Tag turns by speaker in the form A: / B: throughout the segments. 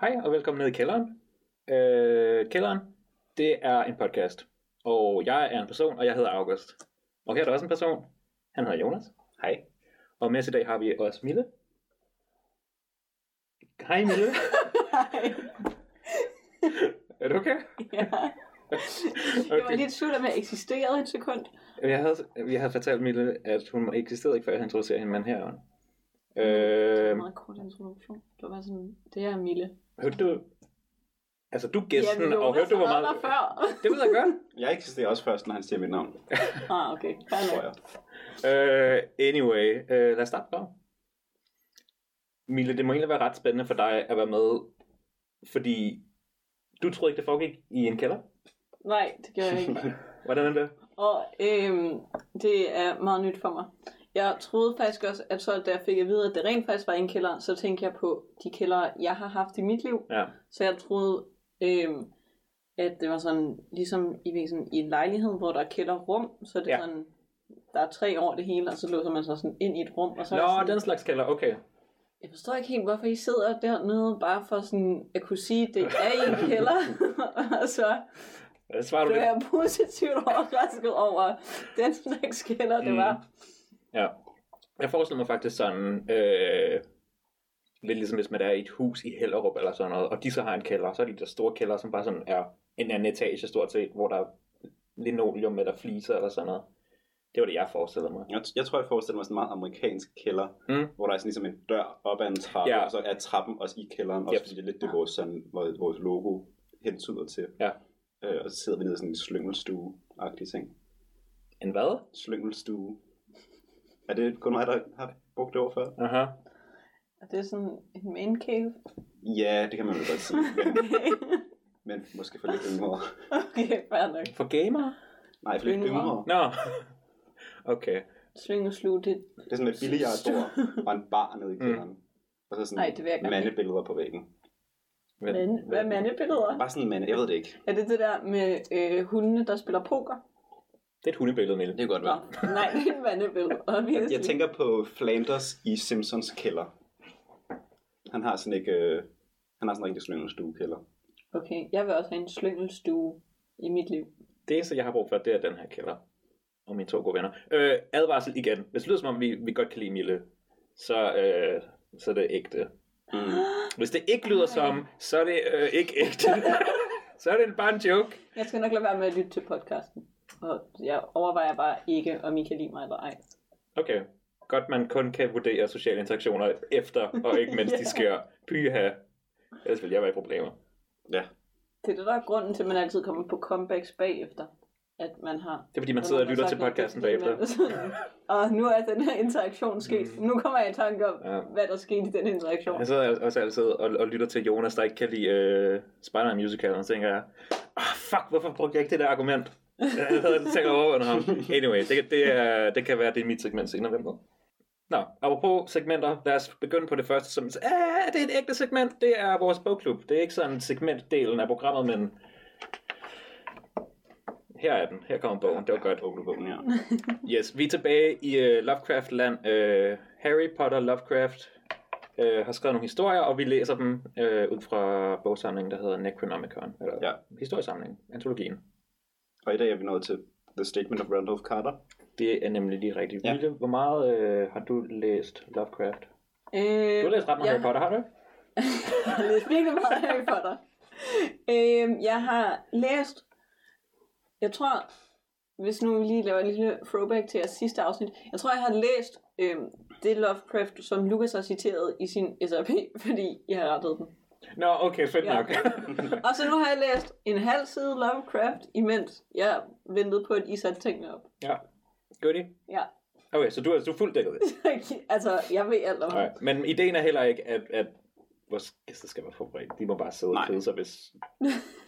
A: Hej og velkommen ned i kælderen. Øh, kælderen, det er en podcast. Og jeg er en person, og jeg hedder August. Og her er der også en person. Han hedder Jonas. Hej. Og med os i dag har vi også Mille. Hej Mille.
B: Nej.
A: er du okay?
B: Ja. Jeg var lidt i tvivl om, jeg eksisterede et sekund.
A: Jeg havde, jeg havde fortalt Mille, at hun eksisterede ikke, før jeg introducerede hende, men her. Øh,
B: Det var en meget kort introduktion. Det var bare sådan, det er Mille.
A: hørte du... Altså, du gæsten,
B: Jamen,
A: og hørte du, hvor
B: har
A: meget...
B: været Der før.
A: Det ved jeg godt.
C: Jeg eksisterer også først, når han siger mit navn,
B: ah, okay. Fair
C: tror
B: nok.
C: jeg.
A: Uh, anyway, uh, lad os starte bare. Mille, det må egentlig være ret spændende for dig at være med, fordi du troede ikke, det foregik i en kælder.
B: Nej, det gjorde jeg ikke.
A: Hvordan er det?
B: Og øhm, det er meget nyt for mig. Jeg troede faktisk også, at så da jeg fik at vide, at det rent faktisk var en kælder, så tænkte jeg på de kælder, jeg har haft i mit liv.
A: Ja.
B: Så jeg troede, øhm, at det var sådan, ligesom i, ved sådan, i en lejlighed, hvor der er kælderrum, så det er
A: Ja.
B: ja. sådan, der er tre over det hele, og så låser man sig sådan ind i et rum. Og så er det
A: Nå,
B: sådan,
A: den slags kælder, okay.
B: Jeg forstår ikke helt, hvorfor I sidder dernede, bare for sådan at kunne sige, at det er i en kælder. og så
A: Øh, Svarer du
B: blev
A: det?
B: jeg positivt overrasket over den slags kælder, det
A: Mm.
B: var.
A: Ja. Jeg forestiller mig faktisk sådan, øh, lidt ligesom hvis man er i et hus i Hellerup eller sådan noget, og de så har en kælder, så er de der store kælder, som bare sådan er en anden etage stort set, hvor der er linoleum eller fliser eller sådan noget. Det var det, jeg forestillede mig.
C: Jeg, jeg tror, jeg forestiller mig sådan en meget amerikansk kælder,
A: Mm.
C: hvor der er sådan ligesom en dør op ad en trappe,
A: Ja.
C: ja. og så er trappen også i kælderen, også
A: Yep.
C: fordi det er lidt det,
B: Ja.
C: vores, sådan, vores, vores logo hentyder til.
A: Ja.
C: Øh, og så sidder vi nede i sådan en slyngelstue-agtig ting.
A: En hvad?
C: Slyngelstue. Er det kun mig, der har brugt det ord før?
A: Aha.
B: Og det er sådan en man cave.
C: Ja, det kan man jo godt sige, men,
B: Okay,
C: men måske for lidt yngre.
B: okay fair nok.
A: For gamer?
C: Nej, for lidt
B: Yngre.
C: yngre.
A: Nå. Okay.
B: Sling og slug, det...
C: Det er sådan et billiardbord og en bar nede i kælderen. Og så sådan
B: Nej, det vil jeg gerne.
C: mandebilleder på væggen.
B: Men, hvad er mandebilleder?
C: Bare sådan en mand, jeg ved det ikke.
B: Er det det der med øh, hundene, der spiller poker?
A: Det er et hundebillede, Mille.
C: Det kan godt
B: Nå, nej, det er en mandebillede.
C: Jeg,
B: obviously.
C: jeg tænker på Flanders i Simpsons kælder. Han har sådan ikke... Øh, han har sådan en rigtig slyngelstuekælder.
B: Okay, jeg vil også have en slyngelstue i mit liv.
A: Det eneste, jeg har brug for, det er den her kælder. Og mine to gode venner. Øh, advarsel igen. Hvis det lyder som om, vi, vi godt kan lide Mille, så, øh, så er det ægte.
C: Mm.
A: Hvis det ikke lyder som, så er det øh, ikke ægte. så er det bare en joke.
B: Jeg skal nok lade være med at lytte til podcasten. Og jeg overvejer bare ikke, om I kan lide mig eller ej.
A: Okay. Godt, man kun kan vurdere sociale interaktioner efter, og ikke mens de sker. Pyha. Ellers vil jeg være i problemer.
C: Ja.
B: Det er det, der er grunden til, at man altid kommer på comebacks bagefter. At man har...
A: Det er fordi, man sidder og lytter til podcasten bagefter.
B: og nu er den her interaktion sket.
A: Mm.
B: Mm. Nu kommer jeg i tanke om,
A: Ja.
B: ja. hvad der skete i den interaktion.
A: Jeg sidder også altid og, og lytter til Jonas, der ikke kan lide øh, Spider-Man Musical, og så tænker jeg, oh, fuck, hvorfor brugte jeg ikke det der argument? Jeg havde tænkt over under ham. Anyway, det, kan- det, er, det kan være, det er mit segment senere. Hvem ved? Nå, apropos segmenter, lad os begynde på det første, som er, det er et ægte segment, det er vores bogklub. Det er ikke sådan segmentdelen af programmet, men her er den, her kommer bogen, det var godt.
C: Åbne bogen, ja.
A: Yes, vi er tilbage i uh, Lovecraft-land. Uh, Harry Potter Lovecraft uh, har skrevet nogle historier, og vi læser dem uh, ud fra bogsamlingen, der hedder Necronomicon. Eller ja.
C: Ja.
A: historiesamlingen, antologien.
C: Og i dag er vi nået til The Statement of Randolph Carter.
A: Det er nemlig lige rigtigt. Ja.
C: Ja.
A: Mille, hvor meget uh, har du læst Lovecraft?
B: Øh,
A: Du har læst ret meget
B: jeg
A: Harry Potter, har du? ikke?
B: Jeg har læst virkelig meget Harry Potter. Øhm, jeg har læst, jeg tror, hvis nu vi lige laver en lille throwback til jeres sidste afsnit, jeg tror, jeg har læst øhm, det Lovecraft, som Lucas har citeret i sin SRP, fordi jeg har rettet den.
A: Nå, okay, fedt
B: Ja.
A: nok.
B: Og så nu har jeg læst en halv side Lovecraft, imens jeg ventede på, at I satte tingene op.
A: ja, goodie.
B: Ja,
A: Okay, så du er, du er fuldt dækket.
B: altså, jeg ved alt om det.
A: Nej, men ideen er heller ikke, at, at vores gæster skal være forberedt. De må bare sidde og
C: Nej.
A: kede sig, hvis...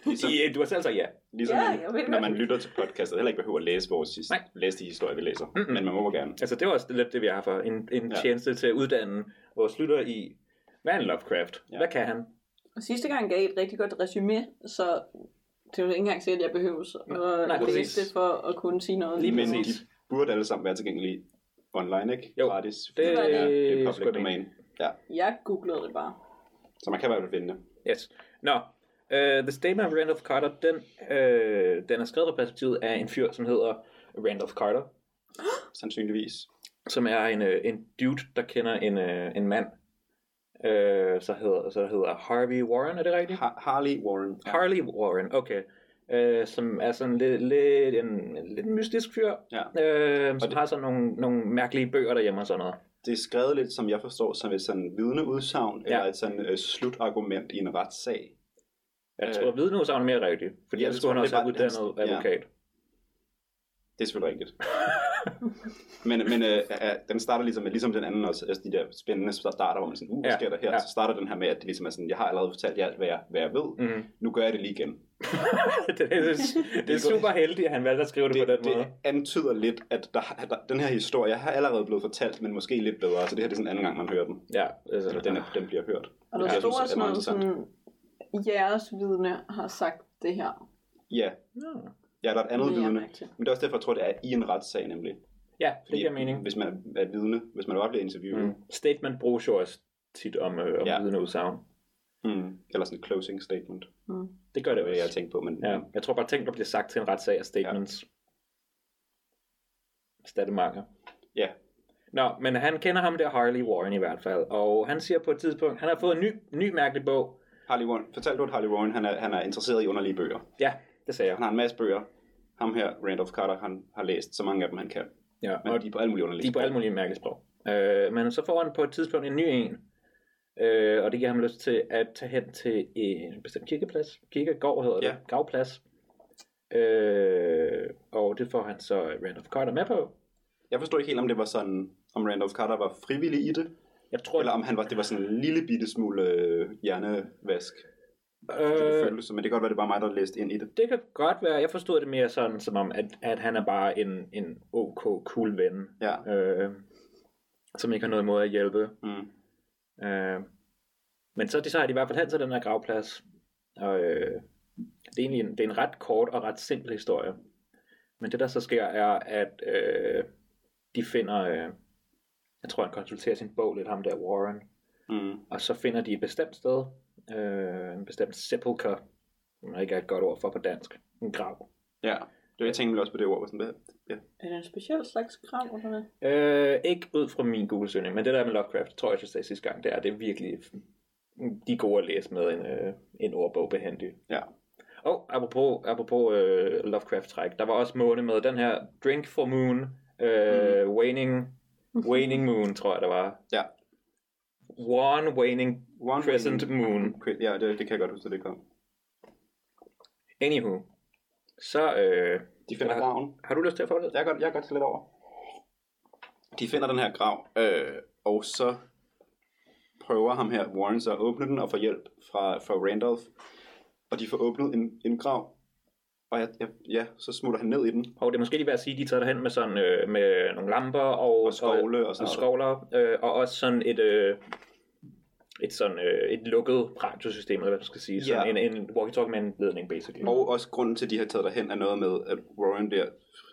C: Ligesom,
A: I, du har selv sagt ja.
C: ligesom
B: Ja,
C: man,
B: jeg ved det
C: når
B: godt.
C: man lytter til podcastet, heller ikke behøver at læse, vores, his-
A: Nej.
C: læse de historier, vi læser.
A: Mm-mm.
C: Men man må gerne.
A: Altså, det var også lidt det, vi har for. En, en ja.
C: Ja.
A: tjeneste til at uddanne vores lytter i, hvad er en Lovecraft? Ja.
C: Ja.
A: Hvad kan han?
B: Og sidste gang gav I et rigtig godt resume, så det er jo ikke engang sikkert, at jeg behøves at
A: nej,
B: nej,
A: præcis.
B: læse det for at kunne sige noget.
A: Lige
C: Men
A: præcis.
C: de burde alle sammen være tilgængelige online, ikke?
A: Jo.
C: Gratis.
A: Det
C: ja, det er
A: skulle jeg
C: public
A: mene.
C: domain. Ja,
B: Jeg googlede det bare.
C: så man kan i hvert fald vinde.
A: Yes. Nå, uh, The Statement of Randolph Carter, den, uh, den er skrevet fra perspektivet af en fyr, som hedder Randolph Carter,
C: sandsynligvis.
A: som er en, øh, en dude, der kender en, øh, en mand, øh, så, hedder, så hedder Harvey Warren, er det rigtigt?
C: Har- Harley Warren.
A: Harley Warren, okay. Øh, som er sådan lidt, lidt en en lidt mystisk fyr,
C: Ja.
A: øh, som
C: det-
A: det... har sådan nogle, nogle mærkelige bøger derhjemme og sådan noget.
C: Det er skrevet lidt, som jeg forstår, som et sådan vidneudsagn, ja. eller
A: Ja.
C: et sådan øh, slutargument i en retssag.
A: Jeg
C: Øh.
A: tror, øh... vidne er mere rigtigt, fordi
C: Ja,
A: ellers skulle
C: det tror
A: han
C: jeg,
A: også have
C: det er bare-
A: uddannet
C: han- ja.
A: advokat.
C: Det er selvfølgelig rigtigt. men men øh, øh, den starter ligesom, med- ligesom den anden også, altså de der spændende starter, hvor man sådan, uh, hvad
A: Ja,
C: sker der her?
A: ja.
C: Ja. Så starter den her med, at det ligesom er sådan, jeg har allerede fortalt jer alt, hvad jeg, hvad jeg ved.
A: Mhm.
C: Nu gør jeg det lige igen.
A: det, er, det, er, det er super heldigt, at han valgte at skrive det, det på den
C: det
A: måde.
C: antyder lidt, at, der, at der, den her historie har allerede blevet fortalt, men måske lidt bedre, så det her det er sådan anden gang, man hører den.
A: Ja, altså,
C: Eller den, er, den bliver hørt.
B: Og der
C: Ja,
B: stod
C: jeg synes,
B: også
C: det er meget
B: noget sådan, jeres vidne har sagt det her.
C: Ja,
A: Nå.
C: ja der er et andet
B: Det er jeg
C: vidne.
B: mærke til.
C: Men det er også derfor, jeg tror, det er i en retssag nemlig.
A: ja det
C: Fordi
A: giver mening.
C: Hvis man er et vidne, hvis man bare bliver interviewet, mm.
A: Mm. Statement bruges jo også tit om, øh, om
C: Ja.
A: ja. vidneudsagn.
C: Mm. eller sådan et closing statement,
B: Mm.
A: Det gør
C: det
A: det
C: er
A: jo
C: det, jeg har
A: også.
C: tænkt på. Men,
A: Ja. Jeg tror bare, ting, der bliver sagt til en retssag, er statements. Ja. Statementer.
C: ja.
A: Nå, men han kender ham der, Harley Warren i hvert fald. Og han siger på et tidspunkt, han har fået en ny, ny mærkelig bog.
C: Harley Warren, fortalte du, at Harley Warren han er, han er interesseret i underlige bøger.
A: Ja, det sagde jeg.
C: Han har en masse bøger. Ham her, Randolph Carter, han har læst så mange af dem, han kan.
A: Ja,
C: Men
A: og
C: de er på alle mulige
A: De
C: underlige
A: er på alle mulige mærkelige sprog. Øh, men så får han på et tidspunkt en ny en, øh, og det giver ham lyst til at tage hen til en bestemt kirkeplads. Kirkegård hedder ja.
C: Ja.
A: det. Gravplads. Øh, og det får han så Randolph Carter med på.
C: Jeg forstod ikke helt, om det var sådan, om Randolph Carter var frivillig i det,
A: Jeg tror,
C: eller om han var, det var sådan en lille bitte smule øh, hjernevask. Øh, det
A: øh,
C: følelse, men det kan godt være, det var mig, der læste ind i det.
A: det kan godt være. Jeg forstod det mere sådan, som om, at, at han er bare en, en ok, cool ven,
C: Ja.
A: øh, som ikke har noget imod at hjælpe.
C: Mm.
A: Øh, men så, så er de i hvert fald hen til den her gravplads. Og øh, det, er egentlig en, det er en ret kort og ret simpel historie. Men det der så sker er, at øh, de finder, øh, jeg tror han konsulterer sin bog lidt, ham der Warren.
C: Mm.
A: Og så finder de et bestemt sted, øh, en bestemt sepulcher, som der ikke er et godt ord for på dansk, en grav.
C: Ja, det var jeg tænkte også på det ord. var Sådan, hvad? Ja.
B: Er det en speciel slags kram, eller hvad?
A: Øh, ikke ud fra min Google-søgning, men det der med Lovecraft, tror jeg, jeg sagde sidste gang, det er, det er virkelig, de er gode at læse med en, øh, en ordbog behendig.
C: ja.
A: Og oh, apropos, apropos øh, Lovecraft-træk, der var også måne med den her Drink for Moon, øh, waning, waning Moon, tror jeg, der var.
C: Mm. Ja.
A: One Waning
C: One
A: Crescent Moon.
C: Okay, Ja, det, det kan jeg godt huske, at det kom.
A: Anywho. Så, øh,
C: De finder
A: Ja.
C: graven.
A: har du lyst til at få det?
C: Jeg kan godt, jeg kan godt tage lidt over. De finder den her grav, øh, og så prøver ham her, Warren, så at åbne den og få hjælp fra, fra Randolph. Og de får åbnet en, en grav, og jeg, jeg, ja, så smutter han ned i den.
A: Og det er måske lige værd at sige, at de tager derhen med, sådan, øh, med nogle lamper og,
C: Og skovle og
A: og
C: sådan noget.
A: skovler, øh, og også sådan et, øh, et, sådan, øh, et lukket radiosystem, eller hvad man skal sige. Sådan
C: Ja.
A: en, en walkie-talkie med en ledning, basically.
C: Og også grunden til, at de har taget derhen, er noget med, at Warren der,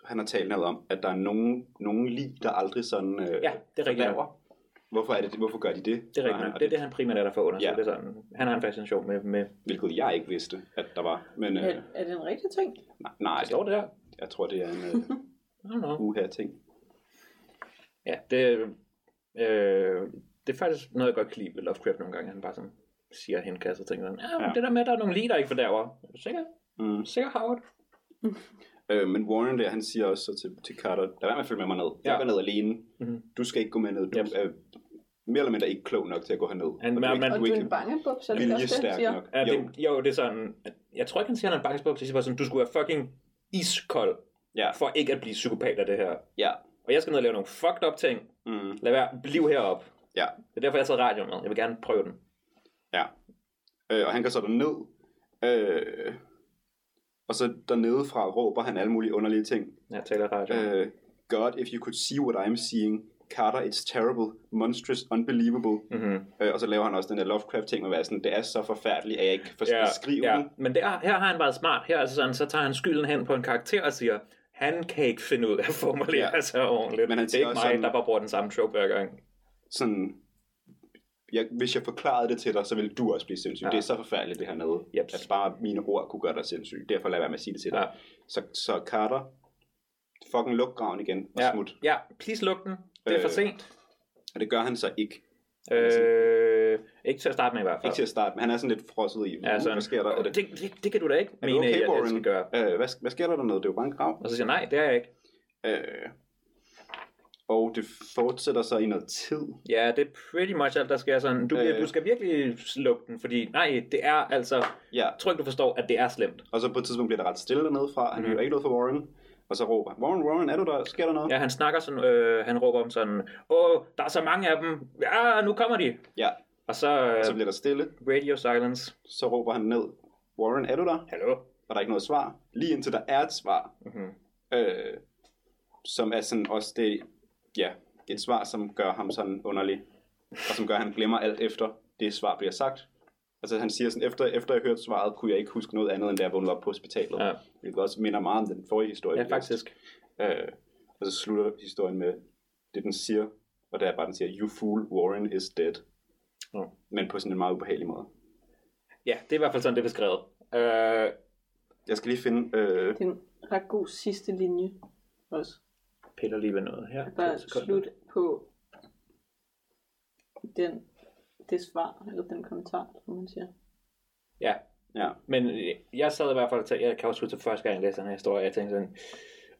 C: han har talt noget om, at der er nogen, nogen lig, der aldrig sådan øh,
A: Ja, det er rigtigt.
C: fordærver. Hvorfor, er det, hvorfor gør de det?
A: Det er
C: Og han-
A: rigtigt.
C: og
A: Det er det, han primært er der for at undersøge.
C: Ja.
A: Ja. Det er sådan, han har en fascination med, med
C: Hvilket jeg ikke vidste, at der var. Men øh,
B: Er, er det en rigtig ting?
C: nej, nej,
A: det står det der.
C: jeg tror, det er en
A: I
C: øh,
A: don't know.
C: uha-ting.
A: Ja, det, øh, det er faktisk noget, jeg godt kan lide ved Lovecraft nogle gange. Han bare sådan siger og henkasser ting. Sådan, ja,
C: Ja.
A: men det der med, at der er nogle lige, der ikke fordærver. Er du sikker?
C: Mm.
A: Sikker, Howard?
C: Øh, men Warren der, han siger også så til, til Carter, lad være med at følge med mig ned. Jeg
A: Ja.
C: går ned alene.
A: Mhm.
C: Du skal ikke gå med ned. Du
A: Yep.
C: er mere eller mindre ikke klog nok til at gå herned.
A: Han-
C: og du
A: men-
C: er ikke,
A: men-
B: Og du
C: du er
B: er en
C: ikke
B: bangebuks, er det ikke også det, han
C: viljestærk
B: siger?
C: nok.
A: Ja,
C: Jo,
A: det, jo, det er sådan... at- Jeg tror ikke, han siger, at han er bange på, siger bare sådan, du skulle være fucking iskold
C: ja,
A: for ikke at blive psykopat af det her.
C: ja.
A: Og jeg skal ned og lave nogle fucked up ting.
C: Mm,
A: Lad være, bliv heroppe.
C: ja,
A: Det er derfor, jeg tager radioen med. Jeg vil gerne prøve den.
C: ja. Øh, og han går så derned. Øh, og så dernede fra råber han alle mulige underlige ting.
A: Jeg taler radio.
C: Øh, God, if you could see what I'm seeing. Carter, it's terrible, monstrous, unbelievable.
A: Mm-hmm.
C: Øh, og så laver han også den der Lovecraft-ting med at være sådan, det er så forfærdeligt, at jeg ikke kan yeah, skrive yeah. den.
A: Men der, her har han været smart. Her altså sådan, så tager han skylden hen på en karakter og siger, han kan ikke finde ud af at formulere
C: Ja.
A: sig ordentligt. Men
C: Men han
A: han det er
C: siger
A: ikke mig,
C: også sådan-
A: der bare bruger den samme joke hver gang.
C: sådan, jeg, hvis jeg forklarede det til dig, så ville du også blive sindssyg.
A: Ja.
C: Ja. Det er så forfærdeligt det her nede,
A: Jeps.
C: at bare mine ord kunne gøre dig sindssyg. Derfor lad være med at sige det til dig.
A: Ja.
C: Så, så Carter, fucking luk graven igen og
A: Ja,
C: smut.
A: ja, please luk den. Det er for
C: Øh,
A: sent.
C: Og det gør han så ikke.
A: Øh, ikke til at starte med i hvert fald.
C: Ikke til at starte, men han er sådan lidt frosset i.
A: Ja, sådan,
C: hvad sker der? Er det,
A: det, det, det kan du da ikke
C: er
A: mene,
C: du okay,
A: at jeg, jeg
C: Warren?
A: skal gøre.
C: Øh, hvad, hvad sker der dernede? Det er jo bare en grav.
A: Og så siger jeg, nej, det er jeg ikke.
C: Øh, og det fortsætter så i noget tid.
A: Ja, det er pretty much alt, der sker sådan. Du, øh.
C: Øh.
A: du skal virkelig lukke den, fordi nej, det er altså...
C: Ja,
A: Jeg tror ikke, du forstår, at det er slemt.
C: og så på et tidspunkt bliver der ret stille dernede fra. Han
A: Mhm.
C: hører ikke noget fra Warren. Og så råber han, Warren, Warren, er du der? Sker der noget?
A: Ja, han snakker sådan, øh, han råber om sådan, åh, der er så mange af dem. Ja, nu kommer de.
C: ja.
A: Og så, øh,
C: Og så bliver der stille.
A: radio silence.
C: Så råber han ned, Warren, er du der?
A: Hallo?
C: Og der er ikke noget svar. Lige indtil der er et svar.
A: Mm-hmm.
C: øh, som er sådan også det, ja, et svar, som gør ham sådan underlig, og som gør, at han glemmer alt efter det svar bliver sagt. Altså han siger sådan, efter, efter jeg hørte svaret, kunne jeg ikke huske noget andet, end da jeg vågnede op på hospitalet.
A: Ja.
C: Hvilket også minder meget om den forrige historie.
A: Ja,
C: vi
A: faktisk.
C: læste. Øh, og så slutter historien med, det den siger, og der er bare den siger, you fool, Warren is dead.
A: Nå.
C: Men på sådan en meget ubehagelig måde.
A: Ja, det er i hvert fald sådan, det er beskrevet. Øh,
C: Jeg skal lige finde, øh,
B: Det er en ret god sidste linje også.
A: piller lige ved noget her.
B: Bare
A: To sekunder.
B: slut på den, det svar, eller den kommentar, som man siger.
A: Ja,
C: ja,
A: Men øh, jeg sad i hvert fald, og tæ- jeg kan også huske, at første gang jeg læste den her historie, jeg tænkte sådan,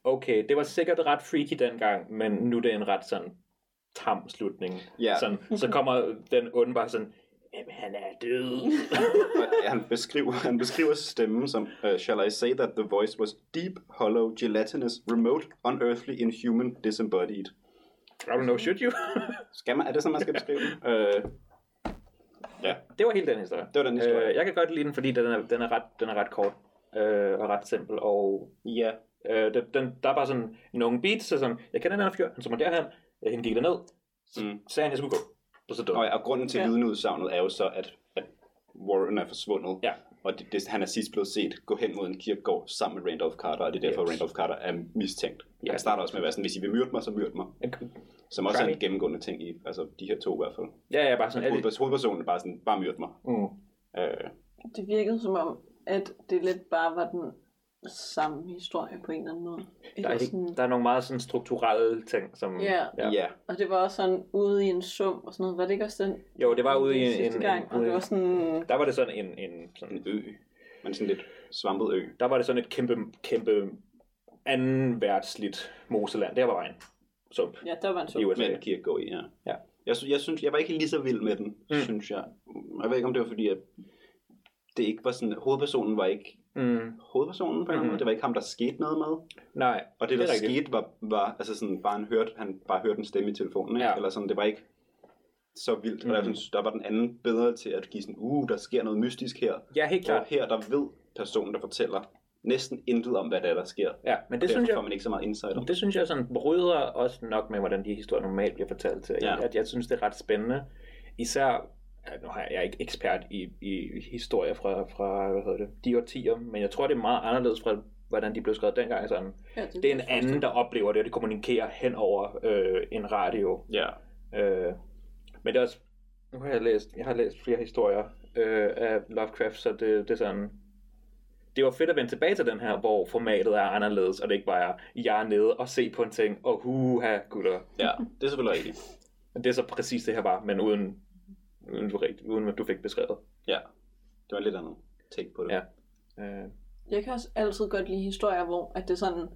A: okay, det var sikkert ret freaky dengang, men nu er det en ret sådan tam slutning.
C: Ja.
A: Sådan, så kommer den onde bare sådan, jamen han er død.
C: Og han beskriver, han beskriver stemmen som, uh, shall I say that the voice was deep, hollow, gelatinous, remote, unearthly, inhuman, disembodied.
A: I don't know, should you?
C: Skal man, er det sådan, man skal beskrive den? Uh, ja,
A: det var hele den historie.
C: Det var den historie.
A: Øh, jeg kan godt lide den, fordi den er, den er, ret, den er ret kort øh, og ret simpel, og
C: ja.
A: øh, den, den, der er bare sådan nogle beats, så sådan, jeg kender den her fyr, han tog mig derhen, jeg hende gik derned, så
C: Mm.
A: sagde han, jeg skulle gå. Og så døde
C: Og, ja, og grunden til
B: Ja.
C: ja. vidneudsagnet er jo så, at, at Warren er forsvundet.
A: Ja.
C: Og det, det, han er sidst blevet set gå hen mod en kirkegård sammen med Randolph Carter, og det er derfor,
A: Yes.
C: yes. Randolph Carter er mistænkt.
A: Ja.
C: Ja. Han starter også med at være sådan, hvis I vil myrde mig, så myrd mig.
A: han.
C: Som også er
A: Cranny.
C: en gennemgående ting i altså, de her to i hvert fald.
A: Ja, ja, bare sådan. alle-
C: Hovedpers- Hovedpersonen er bare sådan, bare myrd mig.
A: Mm.
C: Uh,
B: Det virkede som om, at det lidt bare var den samme historie på en eller anden måde.
A: Der er,
B: Eller sådan,
A: ikke, der er nogle meget sådan strukturelle ting, som...
B: Ja.
C: ja. ja.
B: Og det var også sådan ude i en sum og sådan noget. Var det ikke også den
A: Jo, det var ude i
B: den
A: en...
B: sidste
A: en,
B: gang?
A: en
B: og
A: ude,
B: det var sådan...
A: Der var det sådan en... en sådan,
C: en ø, men sådan lidt svampet ø.
A: der var det sådan et kæmpe, kæmpe anden værtsligt moseland. Der var bare en sump
B: Ja, der var en sum.
A: i USA.
C: Med en kirkegård i, ja.
A: Ja.
C: Jeg, sy- jeg, synes, jeg var ikke lige så vild med den,
A: Mm.
C: mm. synes jeg. Jeg ved ikke, om det var fordi, at det ikke var sådan, hovedpersonen var ikke
A: Mm,
C: hovedpersonen på en mm.
A: Mhm.
C: måde. Det var ikke ham, der skete noget med.
A: nej,
C: Og det, der
A: er rigtigt.
C: skete, var, var altså sådan, bare han hørte, han bare hørte en stemme i telefonen, ikke?
A: Ja.
C: Ja. eller sådan, det var ikke så vildt. Mm. Og jeg
A: Mhm.
C: synes, der var den anden bedre til at give sådan, uh, der sker noget mystisk her.
A: Ja, helt
C: Og
A: klart.
C: her, der ved personen, der fortæller næsten intet om, hvad der er, der sker.
A: Ja, men det
C: Derfor
A: synes
C: får
A: jeg...
C: man ikke så meget insight om.
A: Det synes jeg sådan bryder også nok med, hvordan de historier normalt bliver fortalt til. Ja.
C: Ja.
A: At jeg synes, det er ret spændende. Især, ja, nu har jeg, jeg er ikke ekspert i, i historier fra, fra hvad hedder det, de årtier, men jeg tror, det er meget anderledes fra, hvordan de blev skrevet dengang. Sådan.
B: Ja, det,
A: Det er en anden, der oplever det, og det kommunikerer hen over øh, en radio.
C: Ja.
A: Øh, men det er også, nu har jeg læst, jeg har læst flere historier øh, af Lovecraft, så det, det er sådan, det var fedt at vende tilbage til den her, hvor formatet er anderledes, og det ikke bare er, jeg er nede og se på en ting, og huha, gutter.
C: Ja, det er selvfølgelig rigtigt.
A: Men det er så præcis det her bare, men uden, uden, du, rigt- uden at du fik beskrevet.
C: Ja, det var en lidt andet take på det.
A: Ja. Øh,
B: Jeg kan også altid godt lide historier, hvor at det er sådan,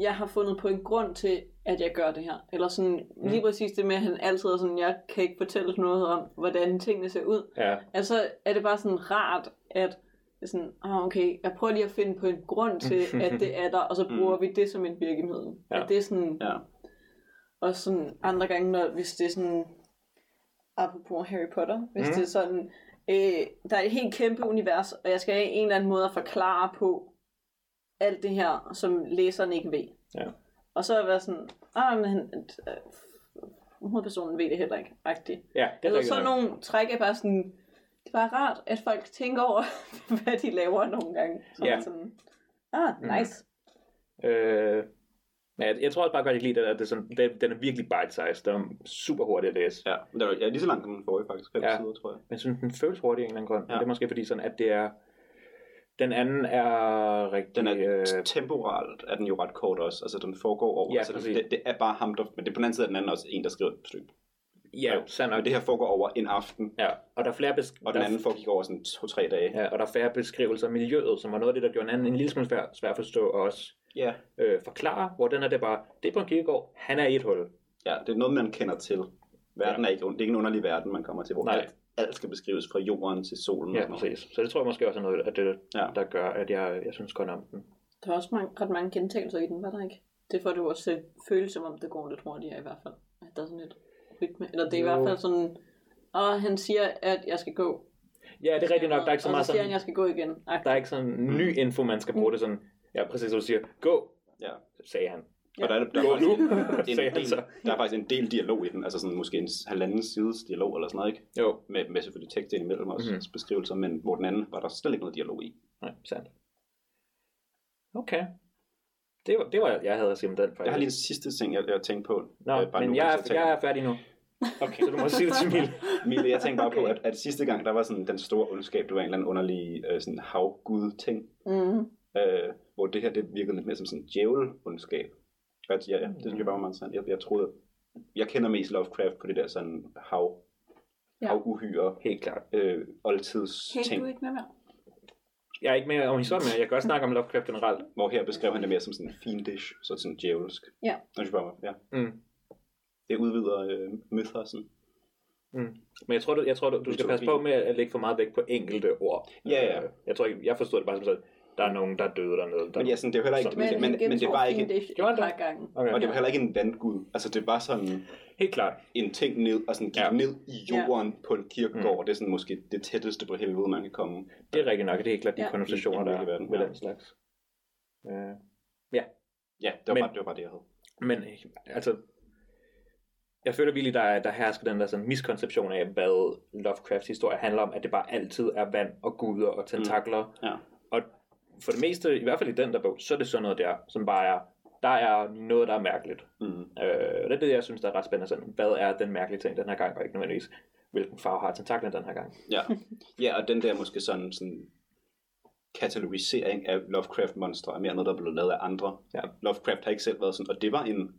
B: jeg har fundet på en grund til, at jeg gør det her. Eller sådan, mm. lige præcis det med, at han altid er sådan, jeg kan ikke fortælle noget om, hvordan tingene ser ud.
A: ja,
B: Altså er det bare sådan rart, at det er sådan, ah, okay, jeg prøver lige at finde på en grund til, at det er der, og så bruger mm. vi det som en virkemiddel.
A: Ja.
B: Ja. At det er sådan,
C: ja.
B: og sådan andre gange, når, hvis det er sådan, apropos Harry Potter, hvis
A: Mm.
B: mm. det er sådan, øh, der er et helt kæmpe univers, og jeg skal have en eller anden måde at forklare på alt det her, som læseren ikke ved.
A: Ja.
B: Og så er jeg været sådan, ah, men han, øh, hovedpersonen ved det heller ikke, agtigt.
A: ja det er
B: Eller
A: rigtigt
B: Altså, sådan
A: nok.
B: nogle træk er bare sådan, det er bare rart, at folk tænker over, hvad de laver nogle gange. Så
A: Ja.
B: yeah. sådan, ah, nice.
A: Øh, Men jeg, jeg tror også bare godt, jeg kan lide det, at det er sådan, det, den er virkelig bite-sized. Den er super hurtig at læse.
C: Ja, men der er ja, lige så langt som den forrige faktisk. Fem
A: Ja.
C: ja. sider, tror jeg.
A: Men jeg synes, den føles hurtig af en eller anden grund. Ja.
C: Ja.
A: Det er måske fordi, sådan, at det er... Den anden er rigtig...
C: Den er
A: øh,
C: øh... temporalt er den jo ret kort også. Altså den foregår over.
A: Ja,
C: altså,
A: præcis.
C: det, det, er bare ham, der... Men det er på den anden side af den anden også en, der skriver et stykke.
A: ja, sandt nok.
C: Men det her foregår over en aften.
A: Ja, og der er flere besk-
C: Og den
A: der,
C: anden foregik over sådan to-tre dage.
A: ja, og der er færre beskrivelser af miljøet, som var noget af det, der gjorde en anden en lille smule svær, svær at forstå og også
C: ja.
A: øh, forklare, hvor den er det bare, det er på en kirkegård, han er i et hul.
C: Ja, det er noget, man kender til. Verden
A: Ja.
C: er ikke, det er ikke en underlig verden, man kommer til, hvor
A: Nej.
C: alt, alt skal beskrives fra jorden til solen.
A: Ja,
C: og sådan noget.
A: præcis. Så det tror jeg måske også er noget af det,
C: Mm. Ja.
A: der gør, at jeg, jeg synes godt om den.
B: Der er også mange, ret mange gentagelser i den, var der ikke? Det får det jo også til at føles som om, det går lidt hurtigere i hvert fald. At der er sådan et rytme. Eller det er i
A: Jo.
B: hvert fald sådan, og han siger, at jeg skal gå.
A: Ja, det er rigtigt nok. Der er ikke så
B: Og
A: meget
B: så siger han,
A: sådan,
B: at jeg skal gå igen.
A: der er ikke sådan ny info, man skal bruge. Det er sådan, ja, præcis som du siger, gå,
C: Ja.
A: sagde han.
C: Og der er, der,
A: Gå
C: er
A: nu,
C: faktisk en,
A: sagde
C: en
A: han
C: del,
A: så.
C: der er faktisk en del dialog i den, altså sådan måske en halvanden sides dialog eller sådan noget, ikke?
A: Jo,
C: Med, med selvfølgelig tekst imellem også
A: Mhm.
C: mm-hmm. beskrivelser, men hvor den anden var der slet ikke noget dialog i.
A: nej, sandt. Okay. Det var, det var, jeg havde at sige om den, faktisk.
C: Jeg har lige en sidste ting, jeg, jeg tænkte på.
A: Nå,
C: øh, bare
A: men
C: nu,
A: jeg,
C: mens
A: er,
C: taler.
A: jeg er færdig nu. Okay. Så du må sige det til Mille.
C: Mille, jeg tænkte bare på,
B: Okay.
C: at, at sidste gang, der var sådan den store ondskab, det var en eller anden underlig øh, sådan havgud-ting.
B: Mm.
C: Øh, hvor det her, det virkede lidt mere som sådan djævel-ondskab. Ja, ja, ja, det synes jeg bare var meget interessant. Jeg, jeg troede, jeg kender mest Lovecraft på det der sådan hav,
B: Ja.
C: ja. havuhyre,
A: Helt klart.
C: øh, oldtids
B: Kan du
C: ting,
B: ikke med mere?
A: Jeg er ikke mere om historien, men jeg kan også snakke om Lovecraft generelt.
C: hvor her beskrev han det mere som sådan fiendish, så sådan djævelsk.
B: Ja.
C: Det synes jeg bare var, ja.
A: Mm.
C: Det udvider øh, mythosen.
A: Mm. Men jeg tror, du, jeg tror, du, du skal
C: Mytologi.
A: passe på med at lægge for meget vægt på enkelte ord.
C: Ja, ja.
A: Øh, Jeg tror ikke, jeg forstod det bare som sådan, der er nogen, der er døde dernede. Der...
C: Men ja, sådan, det var heller ikke,
A: Som-
C: men, men, men, det var ikke, en,
B: Det
A: Gjorde han
B: var
A: det?
B: par gange.
A: okay.
C: og det var heller ikke en vandgud. Altså det var sådan
A: Helt klart.
C: en ting ned, og sådan gik
A: Ja. Mm.
C: ja. ned i jorden ja. på en kirkegård, og det er sådan måske det tætteste på helvede, man kan komme.
A: Det er rigtigt nok, det er helt klart de
B: Ja.
A: ja. konversationer,
C: I- i
A: der er
C: virkeligheden,
A: med
C: ja.
A: den slags. Øh,
C: Ja, det var,
A: Men-
C: bare, det, var bare det, jeg havde.
A: men øh, altså, jeg føler virkelig, der, er- der hersker den der sådan, miskonception af, hvad Lovecrafts historie handler om, at det bare altid er vand og guder og tentakler. Mm.
C: Ja.
A: Og for det meste, i hvert fald i den der bog, så er det sådan noget der, som bare er, der er noget, der er mærkeligt.
C: Mm.
A: Øh, og det er det, jeg synes, der er ret spændende. Sådan, hvad er den mærkelige ting den her gang, og ikke nødvendigvis, hvilken farve har tentaklen den her gang?
C: Ja. ja, og den der måske sådan, sådan katalogisering af Lovecraft-monstre er mere noget, der er blevet lavet af andre.
A: Ja.
C: Lovecraft har ikke selv været sådan, og det var en,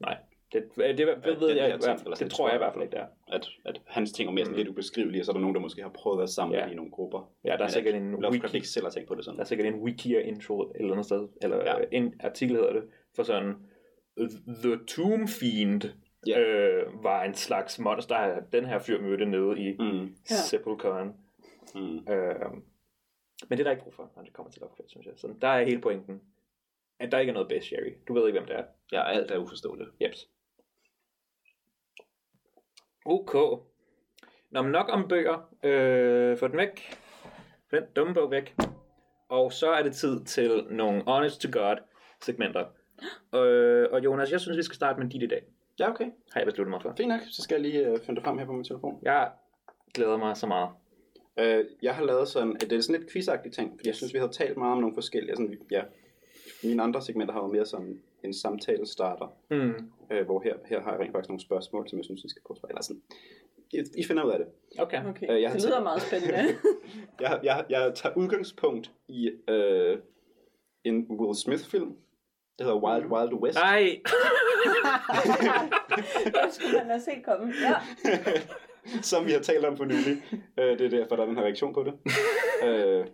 A: Nej, det, øh, det, det ved
C: den her
A: jeg,
C: ting,
A: jeg,
C: eller
A: det
C: sådan,
A: tror jeg i hvert fald ikke, der.
C: at, at hans ting er mere sådan lidt ubeskrivelige, og så er der nogen, der måske har prøvet at samle
A: Mm. Ja.
C: ja. i nogle grupper.
A: Ja, der er
C: Men at
A: sikkert en
C: Lovecraft
A: wiki.
C: ikke selv har tænkt på det sådan.
A: Der er sikkert en wiki og intro et eller andet sted, eller
C: Ja.
A: ja. en artikel hedder det, for sådan, The Tomb Fiend
C: Ja.
A: øh, var en slags monster, den her fyr mødte nede i mm.
C: Mm,
B: Ja.
A: Sepulcheren.
C: mm.
A: Øh, men det er der ikke brug for, når det kommer til Lovecraft, synes jeg. Så der er hele pointen, at der ikke er noget best, Sherry. Du ved ikke, hvem det er.
C: Ja, alt er uforståeligt.
A: Jeps. Ok. Nå, men nok om bøger. Øh, få den væk. Få Den dumme bog væk. Og så er det tid til nogle honest to god segmenter. Øh, og Jonas, jeg synes, vi skal starte med dit i dag.
C: Ja, okay.
A: Har jeg besluttet mig for.
C: Fint nok. Så skal jeg lige øh, finde det frem her på min telefon.
A: Jeg glæder mig så meget.
C: Øh, jeg har lavet sådan, at det er sådan lidt quizagtige ting, fordi jeg synes, vi havde talt meget om nogle forskellige. Sådan, vi- ja, mine andre segmenter har været mere sådan en samtale starter,
A: Mm.
C: øh, hvor her, her har jeg rent faktisk nogle spørgsmål, som jeg synes, I skal prøve at svare. Eller sådan, I- I finder ud af det.
A: Okay.
B: Okay,
C: Øh, jeg har
B: det lyder
C: tænkt-
B: meget spændende.
C: Jeg, jeg, jeg tager udgangspunkt i øh, en Will Smith-film, der hedder Wild Wild West.
A: Nej.
B: det skulle han have set komme. Ja.
C: som vi har talt om for nylig. Øh, det er derfor, der er den her reaktion på det. øh,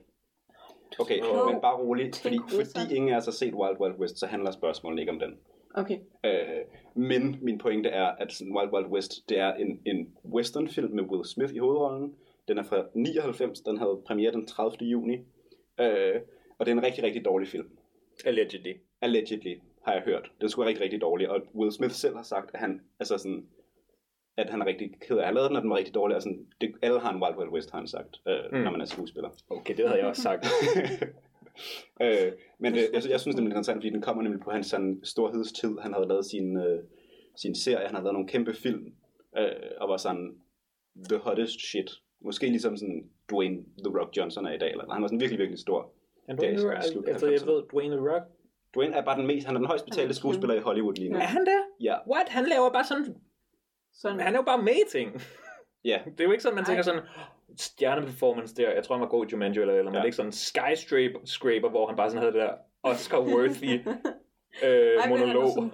C: okay,
A: Klog.
C: men bare roligt, fordi,
B: Tænk ud, så.
C: fordi ingen af os har set Wild Wild West, så handler spørgsmålet ikke om den.
B: Okay.
C: Øh, men min pointe er, at sådan Wild Wild West, det er en, en westernfilm med Will Smith i hovedrollen. Den er fra 99, den havde premiere den 30. juni. Øh, og det er en rigtig, rigtig dårlig film.
A: Allegedly.
C: Allegedly, har jeg hørt. Den skulle være rigtig, rigtig dårlig. Og Will Smith selv har sagt, at han, altså sådan, at han er rigtig ked af, at han lavede den, og den var rigtig dårlig. Og sådan, det, alle har en Wild Wild West, har han sagt, øh,
A: Mm.
C: mm. når man er skuespiller.
A: Okay, det havde jeg også sagt.
C: øh, men det, jeg, jeg synes, det er lidt interessant, fordi den kommer nemlig på hans sådan, storhedstid. Han havde lavet sin, øh, sin serie, han havde lavet nogle kæmpe film, øh, og var sådan the hottest shit. Måske ligesom sådan Dwayne The Rock Johnson er i dag. Eller, han var sådan virkelig, virkelig stor.
A: Han
C: Det er
A: Dwayne The
C: slut
A: Rock,
C: af
A: altså, jeg
C: 90'erne.
A: ved, Dwayne The Rock,
C: Dwayne er bare den mest, han er den højst betalte skuespiller i Hollywood lige nu.
A: Er han det?
C: Ja,
A: What? Han laver bare sådan...
B: Sådan.
A: Han laver bare med i ting.
C: ja.
A: Det er jo ikke sådan, man
B: Ej.
A: tænker sådan... Stjerneperformance der. Jeg tror, han var god i Jumanji eller, eller ja.
C: Ja.
A: man ikke sådan skyscraper, scraper, hvor han bare sådan havde det der Oscar-worthy øh,
B: Ej, men han er
A: monolog.
B: sådan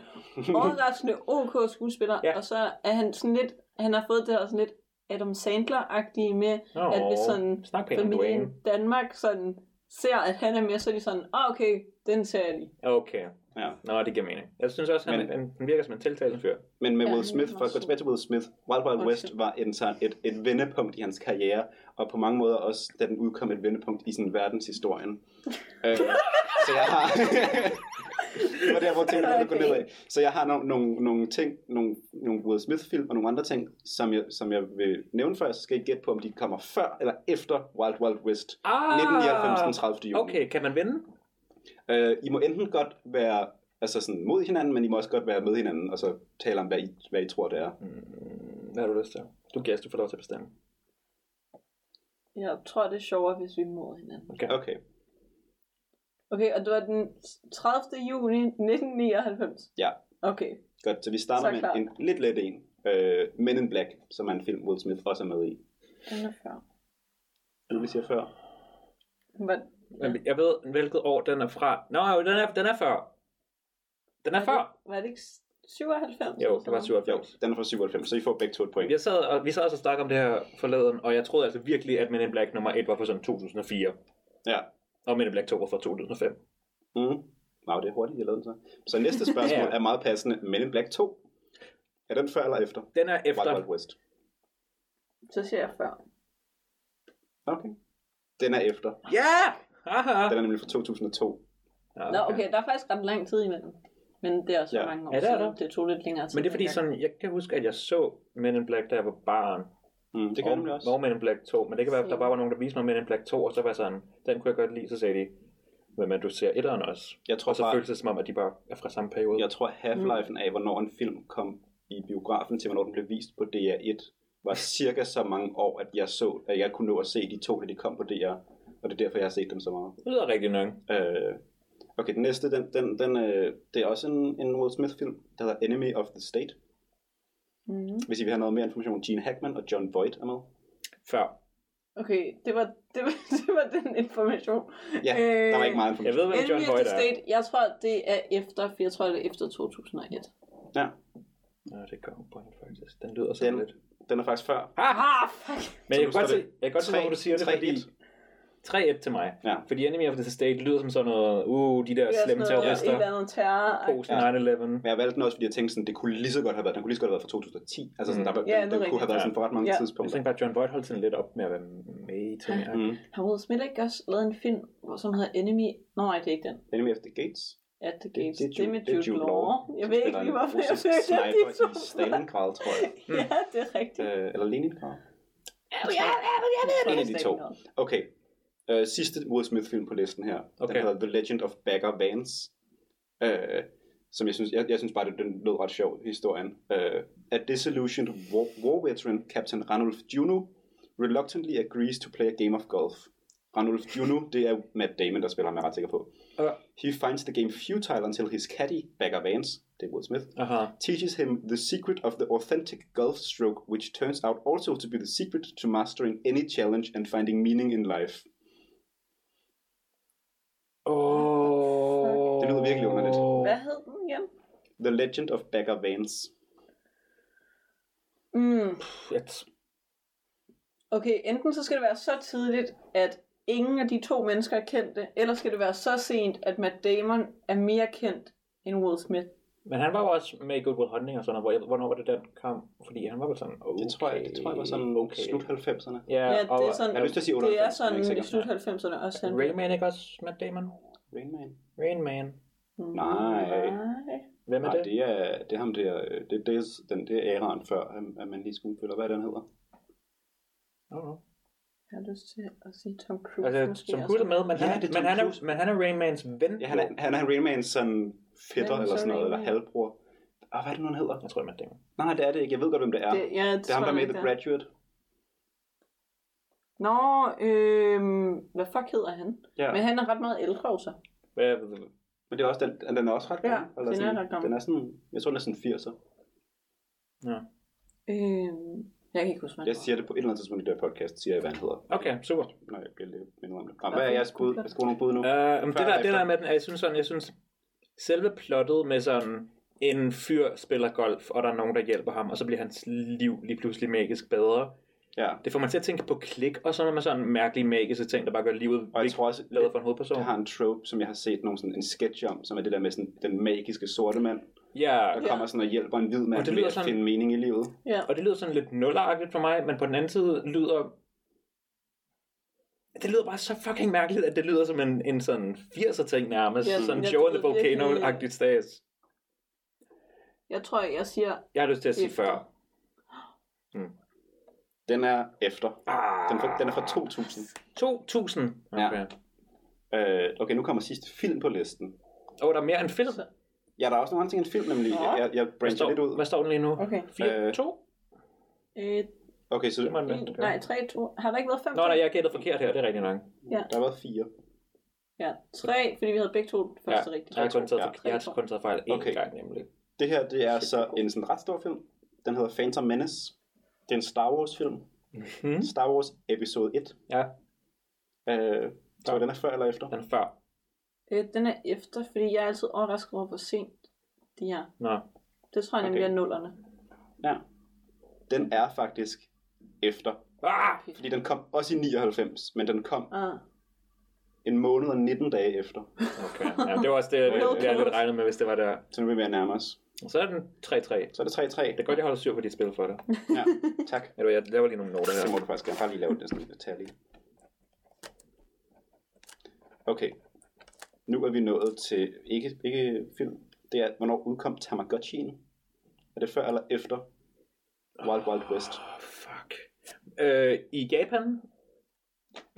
B: Overraskende OK skuespiller,
A: Ja.
B: ja. og så er han sådan lidt, han har fået det der sådan lidt Adam Sandler-agtige med,
A: Nå,
B: at hvis sådan
A: snak pænt om Dwayne.
B: familien Danmark sådan ser, at han er med, så er de sådan, ah okay, den ser jeg lige.
A: Okay.
C: ja.
A: Nå, det giver mening. Jeg synes også, han,
C: Men-
A: han, han virker som en tiltalende fyr.
C: Men med
B: Ja,
C: Will
B: han er
C: Smith, for at
B: meget
C: gå tilbage til Will Smith, Wild Wild West
B: Undskyld.
C: var en, sådan- et, et vendepunkt i hans karriere, og på mange måder også, da den udkom, et vendepunkt i sådan verdenshistorien. øh, så jeg har... det var der, hvor tingene begyndte at gå nedad. Så jeg har nogle, nogle, nogle ting, nogle, nogle Will Smith-film og nogle andre ting, som jeg, som jeg vil nævne før, så skal I gætte på, om de kommer før eller efter Wild Wild West.
A: Ah,
C: 1999 den 30. juni.
A: Okay, kan man vinde?
C: Øh, I må enten godt være altså sådan mod hinanden, men I må også godt være med hinanden, og så tale om, hvad I, hvad I tror, det er.
A: Hvad har du lyst til? Du gæst, du får lov til at bestemme.
B: Jeg tror, det er sjovere, hvis vi mod hinanden.
A: Okay.
C: Okay.
B: Okay, og det var den 30. juni 1999.
C: Ja.
B: Okay.
C: Godt, så vi
B: Så
C: starter
B: er
C: med
B: klar.
C: en lidt let en. Øh, Men in Black, som er en film, Will Smith også er med i.
B: Den er før.
C: Er du, vi siger før?
B: Hvad?
A: Men Jeg ved, hvilket år den er fra. Nå, jo, den er, den er før. Den er før.
B: Var det ikke 97?
A: Jo, det var
C: Jo,
A: 97.
C: den er fra 97, så I får begge to et point.
A: Jeg sad og, vi sad også og snakkede om det her forleden, og jeg troede altså virkelig, at Men in Black nummer 1 var fra sådan 2004.
C: Ja.
A: Og Men in Black 2 var fra 2005.
C: Mm. Nå, det er hurtigt, jeg lavede den så. Så næste spørgsmål
A: Ja.
C: er meget passende. Men in Black 2, er den før eller efter?
A: Den er
C: Wild Wild
A: efter.
C: West.
B: Så siger jeg før.
C: Okay. Den er efter.
A: Ja! Haha!
C: Den er nemlig fra 2002.
A: Ja,
B: Nå, okay, der er faktisk ret lang tid imellem. Men det er også
C: Ja.
B: ja. mange år
A: Ja, det er
B: siden.
A: der.
B: Det tog lidt længere tid.
A: Men det er fordi,
B: dengang.
A: sådan, jeg kan huske, at jeg så Men in Black, da jeg var barn.
C: Mm, det
A: og,
C: gør den nemlig også.
A: Og Men in Black 2, men det kan være, at der
B: Så-
A: bare var nogen, der viste mig Men in Black 2, og så var jeg sådan, den kunne jeg godt lide, så sagde de, men, men du ser etteren også.
C: Jeg tror
A: og så
C: bare-
A: føltes det som om, at de bare er fra samme periode.
C: Jeg tror,
B: Mm.
C: half-lifen af, hvornår en film kom i biografen til, hvornår den blev vist på DR1, var cirka så mange år, at jeg så, at jeg kunne nå at se de to, da de kom på DR. Og det er derfor, jeg har set dem så meget.
A: Det lyder rigtig nok.
C: Øh, okay, den næste, den, den, den, øh, det er også en, en Will Smith-film, der hedder Enemy of the State.
B: Mhm.
C: Hvis I vil have noget mere information, Gene Hackman og John Voight er med.
A: Før.
B: Okay, det var, det var, det var den information.
C: Ja, øh, der var
B: Øh,
C: ikke meget
A: Jeg
C: information.
A: ved, hvem John
B: Enemy of
A: Voight
B: the
A: er.
B: State, jeg tror, det er efter, for jeg tror, det er efter 2001.
C: Ja,
A: Nå, det gør hun på hende, faktisk. Den lyder sådan
C: den,
A: lidt.
C: den er faktisk før.
B: Ah, fuck!
A: Men
C: Så
A: jeg
C: nu
A: kan godt
C: står
A: se,
C: det
A: jeg kan godt se,
C: tre-
A: hvor du siger det,
C: tre-
A: fordi...
C: et.
A: 3-1 til mig.
C: Ja.
A: Fordi Enemy of the State lyder som sådan noget, uh, de der slemme terrorister,
B: Et eller andet terror.
A: post
C: Ja.
A: 9-11.
C: Men jeg valgte den også, fordi jeg tænkte, sådan, det kunne lige så godt have været, den kunne lige så godt have været fra 2010. Altså sådan,
A: Mm.
C: der, var,
B: Ja, det er
C: den, den kunne have
B: rigtigt.
C: været sådan for ret mange
B: Ja.
A: Jeg
C: tidspunkter.
A: tænkte bare, at John Voight holdt sådan lidt op med at være med i ting.
B: Ja.
C: Mm.
B: Har Will Smith ikke også lavet en film, hvor- som hedder Enemy? Nå, nej, det er ikke den.
C: Enemy of the Gates.
B: At the
C: Det,
B: Gates.
C: det,
B: det, er med Jude, Law. Jeg
C: som
B: ved ikke
C: spiller
B: lige,
C: en
B: hvorfor jeg
C: russisk
B: følte, at de to
C: sniper i Stalingrad, tror jeg.
B: Ja, det er rigtigt.
C: Øh, eller Leningrad.
B: Ja, ja, ja, det
C: En af de to. Okay. Øh, sidste Will Smith-film på listen her. Okay.
A: Okay.
C: Den hedder The Legend of Bagger Vance. Øh, som jeg synes, jeg, jeg synes bare, det, den lød ret sjov, historien. Øh, a disillusioned war, war veteran, Captain Ranulf Juno, reluctantly agrees to play a game of golf. Ranulf Juno, det er Matt Damon, der spiller ham, jeg er ret sikker på.
A: Okay.
C: He finds the game futile until his caddy, Bagger Vance, det er Will Smith,
A: Aha.
C: teaches him the secret of the authentic golf stroke, which turns out also to be the secret to mastering any challenge and finding meaning in life.
A: Oh.
C: Det lyder virkelig underligt.
B: Hvad hed den igen?
C: The Legend of Bagger Vance.
B: Mm.
A: Shit.
B: Okay, enten så skal det være så tidligt, at ingen af de to mennesker er kendte, eller skal det være så sent, at Matt Damon er mere kendt end Will Smith.
A: Men han var jo også med i Good Will Hunting og sådan noget. Hvor, hvornår var det, den kom? Fordi han var vel sådan, okay.
C: Det tror jeg, det tror jeg var sådan okay. slut 90'erne.
A: Ja,
B: Ja,
A: og
B: det er sådan,
C: jeg har lyst til at sige
B: det er
C: 98, men jeg er
B: sådan i
C: ikke sikker.
B: slut 90'erne også. Han.
A: Rain Man ikke også Matt Damon?
C: Rain Man.
A: Rain Man.
C: Nej.
B: Nej.
A: Hvem er
C: Nej,
A: det?
C: det er, det er ham der, øh, det, det er den der æraen før, at- at man lige skuespiller. Hvad er det, han hedder?
A: I don't know.
B: Jeg har lyst til at sige Tom Cruise
A: Altså,
B: måske.
A: Tom
B: også.
A: Cruise er med, men,
C: Ja,
A: han,
C: det er
A: men,
C: Tom
A: han, er,
C: Cruise.
A: men han er Rain Mans ven.
C: Ja, han er, han er Rain Mans sådan fætter
B: Hvem
C: eller
B: så
C: sådan noget,
B: Rain
C: eller
B: Man?
C: halvbror. Og hvad er det nu, han hedder?
A: Jeg tror, det er Matt Damon.
C: Nej, det er det ikke. Jeg ved godt, hvem det er.
B: Det, ja, det,
C: det er ham, der er med i The
B: Grad.
C: Graduate.
B: Nå, øhm, hvad fuck hedder han?
C: Ja.
B: Men han er ret meget ældre også.
A: Hvad,
C: Men det er også den, den er også ret
B: Ja,
C: gammel.
B: den er
C: sådan,
B: ret gammel.
C: Den er sådan, jeg tror, den er sådan 80'er.
A: Ja.
B: Øhm, jeg kan ikke huske, hvad
C: Jeg siger det på et eller andet tidspunkt i det her podcast, siger jeg, hvad han hedder.
A: Okay, super.
C: Når jeg bliver lidt mindre om det. Nå, hvad er jeres bud? Jeg skulle nogle bud nu.
A: Uh, men det,
C: Før
A: der,
C: og
A: det
C: efter.
A: der med den, er, jeg synes sådan, jeg synes, selve plottet med sådan, en fyr spiller golf, og der er nogen, der hjælper ham, og så bliver hans liv lige pludselig magisk bedre.
C: Ja.
A: Det får man til at tænke på klik, og så er man sådan mærkelige magiske ting, der bare gør livet
C: Og jeg
A: vigtigt
C: tror også,
A: bedre for en hovedperson.
C: det har en trope, som jeg har set nogen sådan en sketch om, som er det der med sådan, den magiske sorte mand,
A: Ja,
C: der kommer sådan og hjælper en hvid mand
A: Og det
C: med
A: lyder
C: at
A: sådan-
C: finde mening i livet.
B: Ja.
A: og det lyder sådan lidt nulleragtigt for mig, men på den anden side lyder... Det lyder bare så fucking mærkeligt, at det lyder som en, en sådan 80'er ting nærmest.
B: Ja,
A: Ja, sådan
B: jeg
A: Joe and the
B: ved virkelig-
A: Volcano-agtigt stats.
B: Jeg tror, jeg siger...
A: Jeg har lyst til at sige
B: Efter.
A: før.
C: Den er efter.
A: Ah,
C: Den, er fra, den er fra 2000.
A: 2000.
C: Ja.
A: Okay. Ah.
C: Øh, okay, nu kommer sidste film på listen.
A: Og der er mere end film.
C: Ja, der er også nogle andre ting end film, nemlig.
B: Nå.
C: Jeg, jeg
A: Hvad
C: brancher lidt
A: står,
C: ud.
A: hvad står den lige nu?
B: Okay.
A: 4,
C: Øh,
A: 2?
B: Øh,
C: Okay, så
A: Det må den
B: en,
A: være.
B: nej, tre, to... Har der ikke været fem?
A: Nå, nej, jeg gættede forkert her, det er rigtig nok.
C: der har været fire.
B: Ja, tre, fordi vi havde begge to den første ja, rigtige.
A: Jeg har kun taget,
C: Ja.
A: for, jeg har kun taget fejl én
C: Okay.
A: gang, nemlig.
C: Det her, det er så en sådan ret stor film. Den hedder Phantom Menace. Det er en Star Wars film.
A: Hmm?
C: Star Wars episode 1.
A: Ja,
C: Øh, tror jeg, den er før eller efter?
A: den er før.
B: Øh, den er efter, fordi jeg er altid overrasket over, hvor sent de er.
A: Nå,
B: Det tror jeg nemlig
C: Okay.
B: er nullerne.
C: Ja. Den er faktisk efter.
A: ah,
C: Fordi den kom også i 99, men den kom
B: Ah,
C: en måned og 19 dage efter.
A: okay. Ja, det var også det, det, det jeg lidt regnet med, hvis det var der.
C: Så nu er vi ved at nærme os.
A: Så er den 3-3.
C: Så er det
A: Det er
C: 3-3.
A: godt, jeg holder styr på dit spil for dig.
C: Ja, tak.
A: Ved du hvad, Jeg laver lige nogle noter
C: Det må
A: her.
C: du faktisk gerne. Bare lige lave det sådan lidt tal i. Okay. Nu er vi nået til, ikke, ikke film, det er, hvornår udkom Tamagotchien? Er det før eller efter Wild Wild West?
A: Oh, fuck. Øh, I Japan?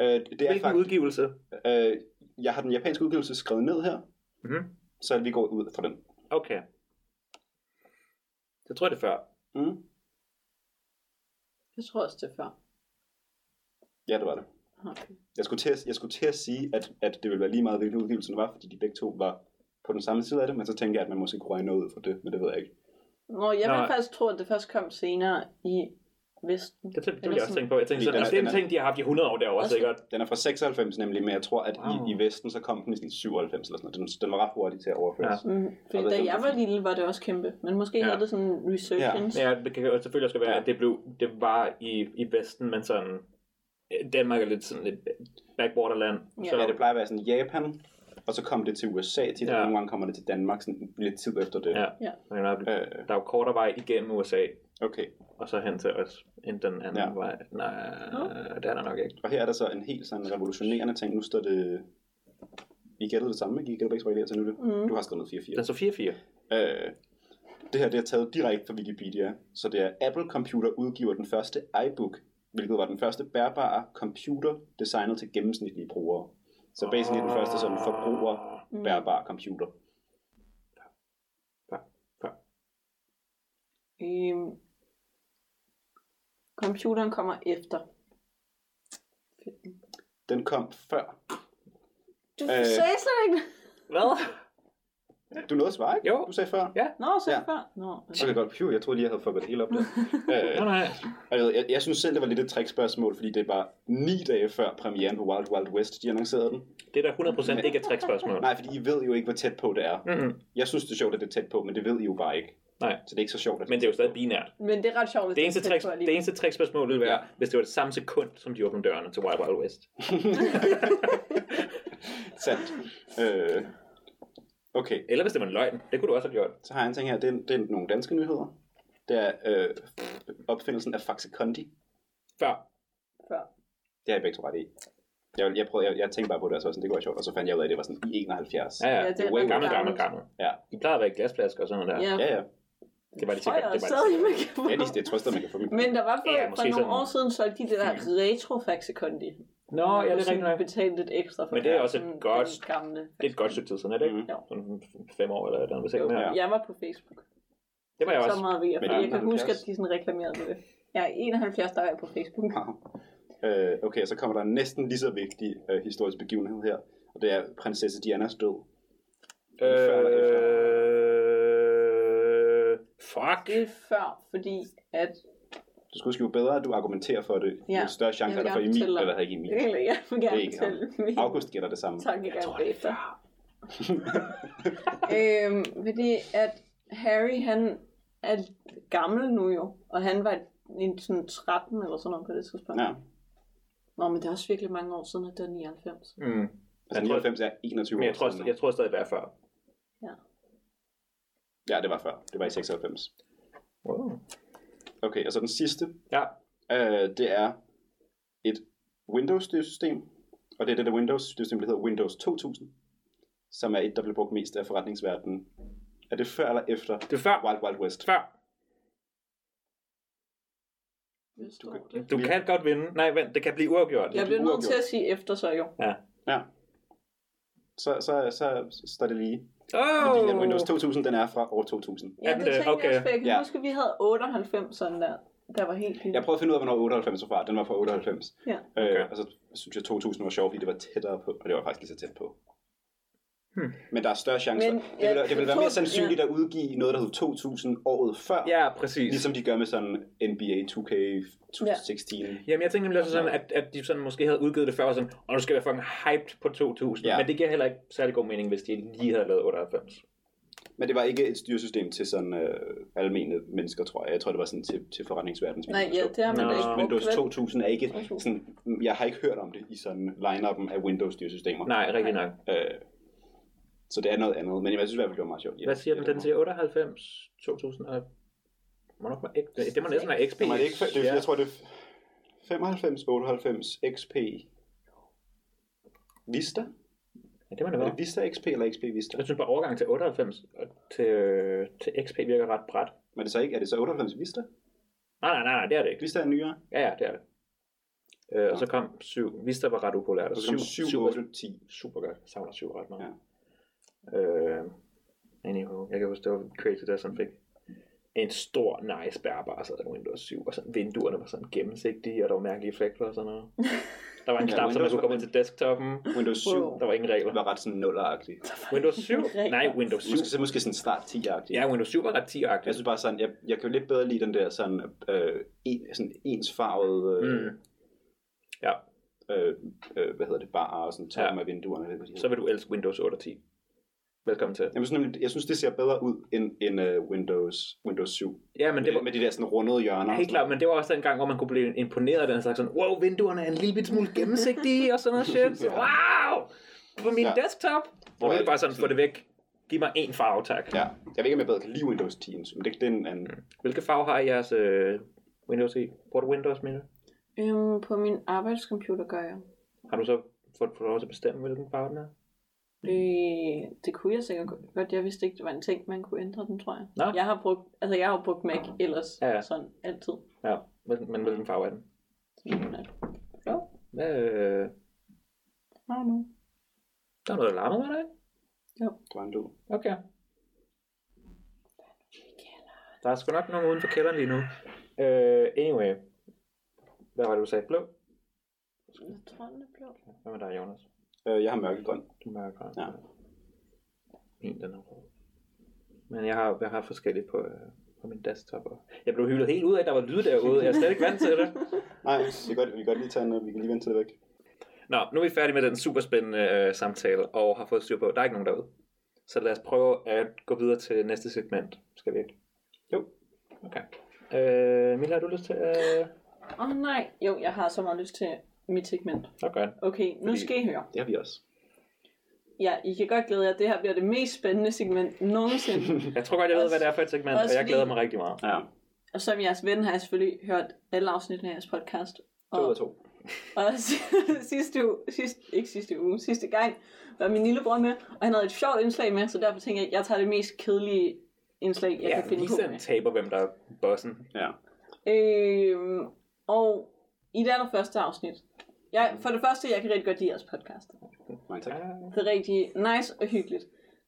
C: Øh, det er
A: Hvilken
C: faktisk,
A: udgivelse?
C: øh, jeg har den japanske udgivelse skrevet ned her,
A: Mhm.
C: så vi går ud fra den.
A: Okay. Det tror jeg, det er før.
C: Mm?
B: jeg tror også, det er før.
C: Ja, det var det.
B: Okay.
C: Jeg skulle til at, jeg skulle til at sige, at, at det ville være lige meget, hvilken udgivelse det var, fordi de begge to var på den samme side af det, men så tænker jeg, at man måske kunne regne noget ud for det, men det ved jeg ikke.
B: Nå, jeg vil
A: Nå.
B: faktisk tro, at det først kom senere i Vesten.
A: Det, det, det vil
B: Eller
A: jeg også
B: sådan-
A: tænke på. Jeg tænker
C: Fordi
A: sådan,
C: den er-
A: altså, det er
C: den
A: en
C: er-
A: ting, de har haft i 100 år derovre,
B: Også-
A: sikkert.
C: Den er fra 96 nemlig, men jeg tror, at
A: Wow.
C: i, i Vesten, så kom den i sådan 97 eller sådan noget. Den, den var ret hurtig til at overføres. Ja.
B: Mm, fordi
C: Og hvad
B: da
C: er
B: jeg
C: det
B: var
C: for-
B: lille, var det også kæmpe. Men måske
A: Ja.
B: ja. havde det sådan en resurgence.
A: Ja, det kan jo selvfølgelig også være, at det, blev, det var i, i Vesten, men sådan... øh, Danmark er lidt sådan lidt backwaterland.
B: Ja.
A: så,
C: ja, det plejer at være sådan Japan, og så kom det til USA tit, ja.
A: Ja.
C: og nogle gange kommer det til Danmark sådan lidt tid efter det.
A: ja.
B: Ja.
A: Men der er-
C: Øh,
A: der er jo kortere vej igennem USA,
C: okay,
A: og så hen til os, end den anden
C: Ja.
A: vej. Nej, det er der nok ikke.
C: og her er der så en helt sådan revolutionerende ting. Nu står det... I gættede det samme, ikke? I gættede begge to, hvad I til nu. det.
B: Mm.
C: Du har skrevet noget 4-4.
A: Den så 4-4.
C: Øh, det her det er taget direkte fra Wikipedia. Så det er Apple Computer udgiver den første iBook, hvilket var den første bærbare computer designet til gennemsnitlige brugere. Så basically den første sådan forbruger
B: Mm.
C: bærbar computer.
B: Øhm, computeren kommer efter.
C: Den kom før.
B: Du
C: Øh.
B: øh. sagde slet ikke...
A: Hvad?
C: Du nåede at svare, ikke?
A: Jo.
C: Du sagde før.
B: Nå, så
C: Ja.
B: ja. før. Nå, altså.
C: Så kan godt. Phew, jeg troede lige, jeg havde fucket det hele op der. øh,
A: Nej, nej.
C: og jeg, ved, jeg, jeg, synes selv, det var lidt et trickspørgsmål, fordi det var ni dage før premieren på Wild Wild West, de annoncerede den.
A: Det er da 100% ikke et trickspørgsmål.
C: Nej, fordi I ved jo ikke, hvor tæt på det er.
A: Mm-hmm.
C: Jeg synes, det er sjovt, at det er tæt på, men det ved I jo bare ikke.
A: Nej.
C: Så det er ikke så sjovt. At
A: Men det er jo stadig binært.
B: Men det er ret sjovt, hvis
A: Det eneste,
B: er tæt
A: trick,
B: på
A: det
B: alligevel.
A: eneste trickspørgsmål ville være, hvis det var det samme sekund, som de åbnede dørene til Wild Wild West.
C: Sandt. Øh, okay,
A: Eller hvis det var en løgn. Det kunne du også have gjort.
C: så har jeg en ting her. Det er, det er nogle danske nyheder. Det er øh, opfindelsen af Faxe Kondi.
A: Før.
B: Før.
C: Det har jeg begge to ret i. Jeg, jeg, prøvede, jeg, jeg tænkte bare på det, og så var sådan, det kunne være sjovt. Og så fandt jeg ud af, at det var sådan i 71.
A: Ja, ja.
B: Ja,
A: ja
B: det
A: det
B: er
A: er gammel,
B: ret
A: gammel, gammel,
B: gammelt.
A: gammel.
C: Ja.
A: De plejer at være i glasflasker og sådan noget der.
B: Ja,
C: ja. ja.
A: Det var det
B: tror
A: sikkert.
B: jeg
A: Det var det
B: stadig,
A: sikkert.
B: man kan få.
C: ja det, det trøster, man kan få.
B: Men der var for,
A: Ja,
B: for
A: måske
B: nogle
A: sådan-
B: år siden solgte de det der retro Faxekondi.
A: Nå, ja, det er rigtigt. nok.
B: Betalt lidt ekstra for
A: Men det er også et
B: sådan
A: godt-
B: den gamle.
A: Det er et godt stykke tid siden, er det ikke?
C: Mhm.
B: Jo.
A: Sådan fem år eller noget, sikkert
C: Jo,
A: mere.
C: ja.
B: Jeg var på Facebook.
A: Det var jeg
B: Så
A: også.
B: meget ved jeg,
C: Men
B: fordi jeg kan
C: 71.
B: huske, at de sådan reklamerede med det. Jeg er 71, der er jeg på Facebook.
C: Wow. Øh, okay, og så kommer der en næsten lige så vigtig øh, historisk begivenhed her. Og det er prinsesse Dianas død. Før eller efter?
A: Øh,
B: Det er
A: fuck.
B: før, fordi at...
C: Du skal huske, jo bedre du argumenterer for det,
B: Ja.
C: jo større
B: Jeg
C: chance er
B: vil
C: der for
B: gerne
C: Emil,
B: fortælle dig.
C: eller ikke Emil.
B: Jeg vil
C: Det er
B: gerne
C: ikke ham.
B: fortælle min
C: August gætter det samme.
B: tanke
A: Jeg tror, det er
B: efter.
A: før.
B: øhm, fordi at Harry, han er gammel nu jo, og han var en, sådan 13 eller sådan noget på det tidspunkt.
C: Ja. Altså,
B: Nå, men det er også virkelig mange år siden, at det er 99.
A: Mm.
C: Altså, 99 er 21
A: Men jeg
C: år
A: tror,
C: siden nu.
A: jeg tror stadig, det er før.
C: Ja, det var før. Det var i 96.
A: Wow.
C: Okay, og så den sidste,
A: Ja,
C: øh, det er et Windows-system, og det er det der Windows-system, der hedder Windows 2000, som er et, der blev brugt mest af forretningsverdenen. Er det før eller efter
A: det er før.
C: Wild Wild West?
A: Før.
B: Det står
C: kan-
B: det.
A: Du kan godt vinde. Nej, vent, det kan blive uafgjort.
B: Jeg
C: det er
B: bliver nødt til
C: uafgjort.
B: at sige efter så jo.
A: Ja.
C: Ja. Så, så, så, står det lige. Fordi den
A: Oh.
C: Windows 2000, den er fra år 2000.
B: Ja,
A: Er den
B: det
A: det?
B: tænkte okay.
A: Okay.
B: jeg også, for jeg kan
C: Ja.
B: huske, at vi havde 98 sådan der. Der var helt vildt.
C: Jeg prøvede at finde ud af, hvornår 98 var fra. Den var fra 98.
B: Ja.
A: Okay.
C: Øh, og så synes jeg, 2000 var sjovt, fordi det var tættere på, og det var faktisk lige så tæt på.
A: Hmm.
C: Men der er større chancer.
B: Men,
C: Men, ja, det,
B: ja,
C: vil, det vil være mere
B: 2000,
C: sandsynligt at udgive noget, der hed 2000 året før,
A: Ja, præcis.
C: Ligesom de gør med sådan NBA 2K 2016. Ja.
A: Jamen, jeg tænkte nemlig også sådan, at, at de sådan måske havde udgivet det før, og sådan, og nu skal jeg være fucking hyped på 2000.
C: Ja.
A: Men det giver heller ikke særlig god mening, hvis de lige havde lavet 98.
C: Men det var ikke et styresystem til sådan øh, almene mennesker, tror jeg. Jeg tror, det var sådan til, til forretningsverdens
B: Nej, ja, det har man
A: Nå.
B: da ikke brugt.
C: Windows
B: vel?
C: 2000 er ikke
B: Okay.
C: sådan, mm, jeg har ikke hørt om det i sådan line-up'en af Windows-styresystemer.
A: Nej, rigtig nok.
C: Øh, så det er noget andet, men jeg synes i hvert fald, det var meget sjovt.
A: Hvad siger den? Den siger 98, 2000 og... Må nok være X- det må næsten være XP.
C: Det er ikke, det,
A: Ja.
C: jeg tror, det er 95, 98, XP, Vista?
A: Ja, det må det
C: Er
A: være.
C: det Vista XP eller XP Vista?
A: Jeg synes bare overgangen til 98 og til, til XP virker ret bræt.
C: Men er det så ikke, er det så 98 Vista?
A: Nej, nej, nej, nej, det er det ikke.
C: Vista er nyere.
A: Ja, ja, det er det. Øh, og så kom 7. Vista var ret upolært.
C: Og
A: Og
C: så kom
A: 7,
C: 7, 8, 10.
A: super godt. Jeg savner 7 ret meget. Ja. Øh, anywho, jeg kan huske, det var crazy, der som fik en stor nice bærbar, så havde Windows 7, og sådan, vinduerne var sådan gennemsigtige, og der var mærkelige effekter og sådan noget. Der var en
C: Ja,
A: knap, så man
C: Windows
A: kunne komme ind til desktoppen.
C: Windows 7
B: Wow.
A: Der var ingen regler.
C: var ret sådan nulleragtig.
A: Windows 7?
B: Regler.
A: Nej, Windows 7.
C: Måske, så måske sådan start 10-agtig.
A: Ja, Windows 7 var ret 10
C: Jeg synes bare sådan, jeg, jeg kan jo lidt bedre lide den der sådan, øh, en, sådan ensfarvede, øh,
A: Mm. Ja,
C: øh, øh, hvad hedder det, bar og sådan toppen ja.
A: Ja.
C: af vinduerne. Eller, hvad de
A: Mm. så
C: så...
A: vil du elske Windows 8 og 10. Velkommen til.
C: Jamen, sådan, nemlig- jeg synes, det ser bedre ud end, end uh, Windows, Windows 7.
A: Ja, men
C: Men det
A: det var,
C: med de der sådan rundede hjørner.
A: helt
C: og sådan
A: klart, men det var også den gang, hvor man kunne blive imponeret af den slags sådan, wow, vinduerne er en lille bit smule gennemsigtige og sådan noget shit. Så,
C: Ja.
A: wow! På min
C: Ja.
A: desktop! Hvor er det bare sådan, få det væk. Giv mig en farve, tak.
C: noget. Ja, jeg ved ikke, om jeg bedre kan lide Windows 10, men det, det er en anden.
A: Hvilke farve har jeres øh, Windows i? Bruger du Windows, Mille?
B: Øhm, på min arbejdscomputer gør jeg.
A: Har du så fået fået lov til at bestemme, hvilken farve den er?
B: Øh, det kunne jeg sikkert godt. Jeg vidste ikke, det var en ting, man kunne ændre den, tror jeg.
A: Nå. Ah.
B: Jeg har brugt, altså jeg har brugt Mac ellers,
A: Ja, ja.
B: sådan altid.
A: Ja, men, men hvilken farve er den?
B: Ja.
A: Hvad, øh,
B: Nå, nu.
A: der er noget alarm, var der ikke?
C: Det var en lyd.
A: Okay. Der er sgu nok nogen uden for kælderen lige nu. Øh, anyway. Hvad var det, du sagde? Blå?
B: Jeg tror, den er blå.
A: Hvad med dig, Jonas?
C: Øh, jeg har mørkegrøn.
A: Du er mørkere.
C: Ja.
A: Min, den er rød. Men jeg har, jeg har forskellige på, øh, på min desktop. og- Jeg blev hyldet helt ud af, at der var lyde derude. Jeg er slet ikke vant til det.
C: Nej, vi kan godt, vi kan godt lige tage en, øh, vi kan lige vente til det væk.
A: Nå, nu er vi færdige med den superspændende øh, samtale, og har fået styr på, at der er ikke nogen derude. Så lad os prøve at gå videre til næste segment. Skal vi ikke?
C: Jo.
A: Okay. Øh, Mila, har du lyst til øh, at...
B: Åh oh, nej, jo, jeg har så meget lyst til mit segment.
A: Okay.
B: Okay, nu
C: Fordi-
B: skal I høre.
C: Det har vi også.
B: Ja, I kan godt glæde jer, det her bliver det mest spændende segment nogensinde.
A: Jeg tror godt, jeg ved, hvad det er for et segment,
B: Også
A: og jeg
B: fordi-
A: glæder mig rigtig meget.
C: Ja,
B: Og som jeres ven har jeg selvfølgelig hørt alle afsnittene af jeres podcast.
C: to ud
B: Og,
C: af to.
B: og sidste uge, sidste, ikke sidste uge, sidste gang var min lillebror med, og han havde et sjovt indslag med, så derfor tænker jeg, at jeg tager det mest kedelige indslag, jeg
A: ja,
B: kan finde på.
A: Lisa
B: med.
A: taber, hvem der er bossen.
C: Ja.
B: Øhm, og i det allerførste afsnit, jeg, for det første, jeg kan rigtig godt lide jeres podcast.
C: Mange tak.
B: Det er rigtig nice og hyggeligt.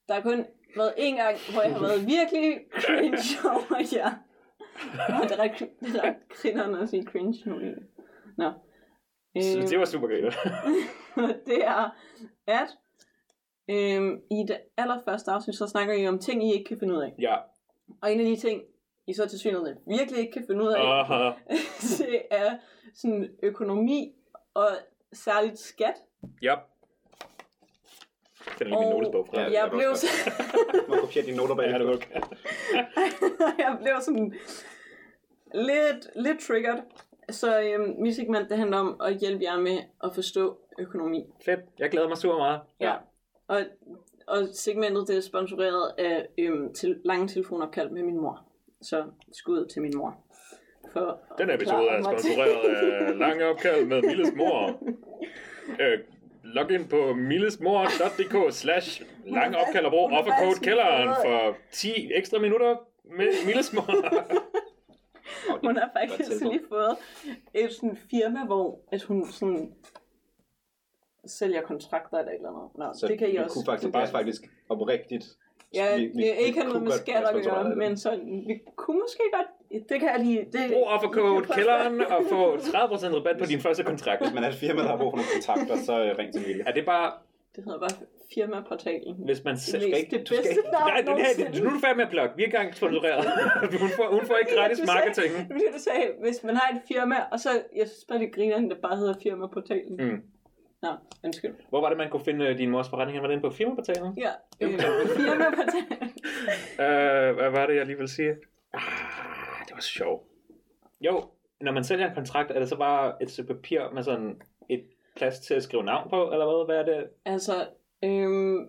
B: Der har kun været en gang, hvor jeg har været virkelig cringe over jer. Og det er ret, det er ret grinerne at sige cringe nu. egentlig. Nå.
A: Så
B: Øh,
A: det var super griner.
B: det er, at Øhm, I det allerførste afsnit, så snakker I om ting, I ikke kan finde ud af.
A: Ja.
B: Og en af de ting, I så til synligheden virkelig ikke kan finde ud af,
A: Aha.
B: det er sådan økonomi og særligt skat.
A: Ja. Den er lige min
B: Og-
A: notesbog fra.
C: Ja,
B: Ja,
C: det er
B: jeg,
C: da
B: blev
C: også
B: så,
C: Må jeg kopiere dine noter bag.
A: Ja, det er okay.
B: jeg blev sådan lidt, lidt triggered. Så øhm, Music Man, det handler om at hjælpe jer med at forstå økonomi.
A: Fedt. Jeg glæder mig super meget.
B: Ja. Og, og segmentet det er sponsoreret af øhm, til, lange telefonopkald med min mor. Så skud til min mor. For at
A: Den episode
B: forklare
A: er
B: mig til-
A: sponsoreret af lange opkald med Milles mor. Øh, log ind på millesmor.dk slash lange opkald og brug offercode kælderen for 10 ekstra minutter med Milles mor.
B: Hun har
C: Godt
B: faktisk
C: tilbud.
B: lige fået et sådan firma, hvor at hun sådan sælger kontrakter eller et eller andet. Nå,
C: Så
B: det kan I
C: vi
B: også.
C: kunne faktisk bare faktisk oprigtigt.
B: ja,
C: vi- vi-
B: det er
C: vi
B: ikke har
C: kunne
B: noget med
C: godt
B: skat
C: være
B: at
C: sponsoreret af
B: gøre,
C: det.
B: men så vi kunne måske godt. Det kan jeg lige. Det,
A: Brug offercode kælderen og få 30% rabat på din første kontrakt.
C: Hvis man er et firma, der har brug for nogle kontakter, så øh, ring til Mille.
A: Er det bare,
B: Det hedder bare firmaportalen.
A: hvis man selv...
B: Det
A: Skal
B: er
A: ikke,
B: det
A: du skal
B: bedste
A: ikke,
B: navn
A: nej, det, her, det,
B: nogensinde.
A: nu er du færdig med at plukke. Vi er ikke engang sponsoreret. hun, får, hun får ikke gratis
B: Du sagde-
A: marketing.
B: Det er det, du sagde, hvis man har et firma, og så, jeg synes bare, det griner, at det bare hedder firmaportalen.
A: Mm.
B: Nå, undskyld.
A: Hvor var det, man kunne finde øh, din mors forretning? Var det inde på firmaportalen?
B: Ja, øh, firmaportalen.
A: Øh, hvad var det, jeg lige ville sige? Ah, det var sjovt. Jo, når man sælger en kontrakt, er det så bare et stykke papir med sådan et plads til at skrive navn på, eller hvad? Hvad er det?
B: Altså, øhm,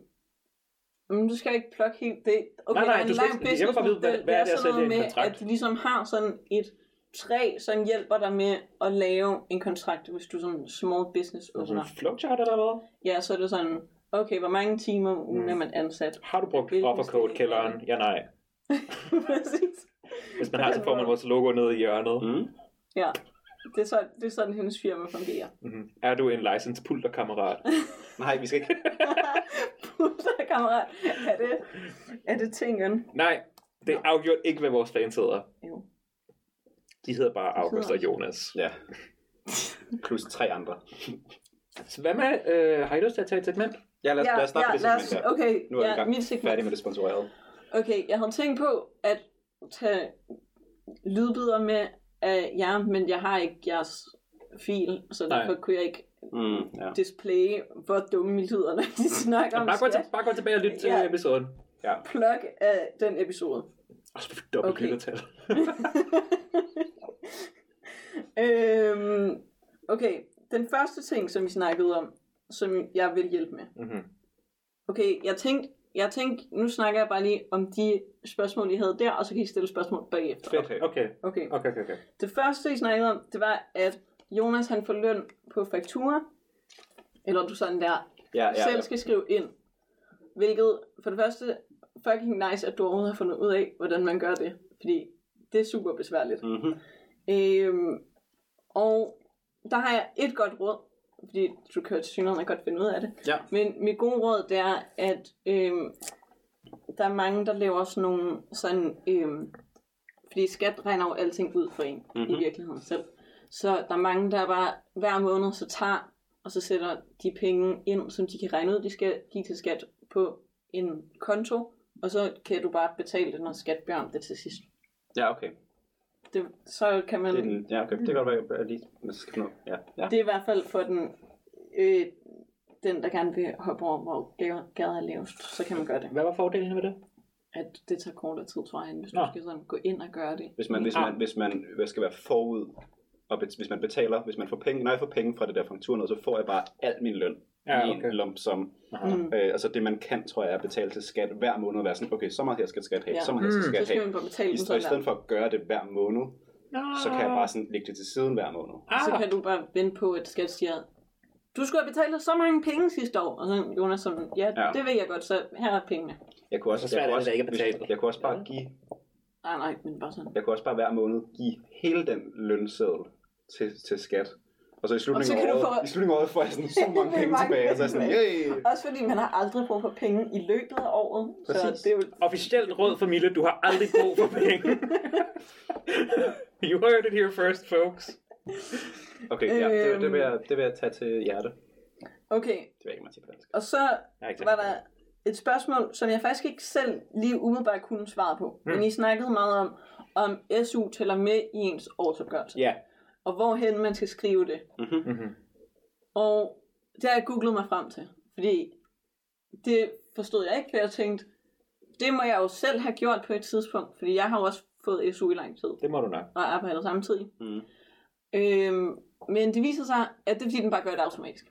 B: men du skal ikke plukke helt det. Okay,
A: Nej, nej,
B: der er en
A: du skal
B: lang
A: ikke- jeg vil bare
B: businessmodel.
A: vide, hvad- hvad er det at
B: sådan noget
A: sælge en
B: med,
A: kontrakt?
B: At de ligesom har sådan et træ, som hjælper dig med at lave en kontrakt, hvis du er sådan small business
A: Er det
B: owner.
A: Sådan en flowchart, eller hvad?
B: Ja, så er det sådan, okay, hvor mange timer om ugen
A: Mm.
B: er man ansat?
A: Har du brugt
B: Hvilken
A: offercode
B: stilling?
A: kælderen? Ja, nej.
B: Præcis.
A: Hvis man har, så får man vores logo nede i hjørnet.
C: Mm.
B: Ja, det er, sådan, det er sådan, hendes firma fungerer.
A: Mm-hmm. Er du en license pulterkammerat?
C: Nej, vi skal ikke.
B: Putter, kammerat. Er det, er det tingen?
A: nej, det er afgjort ikke, hvad vores fans hedder.
B: Jo.
A: De hedder bare August og
B: også-
A: Jonas.
C: Ja. Plus tre andre.
A: Så hvad med, øh, har I lyst til at tage et segment?
C: Ja, lad os, lad os snakke ja, det
B: lad os-
C: segment her.
B: Okay,
C: Nu er vi i
B: ja,
C: gang
B: mit segment.
C: færdige med det sponsorerede.
B: Okay, jeg havde tænkt på at tage lydbider med af jer, men jeg har ikke jeres fil, så
A: Nej.
B: derfor kunne jeg ikke
C: Mm, ja.
B: displaye, hvor dumme I lyder, når
C: Mm.
B: de snakker om
A: Bare gå, til,
B: skat.
A: bare gå tilbage og lyt til
B: Ja.
A: episoden.
B: Plug af den episode.
A: Og så dobbelt
B: Okay.
A: lyttertal.
B: øhm, okay, den første ting, som vi snakkede om, som jeg vil hjælpe med.
A: mm-hmm.
B: Okay, jeg tænkte, jeg tænkte, nu snakker jeg bare lige om de spørgsmål, I havde der, og så kan I stille spørgsmål bagefter.
A: Fedt.
C: Okay.
A: Okay.
B: Okay.
A: Okay, okay, okay.
B: Det første, I snakkede om, det var, at Jonas han får løn på faktura, eller du sådan der,
C: Ja,
B: ja,
C: ja,
B: selv
C: ja.
B: skal skrive ind. Hvilket, for det første, fucking nice, at du overhovedet har fundet ud af, hvordan man gør det. Fordi det er super besværligt.
C: Mm-hmm.
B: Øhm, og der har jeg et godt råd, fordi du kan jo til synligheden godt finde ud af det.
C: Ja.
B: Men mit gode råd, det er, at øhm, der er mange, der laver sådan nogle sådan... Øhm, fordi skat regner jo alting ud for en mm-hmm.
C: Mhm.
B: i virkeligheden selv. Så der er mange, der bare hver måned så tager, og så sætter de penge ind, som de kan regne ud, de skal give til skat på en konto, og så kan du bare betale det, når skat beder om det til sidst.
C: Ja, okay.
B: Det, så kan man...
C: Det er den, ja, okay. Det kan godt være, at jeg lige men så skal nå. Ja, ja.
B: Det er i hvert fald for den, øh, den der gerne vil hoppe over, hvor gade- gaden er lavest, så kan man gøre det.
A: Hvad var fordelen ved det?
B: At det tager kortere tid, tror jeg, end hvis
A: Nå.
B: du skal sådan gå ind og gøre det.
C: Hvis man, hvis man, hvis man øh, skal være forud, og bet- hvis man betaler, hvis man får penge, når jeg får penge fra det der faktur, noget, så får jeg bare al min løn
A: Ja,
C: i
A: okay.
C: en lump sum.
B: Mm.
C: Øh, altså det man kan, tror jeg, er at betale til skat hver måned og være sådan, okay, så meget her skal skat have,
B: Ja.
C: så meget her
A: Mm.
C: skal
B: Så
C: skat
B: skal
C: have.
B: man bare betale
C: I,
B: den
C: og i
B: sådan
C: stedet
B: der.
C: for at gøre det hver måned, så kan jeg bare sådan lægge det til siden hver måned.
A: Mm. Ah,
B: Så kan du bare vente på, at skat siger, du skulle have betalt så mange penge sidste år. Og så Jonas sådan, ja,
C: Ja.
B: ja. det ved jeg godt, så her er pengene.
C: Jeg kunne også,
A: Så svært er
C: jeg kunne
A: det
C: også,
A: da ikke at
C: hvis-
A: betale.
C: jeg kunne også bare
A: Ja.
C: give,
B: Nej, nej, men bare sådan.
C: jeg kunne også bare hver måned give hele den lønseddel til, til skat. Og så i
B: Og så
C: slutningen af
B: kan du
C: året,
B: få-
C: i slutningen af året får jeg sådan så mange
B: Mange
C: penge tilbage, og så er jeg
B: penge
C: sådan, yay!
B: Også fordi man har aldrig brug for penge i løbet af året.
C: Præcis.
B: Så det er jo
A: Officielt råd for Mille, du har aldrig brug for penge. you heard it here first, folks.
C: Okay, ja, det, det, vil
B: Øhm.
C: jeg, det vil jeg tage til hjerte.
B: Okay,
C: Det ved jeg ikke, man siger på dansk.
B: og så
A: Jeg er ikke
B: var
A: sikker på
B: der et spørgsmål, som jeg faktisk ikke selv lige umiddelbart kunne svare på. Mm. Men
A: Mm.
B: I snakkede meget om, om SU tæller med i ens årsopgørelse.
C: Ja.
B: Og hvorhen man skal skrive det.
C: Mm-hmm.
A: det. Mhm.
B: Og det har jeg googlet mig frem til. Fordi det forstod jeg ikke, for jeg tænkte, det må jeg jo selv have gjort på et tidspunkt. Fordi jeg har jo også fået SU i lang tid
A: Det må du nok.
B: og arbejder samtidig.
C: Mm.
B: Øhm, men det viser sig, at det er fordi, den bare gør det automatisk.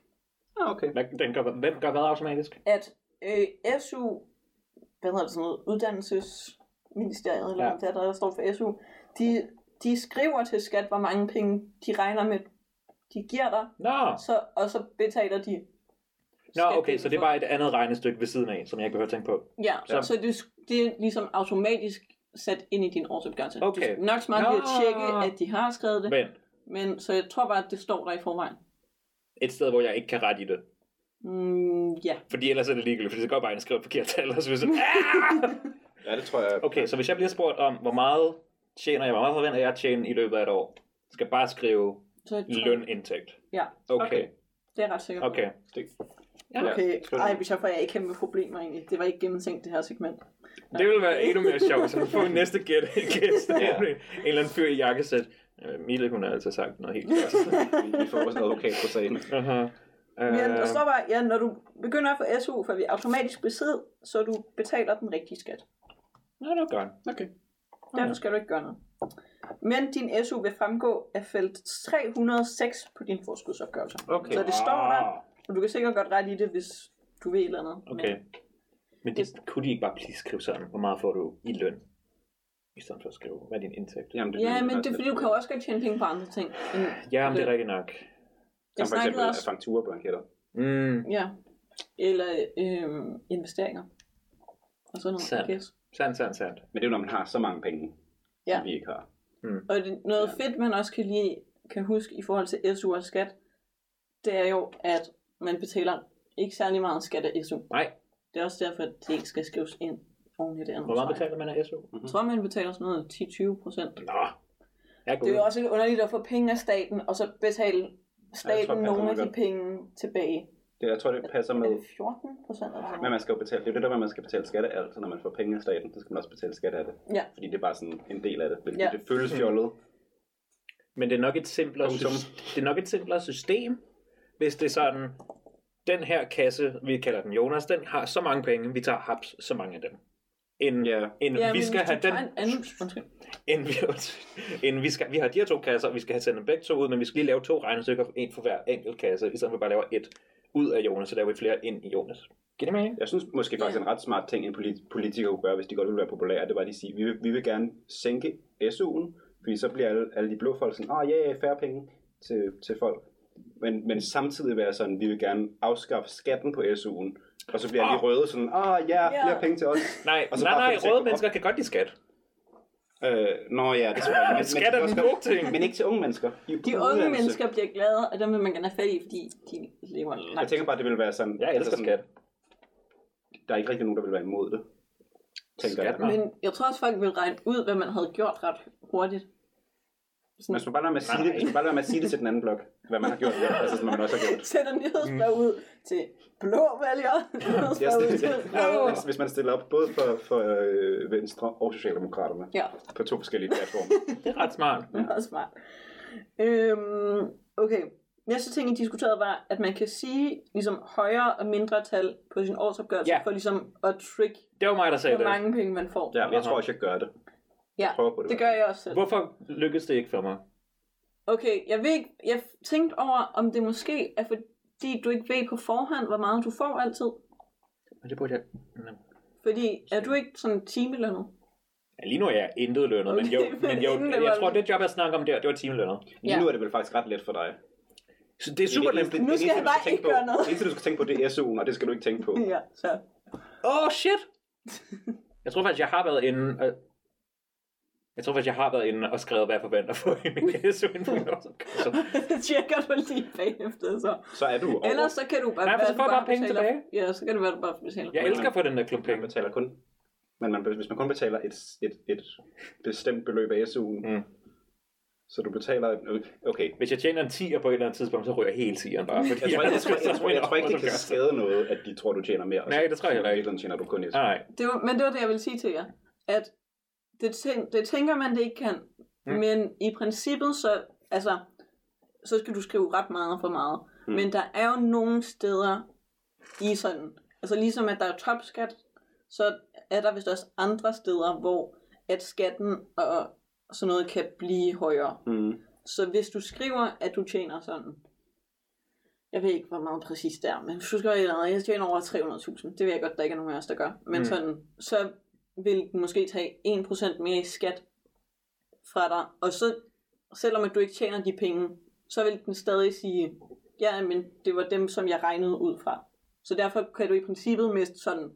C: Ah, okay.
A: Hvad, den gør, hvem gør hvad automatisk?
B: at øh, SU, hvad hedder det sådan noget, uddannelsesministeriet, eller
A: Ja.
B: ja. der, der står for SU, de, de skriver til skat, hvor mange penge de regner med, de giver dig,
A: Nå,
B: så, og så betaler de
A: Nå
B: skat
A: okay, så det er
B: for.
A: bare et andet regnestykke ved siden af, som jeg ikke behøver at tænke på.
B: Ja,
A: Ja.
B: så, så det, det er ligesom automatisk sat ind i din årsopgørelse.
A: Okay.
B: Du skal nok smart lige at
A: Nå.
B: tjekke, at de har skrevet det, men,
A: Men
B: men så jeg tror bare, at det står der i forvejen.
A: et sted, hvor jeg ikke kan rette i det.
B: Mm, ja.
A: Fordi ellers er det ligegyldigt, fordi så går bare ind og skriver et forkert tal, og så er vi sådan, "Ah!"
C: Ja, det tror jeg.
A: Okay, så hvis jeg bliver spurgt om, hvor meget tjener jeg, hvor meget forventer jeg at tjene i løbet af et år, skal jeg bare skrive
B: Så jeg tror,
A: lønindtægt.
B: Ja,
A: Okay,
B: det er jeg ret sikkert.
A: okay.
C: Det,
A: Ja.
B: Okay,
C: selvfølgelig.
B: ej, hvis jeg får jeg ikke kæmpe problemer egentlig. Det var ikke gennemtænkt, det her segment.
A: Det ville være endnu mere sjovt, så får vi næste gæt. gæst.
C: Ja.
A: En eller anden fyr i jakkesæt. Øh, Mille, hun har altså sagt noget helt klart.
C: vi- vi får også en advokat på sagen.
A: Uh-huh.
B: Men der
A: Øh,
B: står bare, ja, når du begynder at få SU, for vi automatisk besid, så du betaler den rigtige skat.
A: Nå, det var godt.
C: Okay.
B: Derfor skal du ikke gøre noget. Men din SU vil fremgå af felt 306 på din forskudsopgørelse.
A: Okay.
B: Så det står
C: Ah.
B: der, og du kan sikkert godt rette i det, hvis du ved et eller andet.
A: Okay.
B: Men,
A: Men det kunne de ikke bare please skrive sådan, hvor meget får du i løn? I stedet for at skrive, hvad er din indtægt?
C: Jamen, det,
B: ja, men det er fordi, du kan jo også godt tjene penge på andre ting. end-
A: Ja, men det er rigtigt nok.
C: Som
B: Jeg
C: for eksempel
B: snakkede
A: øh,
B: også,
C: fakturablanketter.
A: Mm,
B: ja, eller øh, investeringer. Og sådan noget,
A: Sandt.
B: I guess.
A: sandt, sandt, sandt.
C: Men det er jo, når man har så mange penge,
B: Ja.
C: som vi ikke har.
B: Og det, noget
C: Ja.
B: ja. fedt, man også kan, lige, kan huske i forhold til SU og skat, det er jo, at man betaler ikke særlig meget skat af SU.
A: Nej,
B: Det er også derfor, at det ikke skal skrives ind oven i det andet.
A: hvor meget
B: tror jeg.
A: betaler man af SU?
B: Jeg tror, man betaler sådan noget 10-20 procent.
A: Nå, jeg er
B: Det er jo
A: god.
B: også lidt underligt at få penge af staten, og så betale
C: Ja, jeg
B: staten
C: tror,
B: ja,
C: det
B: nogle af
C: passer
B: de
C: meget
B: penge tilbage.
C: Det, jeg tror, det passer med,
B: Er det 14 procent eller sådan
C: men
B: noget?
C: man skal jo betale. Det er jo det der, med, at man skal betale skat af alt. Så når man får penge af staten, så skal man også betale skat af det.
B: Ja.
C: Fordi det er bare sådan en del af det. Hvilket
B: Ja.
C: ja. det føles fjollet.
A: Men det er, nok et simplere
C: Punktum.
A: system, det er nok et simplere system, hvis det er sådan, den her kasse, vi kalder den Jonas, den har så mange penge, vi tager haps så mange af dem. End,
C: Ja.
A: end
B: Ja,
A: vi
B: men
A: skal
B: hvis
A: have
B: du tager
A: den
B: En anden, undskyld.
A: end vi, end vi, skal, vi har de her to kasser, og vi skal have sendt dem begge to ud, men vi skal lige lave to regnestykker, en for hver enkelt kasse, i stedet for bare laver et ud af Jonas, så laver vi flere ind i Jonas. Giver det mening?
C: Jeg synes måske faktisk,
B: Ja.
C: en ret smart ting, en polit- politiker kunne gøre, hvis de godt ville være populære, det var, at de siger, vi vil, vi vil gerne sænke SU'en, fordi så bliver alle, alle de blå folk sådan, ah ja, yeah, færre penge til, til folk. Men, men samtidig være sådan, vi vil gerne afskaffe skatten på SU'en, og så bliver alle de
A: Ah.
C: røde sådan, ah ja,
B: Ja.
C: yeah, flere penge til os.
A: Nej,
C: Og så
A: nej,
C: bare få
A: nej,
C: det til at
A: røde
C: gå
A: mennesker kan godt lide skat.
C: Øh, nå ja, det tror jeg. Men- men
A: Skat er
C: også
A: den
C: godt-
A: gode ting.
C: Men ikke til unge mennesker. I- på
B: De unge
C: uddannelse.
B: mennesker bliver glade, og dem vil man gerne have fat i, fordi de lever langt.
C: Jeg tænker bare, det ville være sådan, altså
A: Jeg elsker
C: sådan,
A: skat.
C: der er ikke rigtig nogen, der vil være imod det. Tænker
A: Skat,
C: jeg.
A: nej.
B: Men jeg tror også, folk ville regne ud, hvad man havde gjort ret hurtigt.
C: Man skal bare lade med at sige det,
A: Nej.
C: man skal bare lade med at sige det til den anden blok, hvad man har gjort, altså som man også har gjort.
B: Sætter nyhedsbrev ud til blå vælgere.
C: Mm. Ja,
B: nyhedsbrev ud
C: det,
B: til
C: ja,
B: røde.
C: hvis, hvis man stiller op både for, for øh, Venstre og Socialdemokraterne
B: Ja,
C: på to forskellige platforme.
A: Det er ret smart.
B: det var også smart. Øhm, okay, næste ting, I diskuterede var, at man kan sige ligesom højere og mindre tal på sin årsopgørelse,
A: Ja.
B: for ligesom at trick,
A: Det var mig, der sagde
B: hvor
A: det.
B: mange penge man får.
C: Ja, men jeg tror også, jeg gør det.
B: ja
C: Prøver på det.
B: det gør jeg også selv.
A: Hvorfor lykkedes det ikke for mig?
B: Okay, jeg, ved ikke, jeg tænkte over, om det måske er fordi, du ikke ved på forhånd, hvor meget du får altid.
A: Men det burde jeg... Nå.
B: Fordi er du ikke sådan timelønnet?
A: Ja, lige nu er jeg intet lønnet, men jo,
B: Okay, men
A: men jo
B: inden det
A: jeg
B: var-
A: tror, det job, jeg snakker om der, det var timelønnet.
C: Lige
B: Ja.
C: nu er det vel faktisk ret let for dig.
A: Så det er super
C: Det
A: nemt.
C: eneste-
B: Nu
C: det
B: skal
C: eneste,
B: jeg
C: du
B: bare
C: tænke
B: ikke gøre
C: på-
B: noget.
C: Det eneste, du skal tænke på, det er SU'en, og det skal du ikke tænke på.
B: Ja, så.
A: Åh, oh, shit! Jeg tror faktisk, jeg har været inde... Og... Jeg tror faktisk, jeg har været inde og skrevet, hvad jeg forventer at få i min SU inden for min årsopgørelse.
B: det tjekker du lige bagefter, så.
C: Så er du over.
B: Ellers så kan du bare...
A: Nej, for
B: være,
A: så
B: du
A: får jeg bare penge
B: betaler-
A: tilbage.
B: Ja, så kan du være, du bare betaler.
A: Jeg elsker at få den der klump
C: man
A: penge.
C: betaler kun... Men man, hvis man kun betaler et, et, et bestemt beløb af SU'en,
A: Mm.
C: Så du betaler... Okay.
A: Hvis jeg tjener en 10'er på et eller andet tidspunkt, så ryger jeg hele 10'eren bare. Fordi
C: Jeg tror, jeg, jeg, tror, jeg, jeg, tror, jeg, tror ikke, det kan
A: Nej,
C: skade noget, at de tror, du tjener mere. og så
A: Nej, det tror jeg heller ikke. Ah.
C: i virkeligheden tjener du kun et.
A: nej.
B: Det var, men det var det, jeg ville sige til jer. At det, tæn, det tænker man, det ikke kan.
A: Mm.
B: Mm. Men i princippet, så, altså, så skal du skrive ret meget for meget.
C: Mm.
B: Mm. Men der er jo nogle steder i sådan... Altså ligesom at der er topskat, så er der vist også andre steder, hvor at skatten og sådan noget kan blive højere.
C: Mm.
B: Så hvis du skriver, at du tjener sådan, jeg ved ikke, hvor meget præcis det er, men hvis du skriver, et eller andet, jeg tjener over 300.000, det ved jeg godt, der ikke er nogen af os, der gør, men
A: Mm.
B: mm. sådan, så vil den måske tage 1% mere i skat fra dig, og så, selvom at du ikke tjener de penge, så vil den stadig sige, ja, men det var dem, som jeg regnede ud fra. Så derfor kan du i princippet miste sådan,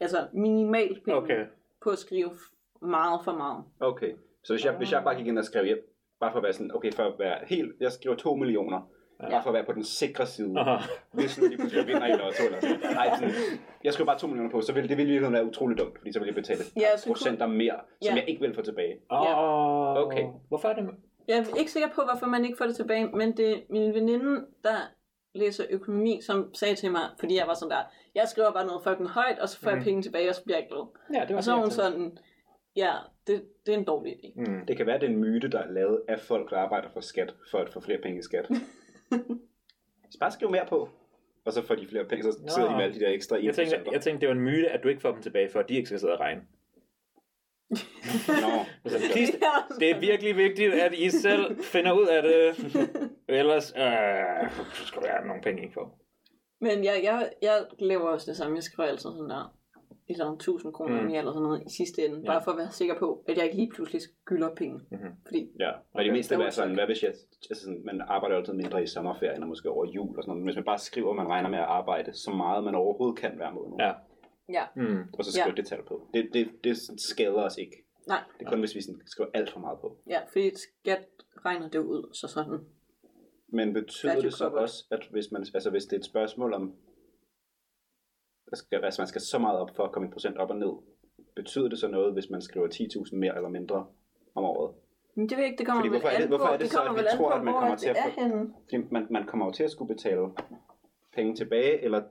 B: altså minimalt penge
A: Okay.
B: på at skrive f- meget for meget.
C: Okay. Så hvis jeg, hvis jeg bare gik ind og skrev hjem, bare for at være sådan, okay, for at være helt, jeg skriver 2 millioner, ja. bare for at være på den sikre side,
A: Aha.
C: hvis nu lige pludselig vinder i lotto eller sådan. noget. Nej, sådan, jeg skriver bare 2 millioner på, så ville det ville i virkeligheden være utrolig dumt, fordi så ville jeg betale
B: Ja, så kunne-
C: procenter mere, som
B: Ja.
C: jeg ikke vil få tilbage.
B: Ja.
A: Åh,
C: Okay.
A: Hvorfor er det...
B: Jeg er ikke sikker på, hvorfor man ikke får det tilbage, men det er min veninde, der læser økonomi, som sagde til mig, fordi jeg var sådan der, jeg skriver bare noget fucking højt, og så får mm.
A: Mhm.
B: jeg penge tilbage, og så bliver jeg glad.
A: Ja, det var
B: Og så er hun
A: irriterende.
B: sådan, ja, det, det er en dårlig idé.
A: Mm.
C: Det kan være, det er en myte, der er lavet af folk, der arbejder for skat, for at få flere penge i skat. så bare skriv mere på, og så får de flere penge, så
A: Nå.
C: sidder de med alle de der ekstra 1%.
A: Jeg tænkte, jeg tænkte, det var en myte, at du ikke får dem tilbage, for at de ikke skal sidde og regne.
C: Nå.
A: Altså, please,
B: Det er også
A: det er
B: sådan.
A: virkelig vigtigt, at I selv finder ud af det. Ellers øh, så skal der være nogle penge, I ikke får.
B: Men jeg, jeg, jeg laver også det samme, jeg skriver altid sådan der, et eller andet 1000 kroner
A: Mm.
B: mm. eller sådan noget i sidste ende,
A: Ja.
B: bare for at være sikker på, at jeg ikke lige pludselig skylder penge.
A: Mhm.
B: Fordi
C: Ja, og okay.
A: Okay.
C: det meste
B: Jo,
C: er sådan,
B: tak.
C: hvad hvis jeg, altså sådan, man arbejder altid mindre i sommerferien og måske over jul og sådan noget. Men Hvis man bare skriver, at man regner med at arbejde så meget, man overhovedet kan hver måned.
A: Ja.
B: Ja.
A: Mm.
C: Og så skriver
B: Ja.
C: det tal på. Det, det, det skader os ikke.
B: Nej.
C: Det er kun, hvis vi sådan skriver alt for meget på.
B: Ja, fordi skat regner det jo ud, så sådan.
C: Men betyder
B: Value
C: det så
B: covered.
C: også, at hvis, man, altså hvis det er et spørgsmål om, der skal, altså man skal så meget op for at komme en procent op og ned, betyder det så noget, hvis man skriver 10.000 mere eller mindre om året?
B: Men det ved jeg ikke, det kommer
C: Fordi
B: vel
C: hvorfor er det-
B: an
C: hvorfor
B: på,
C: er det så,
B: kommer
C: at vi
B: vel an
C: tror,
B: på,
C: at man
B: hvor
C: kommer til
B: det
C: at
B: er
C: få-
B: henne.
C: Fordi man, man kommer jo til at skulle betale penge tilbage, eller,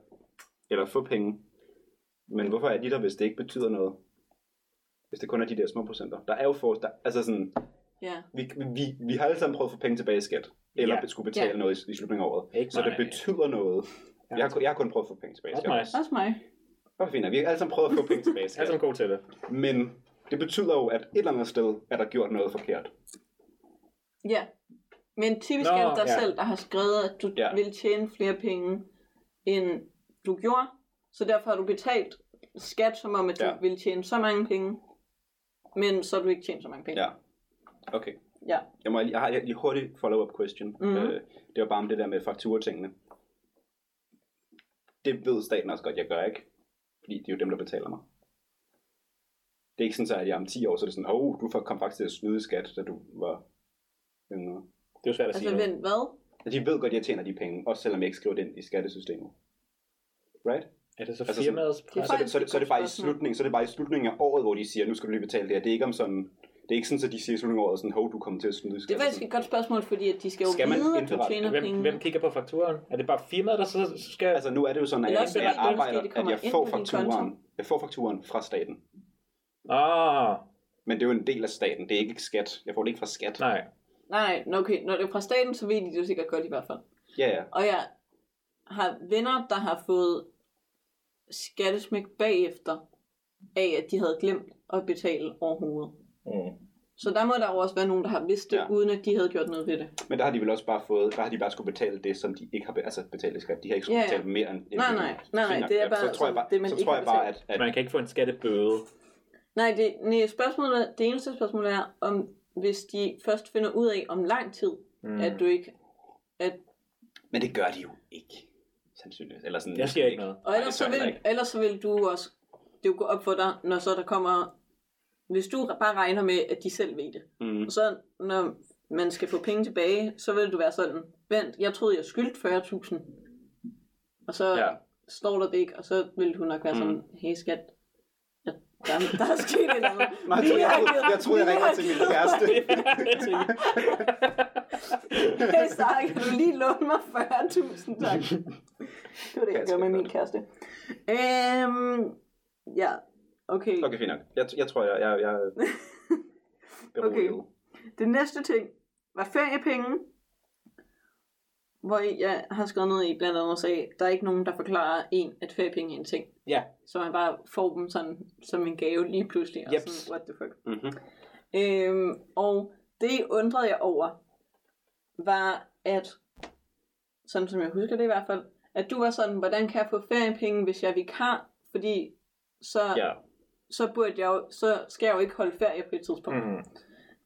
C: eller få penge. Men hvorfor er de der, hvis det ikke betyder noget? Hvis det kun er de der små procenter. Der er jo for, der, altså sådan,
B: Ja.
C: vi, vi, vi har alle sammen prøvet at få penge tilbage i skat. Eller
A: Ja.
C: ja. skulle betale
B: Ja.
C: ja. noget i, i slutningen af året.
A: Ikke
C: så
A: mig.
C: det betyder noget.
A: Ja.
C: Jeg har, kun- jeg har kun prøvet at få penge tilbage i
A: Også
C: skat.
A: mig.
B: Også mig.
C: Hvor fint, er vi har alle sammen prøvet at få penge tilbage i
A: Jeg er
C: skat.
A: sådan god til det.
C: Men det betyder jo, at et eller andet sted er der gjort noget forkert.
B: Ja. Men typisk
A: Nå,
B: er det dig
A: ja.
B: selv, der har skrevet, at du
C: Ja.
B: ja. vil tjene flere penge, end du gjorde. Så derfor har du betalt skat, som om, at du
C: Ja.
B: ja. ville tjene så mange penge. Men så har du ikke tjent så mange penge.
C: Ja. Okay.
B: ja.
C: Jeg, må lige, jeg har lige hurtigt follow-up question.
B: Mhm.
C: Mm-hmm. Øh, det var bare om det der med fakturatingene. Det ved staten også godt, jeg gør ikke. Fordi det er jo dem, der betaler mig. Det er ikke sådan, så, at jeg om 10 år, så er det sådan, åh, oh, du kom faktisk til at snyde i skat, da du var yngre.
A: Det er jo svært at sige
B: Altså,
A: nu.
B: vent, hvad?
C: Og de ved godt, at jeg tjener de penge, også selvom jeg ikke skriver det ind i skattesystemet. Right?
A: Er det så
C: altså sådan-
A: firmaets
B: Det er
A: pres?
C: Så er det, så, er det, så er det bare i
B: Spørgsmål.
C: slutningen, så er det bare i slutningen af året, hvor de siger, nu skal du lige betale det her. Det er ikke om sådan, det er ikke sådan, at de siger i slutningen af året, sådan, hov, du kommer til at snyde i
B: Det
C: skat.
B: er faktisk et godt spørgsmål, fordi at de skal jo
C: Skal man
B: vide, at du
C: indberette
B: tjener
A: Hvem,
B: penge.
A: hvem kigger på fakturen? Er det bare firmaet, der så skal... Altså,
C: Altså nu er det jo sådan, at
B: Eller
C: jeg,
B: også
C: at jeg
B: fordi det måske,
C: arbejder,
B: det
C: at
B: kommer
C: jeg
B: ind
C: får
B: på din
C: fakturen, jeg får fakturen fra staten.
A: ah,
C: Men det er jo en del af staten, det er ikke skat. Jeg får det ikke fra skat.
A: nej.
B: Nej, nå, okay. Når det er fra staten, så ved de det jo sikkert godt i hvert fald.
C: Ja, ja.
B: Og jeg har venner, der har fået skattesmæk bagefter, af at de havde glemt at betale overhovedet.
A: Mm.
B: Så der må der jo også være nogen, der har vidst det,
C: Ja.
B: ja. uden at de havde gjort noget ved det.
C: Men der har de vel også bare fået, der har de bare skulle betale det, som de ikke har be- altså betalt i skat. De har ikke skulle
B: Ja,
C: yeah.
B: ja.
C: betale mere end... end-
B: Nej, nej. Nej,
C: Fint nok.
B: det er
C: Ja,
B: bare
C: så tror jeg bare,
B: sådan, det, man
C: så
B: ikke
C: tror
B: har
C: jeg bare, at, at
A: Man kan ikke få en skattebøde.
B: Nej, det, nej spørgsmålet, det eneste spørgsmål er, om hvis de først finder ud af om lang tid,
A: Mm.
B: mm. at du ikke... At,
C: Men det gør de jo ikke, sandsynligvis. Eller sådan,
A: Der sker ikke noget.
B: og ellers, så
C: tror jeg heller
B: vil,
C: ikke.
B: ellers så vil du også... Det jo gå op for dig, når så der kommer... Hvis du bare regner med, at de selv ved det,
C: Mm.
B: Og så når man skal få penge tilbage, så vil du være sådan, vent, jeg troede, jeg skyldte 40.000. Og så
C: Ja.
B: ja. står der det ikke, og så vil du nok være
C: Mm.
B: sådan, hey skat, jeg Der, er- der er sket et eller andet.
C: Nej, jeg troede, jeg, troede, jeg, troede, jeg ringede til min kæreste.
B: Hey, Sara, kan du lige låne mig 40.000, tak. Det var det, jeg gjorde med min kæreste. Øhm, ja, okay.
C: Okay, fint nok. Jeg, jeg tror, jeg... jeg, jeg
B: Okay. Det næste ting var feriepenge, hvor jeg har skrevet noget i blandt andet sagde, der er ikke nogen, der forklarer en, at feriepenge er en ting.
A: Ja.
B: Så man bare får dem sådan, som en gave lige pludselig, og
A: Jeps.
B: sådan, what the fuck.
C: Mm-hmm.
B: Øhm, og det undrede jeg over, var at, sådan som jeg husker det i hvert fald, at du var sådan, hvordan kan jeg få feriepenge, hvis jeg er vikar? Fordi så,
A: Ja.
B: så, burde jeg jo, så skal jeg jo ikke holde ferie på et tidspunkt.
A: Mm.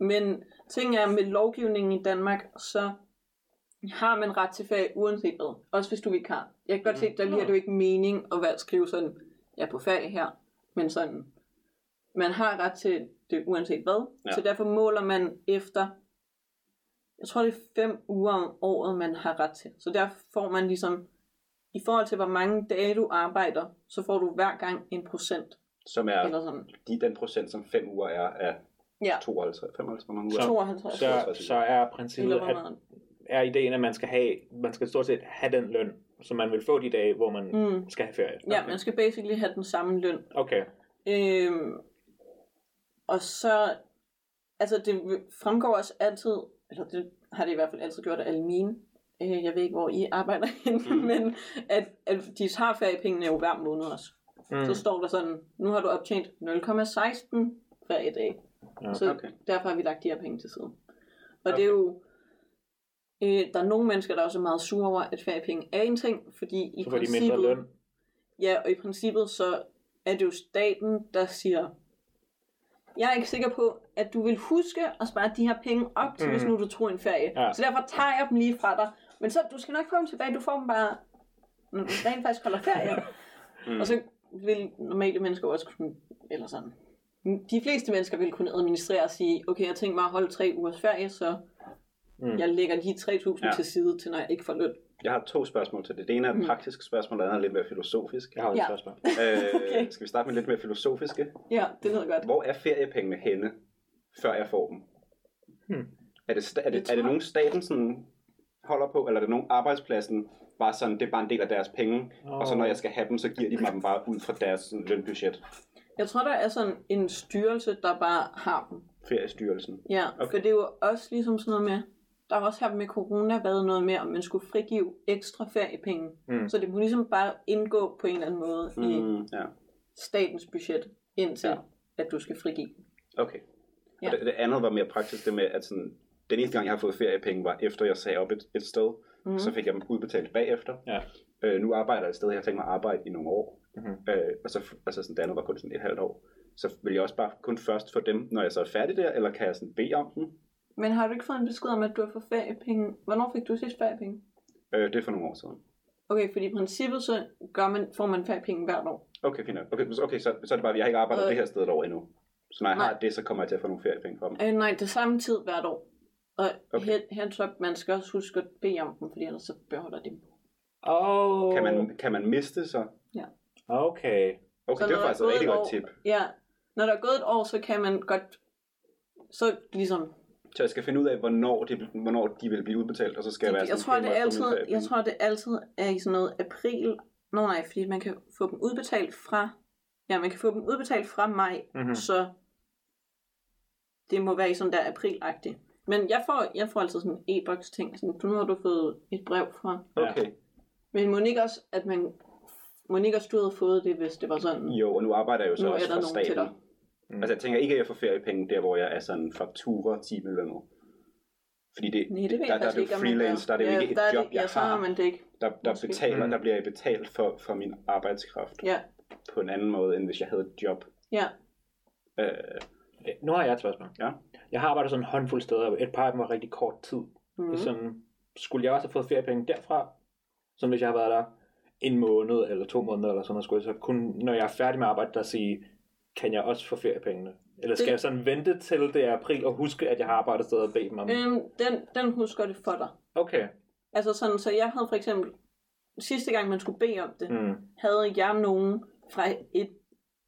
B: Men ting er, med lovgivningen i Danmark, så har man ret til ferie uanset hvad. Også hvis du er vikar. Jeg kan godt se, der giver det jo ikke mening at være, skrive sådan, jeg er på ferie her, men sådan, man har ret til det uanset hvad.
C: Ja.
B: Ja. Så derfor måler man efter, jeg tror det er fem uger om året, man har ret til. Så der får man ligesom, i forhold til hvor mange dage du arbejder, så får du hver gang en procent.
C: Som er
B: Ja. Eller sådan.
C: de, den procent, som 5 uger er af
B: Ja,
C: 52, 55, hvor mange uger?
A: Så-
B: 52.
A: Så, så er princippet,
B: eller hvor
A: at
B: meget.
A: er ideen, at man skal have, man skal stort set have den løn, som man vil få de dage, hvor man
B: Mm.
A: mm. skal have ferie.
B: Ja, man skal basically have den samme løn.
A: Okay.
B: Øhm, og så, altså det fremgår også altid, eller det har det i hvert fald altid gjort af alle mine, øh, jeg ved ikke, hvor I arbejder henne,
C: Mm.
B: mm. men at, at de tager feriepengene jo hver måned også. Mm.
A: Mm.
B: Så står der sådan, nu har du optjent 0,16 feriedage.
A: Ja.
B: Så
C: okay.
B: okay. derfor har vi lagt de her penge til side. Og okay.
A: Okay.
B: det er jo... Øh, der er nogle mennesker, der også er meget sure over, at feriepenge er en ting, fordi i
A: så får de
B: princippet...
A: mindre løn.
B: Ja, og i princippet så er det jo staten, der siger, jeg er ikke sikker på, at du vil huske at spare de her penge op til, mm. hvis
A: Mm.
B: nu du tog en ferie.
A: Ja.
B: Ja. Så derfor tager jeg dem lige fra dig. Men så, du skal nok få dem tilbage, du får dem bare, når du rent faktisk holder ferie.
C: Mm.
B: mm. Og så vil normale mennesker også kunne, eller sådan, de fleste mennesker vil kunne administrere og sige, okay, jeg tænker mig at holde tre ugers ferie, så
A: Mm.
B: jeg lægger lige 3.000
C: Ja.
B: ja. til side, til når jeg ikke får løn.
C: Jeg har to spørgsmål til det. Det ene er et
B: Mm.
C: praktisk spørgsmål, og det andet er lidt mere filosofisk.
A: Jeg har jo et
B: Ja.
A: spørgsmål.
C: Øh,
B: Okay.
C: Skal vi starte med lidt mere filosofiske?
B: Ja, det lyder godt.
C: Hvor er feriepengene henne, før jeg får dem?
A: Hmm.
C: Er, det, sta- er,
B: Jeg
C: det,
B: tror-
C: er det nogen staten sådan holder på, eller er det nogen arbejdspladsen bare sådan, det er bare en del af deres penge, oh. og så
A: Åh.
C: når jeg skal have dem, så giver de mig dem bare ud fra deres sådan, lønbudget,
B: Jeg tror, der er sådan en styrelse, der bare har dem.
C: feriestyrelsen.
B: Ja,
C: Okay.
B: okay. for det er jo også ligesom sådan noget med, der har også her med corona været noget med, om man skulle frigive ekstra feriepenge.
A: Mm.
B: Mm. Så det kunne ligesom bare indgå på en eller anden måde mm. i
C: Mm. Ja,
B: statens budget, indtil
C: Ja.
B: ja. at du skal frigive.
C: okay. Ja.
B: Ja.
C: Og det, det andet var mere praktisk, det med, at sådan, den eneste gang, jeg har fået feriepenge, var efter jeg sagde op et, et sted, mm.
B: Mhm.
C: så fik jeg dem udbetalt bagefter.
A: Ja.
C: Øh, nu arbejder jeg et sted, jeg har tænkt mig at arbejde i nogle år,
A: Mhm.
C: øh, og så f- altså sådan, det andet var kun sådan et halvt år. Så vil jeg også bare kun først få dem, når jeg så er færdig der, eller kan jeg sådan bede om dem?
B: Men har du ikke fået en besked om, at du har fået feriepenge? Hvornår fik du sidst feriepenge?
C: Øh, det er for nogle år siden.
B: Okay, fordi i princippet så gør man, får man feriepenge hvert år.
C: Okay, fint nok. Okay, så- okay så, så er det bare, at jeg har ikke arbejdet øh.
B: Øh.
C: det her sted et år endnu. Så når jeg
B: Nej.
C: har det, så kommer jeg til at få nogle feriepenge fra dem.
B: Øh, nej, det er samme tid hvert år. Og
C: Okay.
B: okay. head, heads up, man skal også huske at bede om dem, fordi ellers så beholder de dem.
A: Oh.
B: Øh.
C: Kan man, kan man miste så?
A: Okay.
C: Okay,
B: Så
C: det var
B: når der
C: faktisk
B: er
C: et
B: gået
C: rigtig
B: et
C: godt
B: år-
C: tip.
B: Ja, når der er gået et år, så kan man godt, så ligesom,
C: Så jeg skal finde ud af, hvornår, det, hvornår de vil blive udbetalt, og så skal jeg være
B: jeg, jeg,
C: sådan,
B: tror, det
C: "Okay,
B: er
C: må få
B: altid,
C: mine feriepenge?"
B: jeg tror, det altid er i sådan noget april, nå nej, fordi man kan få dem udbetalt fra, ja, man kan få dem udbetalt fra maj,
C: Hmm.
A: Mm-hmm.
B: så det må være i sådan der aprilagtigt. Men jeg får, jeg får altid sådan en e-boks ting, sådan, nu har du fået et brev fra,
C: Okay,
B: men må ikke også, at man, må ikke også du havde fået det, hvis det var sådan,
C: jo, og nu arbejder jeg jo så
B: Nu er
C: også
B: der
C: for
B: nogen til
C: staten.
B: dig.
A: Mm.
C: Altså jeg tænker ikke, at jeg får feriepenge der, hvor jeg er sådan faktura timelønnet. Fordi det,
B: Nej, det ved
C: der,
B: jeg
C: der er
B: faktisk
C: det
B: ikke,
C: jo
B: om man gør.
C: freelance, der er det jo
B: Ja,
C: ikke et
B: der er
C: job,
B: det,
C: jeg
B: ja, så har
C: har,
B: man det ikke.
C: der, der,
B: Måske.
C: betaler,
A: Mm.
C: der bliver jeg betalt for, for min arbejdskraft
B: Ja,
C: på en anden måde, end hvis jeg havde et job.
B: ja.
C: Øh,
A: Øh, Nu har jeg et spørgsmål.
C: Ja.
A: Jeg har arbejdet sådan en håndfuld steder, og et par af dem var rigtig kort tid.
C: Mm-hmm.
A: Mm.
B: Mm.
A: Sådan, skulle jeg også have fået feriepenge derfra, som hvis jeg har været der en måned eller to måneder eller sådan noget, skulle jeg så kun, når jeg er færdig med arbejde, der sige, kan jeg også få feriepengene? Eller skal
B: Det-
A: jeg sådan vente til det er april og huske, at jeg har arbejdet steder og bede dem om?
B: Øhm, den, den husker det for dig.
A: Okay.
B: Altså sådan, så jeg havde for eksempel, sidste gang man skulle bede om det, mm.
A: Mm.
B: havde jeg nogen fra et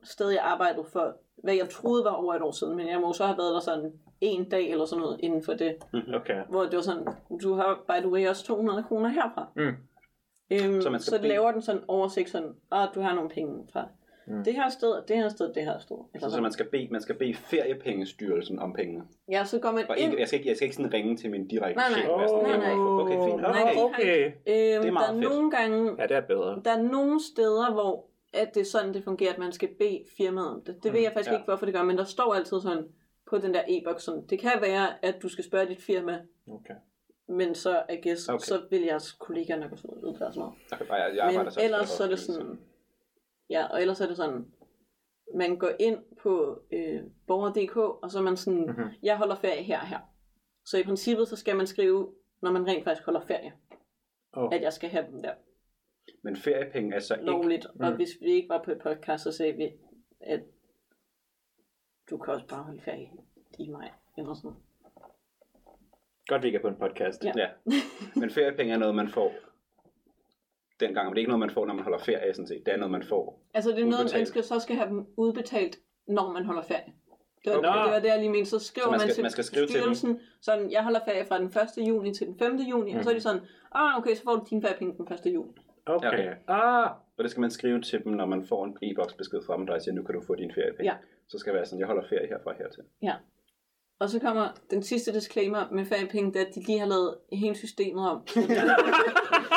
B: sted, jeg arbejdede for, hvad jeg troede var over et år siden, men jeg må så have været der sådan en dag eller sådan noget inden for det,
A: Okay.
B: hvor det var sådan, du har by the way også 200 kroner herfra.
A: Mm.
B: Øhm,
C: Så
B: så,
C: man skal
B: så det
C: bede-
B: laver den sådan oversigt sådan, at "Ah, du har nogle penge fra
A: Mm.
B: mm. det her sted, og det her sted, det her sted. Eller
C: Så, så
B: sådan.
C: man skal bede, man skal bede feriepengestyrelsen om pengene.
B: Ja, så går man
C: Og
B: ind.
C: ikke, jeg, skal ikke, jeg skal ikke sådan ringe til min direkte
B: Nej, nej.
C: chef. og være sådan,
B: Nej, nej.
C: Okay, fint.
A: Nå,
B: Nej, de har
A: Oh, okay.
B: Øhm,
C: det er meget
B: der er
C: fedt.
B: nogle gange,
A: Ja, det er bedre.
B: der er nogle steder, hvor at det er sådan, det fungerer, at man skal bede firmaet om det. Det ved
A: Mm,
B: jeg faktisk
C: ja.
B: ja. ikke, hvorfor det gør, men der står altid sådan på den der e-boks, sådan, det kan være, at du skal spørge dit firma,
A: Okay.
B: men så, I guess,
C: Okay.
B: okay. så vil jeres kollegaer nok også ud og sådan noget.
C: Okay, bare jeg, jeg arbejder
B: Men
C: så også
B: ellers
C: for
B: så er det
C: offentlige,
B: sådan- Ja, og ellers er det sådan, man går ind på øh, borger.dk, og så er man sådan,
A: Mhm.
B: mm-hmm. jeg holder ferie her og her. Så i princippet, så skal man skrive, når man rent faktisk holder ferie,
A: Oh.
B: at jeg skal have dem der
C: Men feriepenge er så ikke...
B: lovligt. Og
A: Mm.
B: hvis vi ikke var på et podcast, så sagde vi, at du kan også bare holde ferie i mig. Eller sådan. noget.
A: Godt, vi ikke er på en podcast.
B: Ja.
C: Ja. Men feriepenge er noget, man får dengang. Men det er ikke noget, man får, når man holder ferie, sådan set. Det er noget, man får.
B: Altså det er noget,
C: Udbetalt.
B: man skal, så skal have dem udbetalt, når man holder ferie. Det var,
A: Okay.
B: okay. det, var det, jeg lige mente. Så skriver
C: Så man
B: man,
C: skal-
B: til
C: man skal skrive til dem.
B: styrelsen, sådan, jeg holder ferie fra den 1. juni til den 5. juni, mm. og så er
C: Mhm.
B: de sådan, ah, okay, så får du dine feriepenge den 1. juni.
A: Okay.
C: Okay.
A: Ah,
C: Og det skal man skrive til dem, når man får en e-boks besked fra dem, der siger, nu kan du få dine feriepenge.
B: Ja.
C: Så skal det være sådan, jeg holder ferie herfra og hertil.
B: Og så kommer den sidste disclaimer med feriepenge, det er, at de lige har lavet hele systemet om.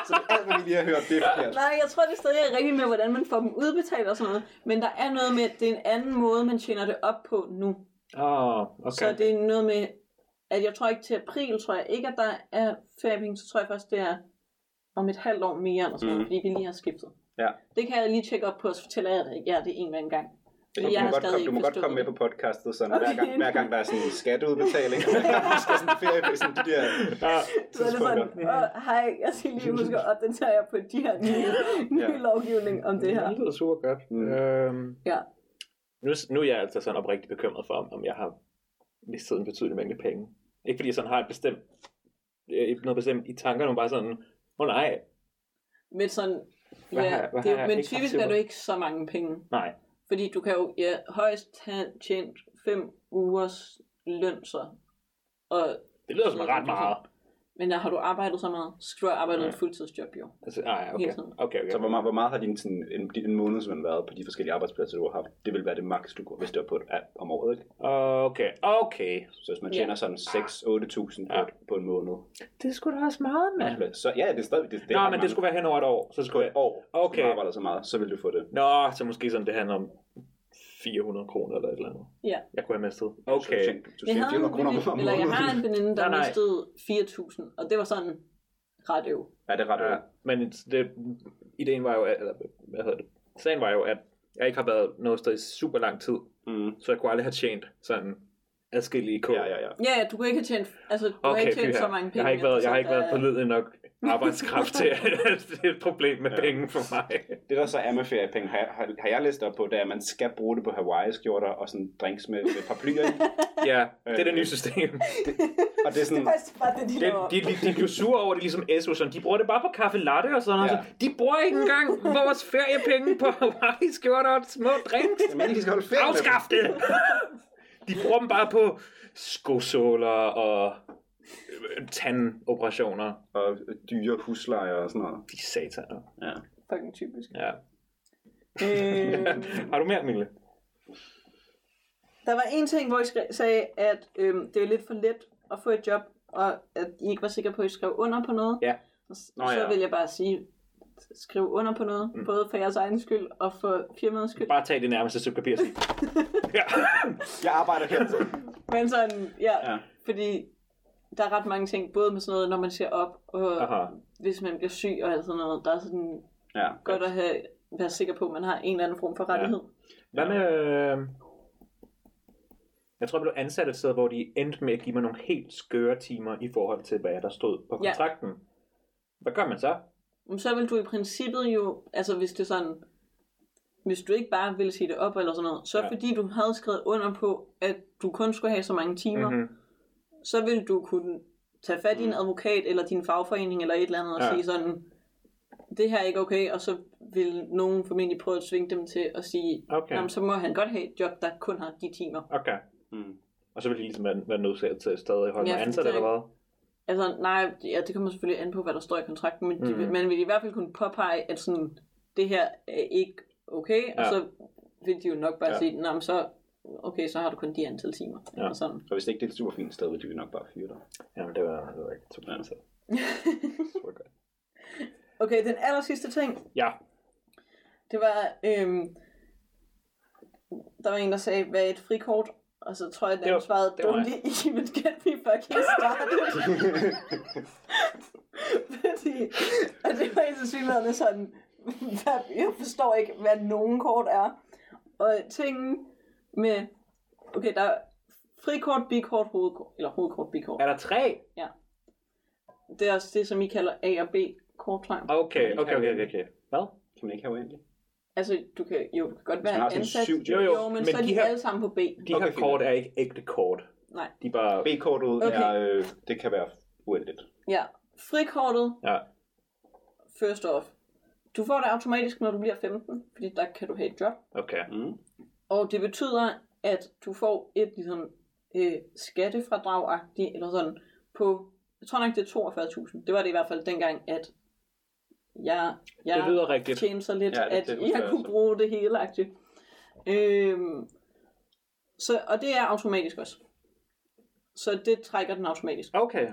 C: Så det er alt, hvad vi lige har hørt, det er forkert.
B: Nej, jeg tror, det er stadig er rigtigt med, hvordan man får dem udbetalt og sådan noget. Men der er noget med, at det er en anden måde, man tjener det op på nu. Okay.
A: ah okay.
B: Så det er noget med, at jeg tror ikke til april, tror jeg ikke, at der er feriepenge. Så tror jeg først, det er om et halvt år mere, eller sådan noget,
A: Mm.
C: Mhm.
B: fordi vi lige har skiftet.
C: Ja.
B: Det kan jeg lige tjekke op på, og så fortæller jeg det, jer det en eller anden gang.
C: Du,
B: Men
C: du,
B: jeg
C: må
B: har
C: godt
B: stadig
C: komme, du må
B: ikke
C: godt komme med
B: forstået
C: på podcasten, sådan, okay.
B: Okay.
C: hver, gang, hver gang der er sådan en skatteudbetaling, og hver gang der skal sådan en ferie, sådan de der
A: Ah,
B: Så er det sådan,
C: tidspunkter.
B: "Åh, hej, jeg skal lige huske at opdatere jer på de her nye, nye
C: Ja.
B: lovgivning om det her.
A: Det lyder super godt.
C: Mm.
A: Øhm,
B: Ja.
A: nu, nu er jeg altså sådan oprigtigt bekymret for, om- om jeg har mistet en betydelig mængde penge. Ikke fordi jeg sådan har et bestemt, øh, noget bestemt i tankerne, men bare sådan, åh oh, nej,
B: Men sådan,
A: Hvad har
B: ja,
A: jeg- hvad har
B: det,
A: jeg
B: men
A: ikke haft
B: typisk
A: til
B: er du
A: mig?
B: ikke så mange penge.
A: nej.
B: Fordi du kan jo ja, højst have tjent 5 ugers løn så. Og,
A: Det lyder som ret meget.
B: men der har du arbejdet så meget, så skulle du have arbejdet
A: Ja.
B: ja. en fuldtidsjob jo.
A: Altså, nej, okay.
B: Hele
A: okay,
B: tiden.
A: okay.
C: Så hvor meget, hvor meget har din, sådan, en, din månedsløn været på de forskellige arbejdspladser, du har haft? Det vil være det maks, du kunne, hvis det var på et, ja, om året, ikke?
A: Okay, okay.
C: Så hvis man
B: Ja.
C: tjener sådan 6-8.000 på,
A: Ja.
C: et- på en måned,
A: Det skulle da også meget,
C: så ja, det er stadig... Det, det
A: Nå, men det skulle være hen over et år. Så
C: på
A: skulle
C: et
A: jeg...
C: år, okay.
A: Okay.
C: som arbejder så meget, så vil du få det.
A: Nå, så måske sådan, det handler om 400 kroner eller et eller andet.
B: Ja.
A: Jeg kunne have mistet.
C: Så du
A: Okay.
C: tjener- Du
B: Jeg,
C: tjener 400 kroner
B: veninde-
C: om
B: eller jeg har en
C: måneden.
B: veninde, der
A: Nej, nej.
B: mistede 4.000, og det var sådan ret øv.
C: Ja, det er ret
A: Ja,
C: ja.
A: Øh, men det, ideen var jo, at- eller hvad hedder det? Sagen var jo, at jeg ikke har været noget sted i super lang tid,
C: Mm.
A: så jeg kunne aldrig have tjent sådan adskillige kår.
C: Ja, ja, ja.
B: Ja, ja, du kunne ikke have tjent, altså, du har
A: Okay,
B: ikke
A: fy
B: tjent
A: her.
B: så mange penge.
A: jeg har ikke været, jeg har ikke
B: så
A: været
B: der-
A: pålidelig nok arbejdskraft til, at det er et problem med
C: Ja.
A: penge for mig.
C: Det der så er med feriepenge, har, jeg- har, har jeg læst op på, det er, at man skal bruge det på Hawaii-skjorter og sådan drinks med, med paraplyer i.
A: Ja, det er det nye system.
C: Og det er sådan,
B: Det er faktisk bare det, de
A: Det,
B: laver.
A: de, de, de blev sure over det, ligesom Esso, sådan, de bruger det bare på kaffe latte og sådan noget.
C: Ja.
A: Ja. De bruger ikke engang vores feriepenge på Hawaii-skjorter og små drinks.
C: men de skal holde ferie med dem.
A: Afskaf det! De bruger dem bare på skosåler og øh, tandoperationer.
C: og dyre huslejer og sådan noget.
A: De sataner.
C: Ja.
B: Fucking typisk.
A: Ja.
B: Øh,
A: Har du mere, Mille?
B: Der var en ting, hvor I skre- sagde, at øhm, det var lidt for let at få et job, og at I ikke var sikre på, at I skrev under på noget.
A: Ja.
B: Og s-
C: Nå,
B: så
C: ja.
B: vil jeg bare sige, skriv under på noget,
A: Mm.
B: mm. både for jeres egen skyld og for firmaets skyld.
A: Bare tag det nærmeste stykke papir og sig. Ja.
C: Jeg arbejder her.
B: Men sådan, ja,
C: Ja.
B: ja, fordi der er ret mange ting, både med sådan noget, når man ser op, og Aha.
A: Aha.
B: hvis man bliver syg og alt sådan noget, der er sådan
C: Ja.
B: godt at have, være sikker på, at man har en eller anden form for rettighed.
A: Hvad med... Øh... Jeg tror, jeg blev ansat et sted, hvor de endte med at give mig nogle helt skøre timer i forhold til, hvad der stod på
B: Ja.
A: kontrakten. Ja. Hvad gør man så?
B: Men så vil du i princippet jo, altså hvis det er sådan, hvis du ikke bare ville sige det op eller sådan noget, så
A: Ja.
B: ja. fordi du havde skrevet under på, at du kun skulle have så mange timer, mm-hmm.
A: Mm-hmm.
B: så ville du kunne tage fat i en advokat eller din fagforening eller et eller andet og
A: Mm. Ja.
B: ja. sige sådan, det her er ikke okay, og så vil nogen formentlig prøve at svinge dem til at sige,
A: Okay.
B: okay. så må han godt have et job, der kun har de timer.
A: Okay.
C: Mm.
A: Og så vil de ligesom være, være nødsaget til at stadig holde
B: Ja,
A: mig
B: for
A: ansat,
B: det er
A: eller hvad?
B: Altså, nej, ja, det kommer selvfølgelig an på, hvad der står i kontrakten, men mm. de,
A: Mm.
B: vil- man vil i hvert fald kunne påpege, at sådan, det her er ikke okay, ja. og
A: Ja.
B: så vil de jo nok bare
A: Ja.
B: ja. sige, "Nå, men så, okay, så har du kun de antal timer,
A: Ja.
B: ja. eller sådan.
C: Og hvis det ikke det er et super fint sted, vil de jo nok bare fyre dig.
A: Jamen, det var, det var ikke super
C: Ja.
A: ansat.
B: Okay, den aller sidste ting,
A: Ja,
B: det var, øhm, der var en, der sagde, hvad er et frikort? Og så tror jeg, at
A: Det var-
B: den svarede,
A: det var mig.
B: don't even get me fucking started. Fordi, og det var helt synligheden sådan, hvad, jeg forstår ikke, hvad nogen kort er. Og tingen med, okay, der er frikort, bikort, hovedkort, eller hovedkort, bikort.
A: er der tre?
B: Det er også det, som I kalder A og B korttegn.
A: Okay, okay, okay, okay. okay. Hvad?
C: kan man ikke have uendeligt?
B: Altså, du kan jo du kan godt
C: man har
B: være
C: sådan
B: ansat.
C: syv
A: Jo,
B: jo,
A: jo,
B: jo, men, men så er de her... alle sammen på B.
A: De
C: Okay,
A: her
C: fint.
A: kort er ikke ægte kort.
B: Nej,
A: De er bare...
C: B-kortet okay.
B: Okay.
C: er, øh, det kan være uendeligt.
B: ja. Frikortet,
A: Ja.
B: first off. Du får det automatisk, når du bliver 15, fordi der kan du have et job.
A: Okay.
C: Mm.
B: Og det betyder, at du får et ligesom, øh, skattefradragagtigt, eller sådan, på, jeg tror nok, det er 42.000. Det var det i hvert fald dengang, at jeg,
A: Det
B: jeg
A: lyder rigtigt.
B: tjente så lidt,
C: Ja,
B: ja,
C: det-
B: det, at
C: det
B: det,
C: husker
B: jeg
C: jeg
B: kunne
C: også.
B: bruge det hele agtigt. Øhm, så, og det er automatisk også. Så det trækker den automatisk.
A: Okay.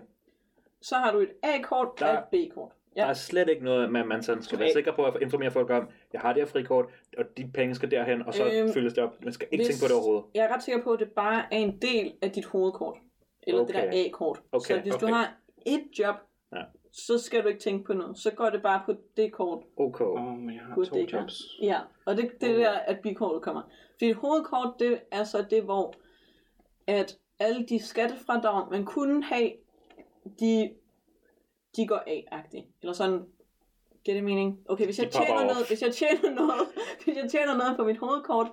B: Så har du et A-kort og
A: Der-
B: et B-kort.
A: Der
B: Ja,
A: er slet ikke noget, man, man sådan skal
C: Skal
A: være
C: vi-
A: sikker på at informere folk om, jeg har det her frikort, og de penge skal derhen, og så
B: Øhm,
A: fyldes det op. Man skal ikke tænke på det overhovedet.
B: Jeg er ret sikker på, at det bare er en del af dit hovedkort. Eller okay.
A: Okay.
B: det der A-kort.
A: Okay,
B: så hvis du
A: okay.
B: har et job,
A: Ja.
B: så skal du ikke tænke på noget. Så går det bare på det kort.
A: Okay.
C: Åh, oh, men jeg har
B: Gud,
C: to
B: det er
C: jobs.
B: Ja, og det, det er
A: Okay.
B: der, at bikortet kommer. Fordi et hovedkort, det er så det, hvor at alle de skattefradrag, man kunne have, de, de går af-agtigt. Eller sådan, giver det mening? Okay, hvis jeg,
A: De popper
B: tjener
A: op.
B: noget, hvis jeg tjener noget, hvis jeg tjener noget på mit hovedkort,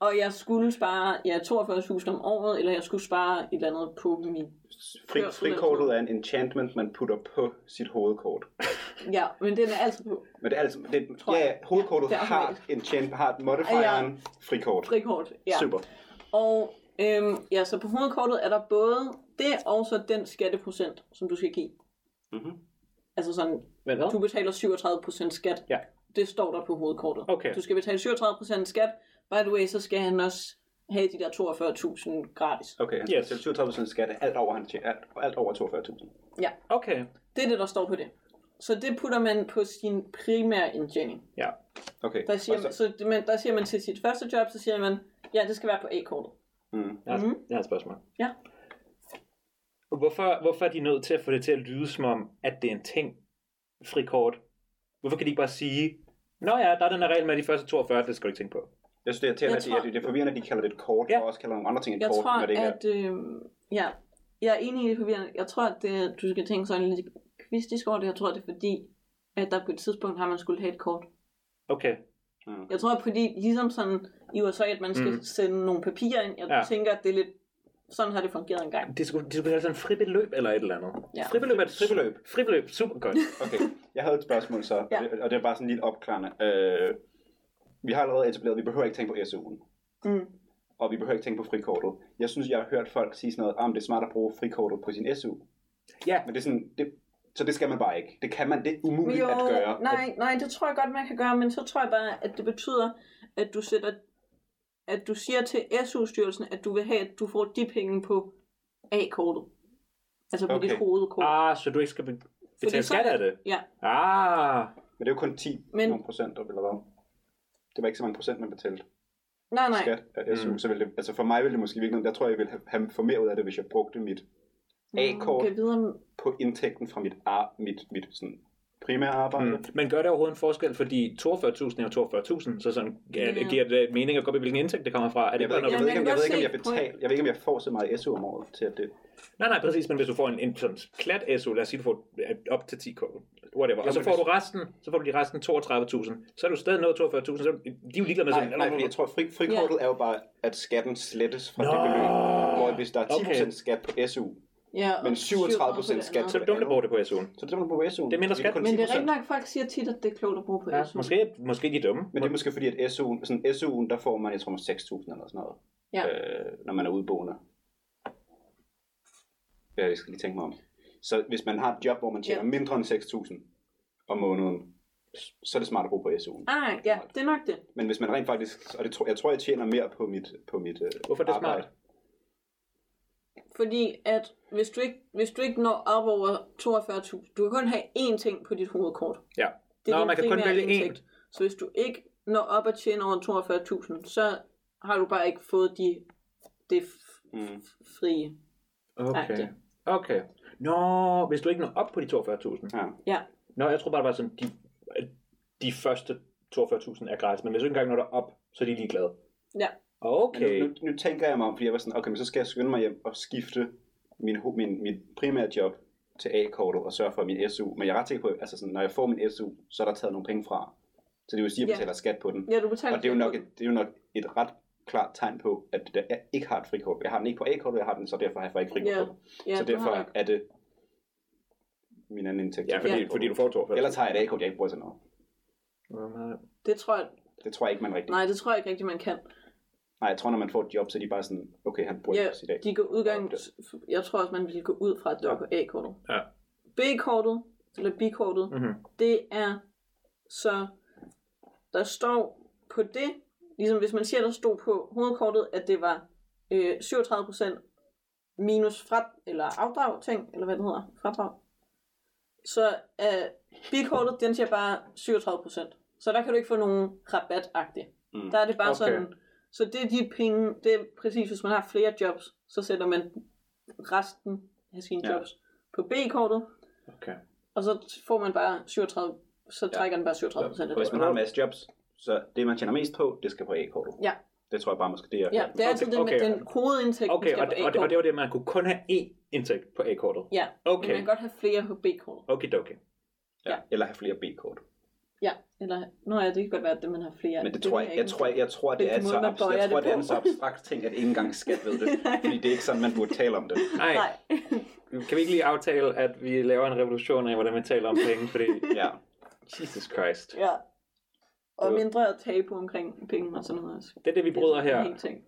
B: og jeg skulle spare ja, 42.000 om året, eller jeg skulle spare et eller andet på min...
C: Fri,
B: Kørsel.
C: frikortet er en enchantment, man putter på sit hovedkort.
B: Ja, men den er altid på
C: Men det er altså, det,
B: Tror
C: ja,
B: jeg.
C: ja, hovedkortet
B: Ja, det er
C: har
B: automatisk.
C: enchant, har modifieren frikort.
B: frikort. Ja.
C: Super.
B: Og øhm, ja, så på hovedkortet er der både det og så den skatteprocent, som du skal give.
C: Mm-hmm.
B: Altså sådan,
A: Men hvad?
B: du betaler 37% skat.
A: Ja.
B: Det står der på hovedkortet.
A: Okay.
B: Du skal betale 37% skat. By the way, så skal han også have de der 42.000 gratis.
C: Okay, altså, han
A: Yes.
C: yes. betaler 37% skat af alt over, han tjener, alt, alt over 42.000.
B: Ja,
A: Okay.
B: det er det, der står på det. Så det putter man på sin primære indtjening.
A: Ja.
C: Okay,
B: Der siger,
C: og
B: man,
C: så,
B: så, det- man, der siger man til sit første job, så siger man, ja, det skal være på A-kortet.
C: mm,
A: Jeg har,
B: Mhm.
A: jeg har et spørgsmål.
B: Ja.
A: Hvorfor, hvorfor er de nødt til at få det til at lyde som om, at det er en ting, frikort? Hvorfor kan de ikke bare sige, Nå ja, der er den her regel med at de første 42, det skal du ikke tænke på.
C: jeg synes, det er irriterende,
B: Jeg
C: at de-
B: tror-
C: at det, det er forvirrende, at de kalder det et kort,
A: Ja.
C: ja. og også kalder nogle andre ting et
B: Jeg
C: kort,
B: tror,
C: når det ikke er.
B: at... Øh, ja, jeg er enig i det forvirrende. Jeg tror, at det, du skal tænke sådan lidt kvistisk over det. Jeg tror, det er fordi, at der på et tidspunkt har man skulle have et kort.
A: Okay,
C: Mm.
B: Jeg tror, fordi ligesom sådan i USA, at man skal
A: Mm.
B: mm. sende nogle papirer ind. Jeg
A: Ja.
B: ja. tænker, at det er lidt... Sådan har det fungeret engang.
A: de skulle, de skulle have sådan en fribeløb eller et eller andet.
B: Ja.
A: Fribeløb er et fribeløb.
C: Fribeløb.
A: Fribeløb, super godt.
C: Okay, jeg havde et spørgsmål så,
B: Ja.
C: ja. og det er bare sådan lidt opklarende. Øh, vi har allerede etableret, at vi behøver ikke tænke på SU'en,
B: Mm.
C: og vi behøver ikke tænke på frikortet. Jeg synes, jeg har hørt folk sige sådan noget, om det er smart at bruge frikortet på sin SU.
A: Ja.
C: Men det er sådan, det, så det skal man bare ikke. Det kan man, det er umuligt
B: Jo,
C: at gøre.
B: nej, nej, det tror jeg godt, man kan gøre, men så tror jeg bare, at det betyder, at du sætter at du siger til SU-styrelsen, at du vil have, at du får de penge på A-kortet. Altså på
C: Okay.
B: okay. dit hovedkort.
A: Ah, så du ikke skal be- betale
B: så-
A: skat af det?
B: Ja,
A: Ah,
C: Men det er jo kun 10
B: Men-
C: nogle procent, eller hvad? Det var ikke så mange procent, man betalte
B: nej, nej.
C: skat af SU.
A: Mm.
C: Mm. Så ville det, altså for mig ville det måske virkelig, jeg tror, jeg ville have, have få mere ud af det, hvis jeg brugte mit A-kort
B: Mm, Okay, videre. om-
C: på indtægten fra mit, ar, mit, mit sådan, primære arbejde.
A: Mm. Men gør det overhovedet en forskel, fordi 42.000 er jo 42.000, så sådan,
B: Ja.
A: yeah. giver det mening at gå op i, hvilken indtægt det kommer fra? Er det
C: Jeg
A: ikke
C: ved,
A: bare, når
C: ikke, jeg,
A: du...
C: ved
B: Jamen,
C: ikke, om-
B: jeg kan
C: jeg ved ikke, om jeg
B: godt se
C: betaler, jeg ved ikke, om jeg får så meget SU om året til at det.
A: Nej, nej, præcis, men hvis du får en, en sådan klat SU, lad os sige, du får øh, op til 10 k, whatever, og så
C: men
A: får du
C: hvis-
A: resten, så får du de resten 32.000, så er du stadig nået 42.000, så er du- de er jo ligeglade med
C: Nej,
A: sådan,
C: nej, fordi jeg tror, fri, frikortet er jo bare, at skatten slettes fra
A: Nå.
C: det beløb. Hvor hvis der er 10%
A: Okay.
C: skat på SU,
B: Ja, og
C: Men 37% skat
A: Så
B: på
A: er det dumt at bruge det på SU'en.
C: Så det er man på SU'en.
A: Det er mindre skat.
B: det andet. Men det er rigtig nok, folk siger tit, at det er klogt at bruge på
A: Ja,
B: SU.
A: måske, måske de er dumme.
C: Men det er måske fordi, at SU'en, sådan SU'en, der får man, jeg tror, 6.000 eller sådan noget,
B: Ja.
C: øh, når man er udboende. Ja, det skal jeg lige tænke mig om. Så hvis man har et job, hvor man tjener
B: Ja.
C: mindre end 6.000 om måneden, så er det smart at bruge på SU'en.
B: Ah, ja, det er nok det.
C: Men hvis man rent faktisk, og det tror, jeg tror, jeg tjener mere på mit, på mit øh,
A: Hvorfor er det smart?
C: arbejde.
B: Fordi at hvis du ikke, hvis du ikke når op over 42.000, du kan kun have én ting på dit hovedkort.
A: Ja.
B: Det er
A: Nå,
B: din
A: man kan kun
B: primære
A: vælge
B: indtægt.
A: én.
B: Så hvis du ikke når op at tjene over 42.000, så har du bare ikke fået de, det f-
C: Mm.
B: f- frie.
A: Okay.
B: Agtigt.
A: Okay. Nå, hvis du ikke når op på de 42.000.
C: Ja.
B: Ja,
A: Nå, jeg tror bare, det var sådan, de, at de første 42.000 er gratis, men hvis du ikke engang når derop, så er de ligeglade.
B: ja.
A: Okay.
C: Men nu, nu, nu, tænker jeg mig om, fordi jeg var sådan, okay, men så skal jeg skynde mig hjem og skifte min, ho- min, mit primære job til A-kortet og sørge for min SU. Men jeg er ret sikker på, altså sådan, når jeg får min SU, så er der taget nogle penge fra. Så det vil sige, at jeg
B: Ja.
C: betaler skat på den.
B: ja du betaler
C: Og det er, jo
B: skat
C: nok
B: på
C: et, det er jo nok et ret klart tegn på, at det- jeg ikke har et frikort. Jeg har den ikke på A-kortet, jeg har den, så derfor har jeg ikke frikort
B: Ja.
C: på den.
B: den. ja,
C: så
B: du har
C: derfor
B: nok.
C: er det min anden indtægt.
A: Ja, fordi,
B: Ja.
A: fordi du får Mhm. 42.
C: Ellers har jeg et A-kort, jeg ikke bruger til noget.
B: Det tror jeg,
C: Det tror jeg ikke, man rigtig...
B: nej, det tror jeg ikke rigtig, man kan.
C: Nej, jeg tror, når man får et job, så er de bare sådan, okay, han bruger
B: Ja,
C: yeah. sit dag.
B: de går udgang, jeg tror også, man ville gå ud fra, at det var på A-kortet.
A: Ja.
B: B-kortet, eller B-kortet,
A: Mm-hmm.
B: det er så, der står på det, ligesom hvis man siger, der stod på hovedkortet, at det var øh, 37% minus fra, eller afdrag ting, eller hvad det hedder, fradrag, så er B-kortet, den siger bare 37%. Så der kan du ikke få nogen rabat
C: Mm.
B: mm. Der er det bare
A: Okay.
B: okay. sådan, så det er de penge, det er præcis, hvis man har flere jobs, så sætter man resten af sine
C: Ja.
B: ja. jobs på B-kortet,
A: Okay.
B: og så får man bare 37, så trækker ja. den bare 37 procent af
C: Og hvis
B: det.
C: man har en masse jobs, så det, man tjener mest på, det skal på A-kortet.
B: Ja.
C: Det tror jeg bare, man skal det. er-
B: Ja, det er altid det med
A: Okay.
B: den hovedindtægt,
A: Okay,
B: man
A: og, og,
B: skal på
A: og, det
B: A-kortet.
A: var det, man kunne kun have én indtægt på A-kortet.
B: Ja, men
A: Okay.
B: man kan godt have flere på B-kortet.
A: Okay, okay.
C: ja. Eller have flere B-kort.
B: Ja, eller, nå ja, det kan godt være, at det, man har flere.
C: Men det, tror jeg, jeg, tror, jeg, jeg tror, det
B: Det
C: er,
B: er
C: så,
B: måden, man
C: abstrakt,
B: bøjer
C: jeg tror,
B: det
C: det er
B: på.
C: en så abstrakt ting, at ikke engang skat ved det. fordi det er ikke sådan, man burde tale om det.
A: Nej,
B: Nej,
A: kan vi ikke lige aftale, at vi laver en revolution af, hvordan vi taler om penge, fordi
C: Ja.
A: Jesus Christ.
B: ja. Og
A: Det var-
B: mindre tabu omkring penge og sådan noget også.
A: Det er det, vi bryder
B: Det er sådan en
A: her.
B: hel ting.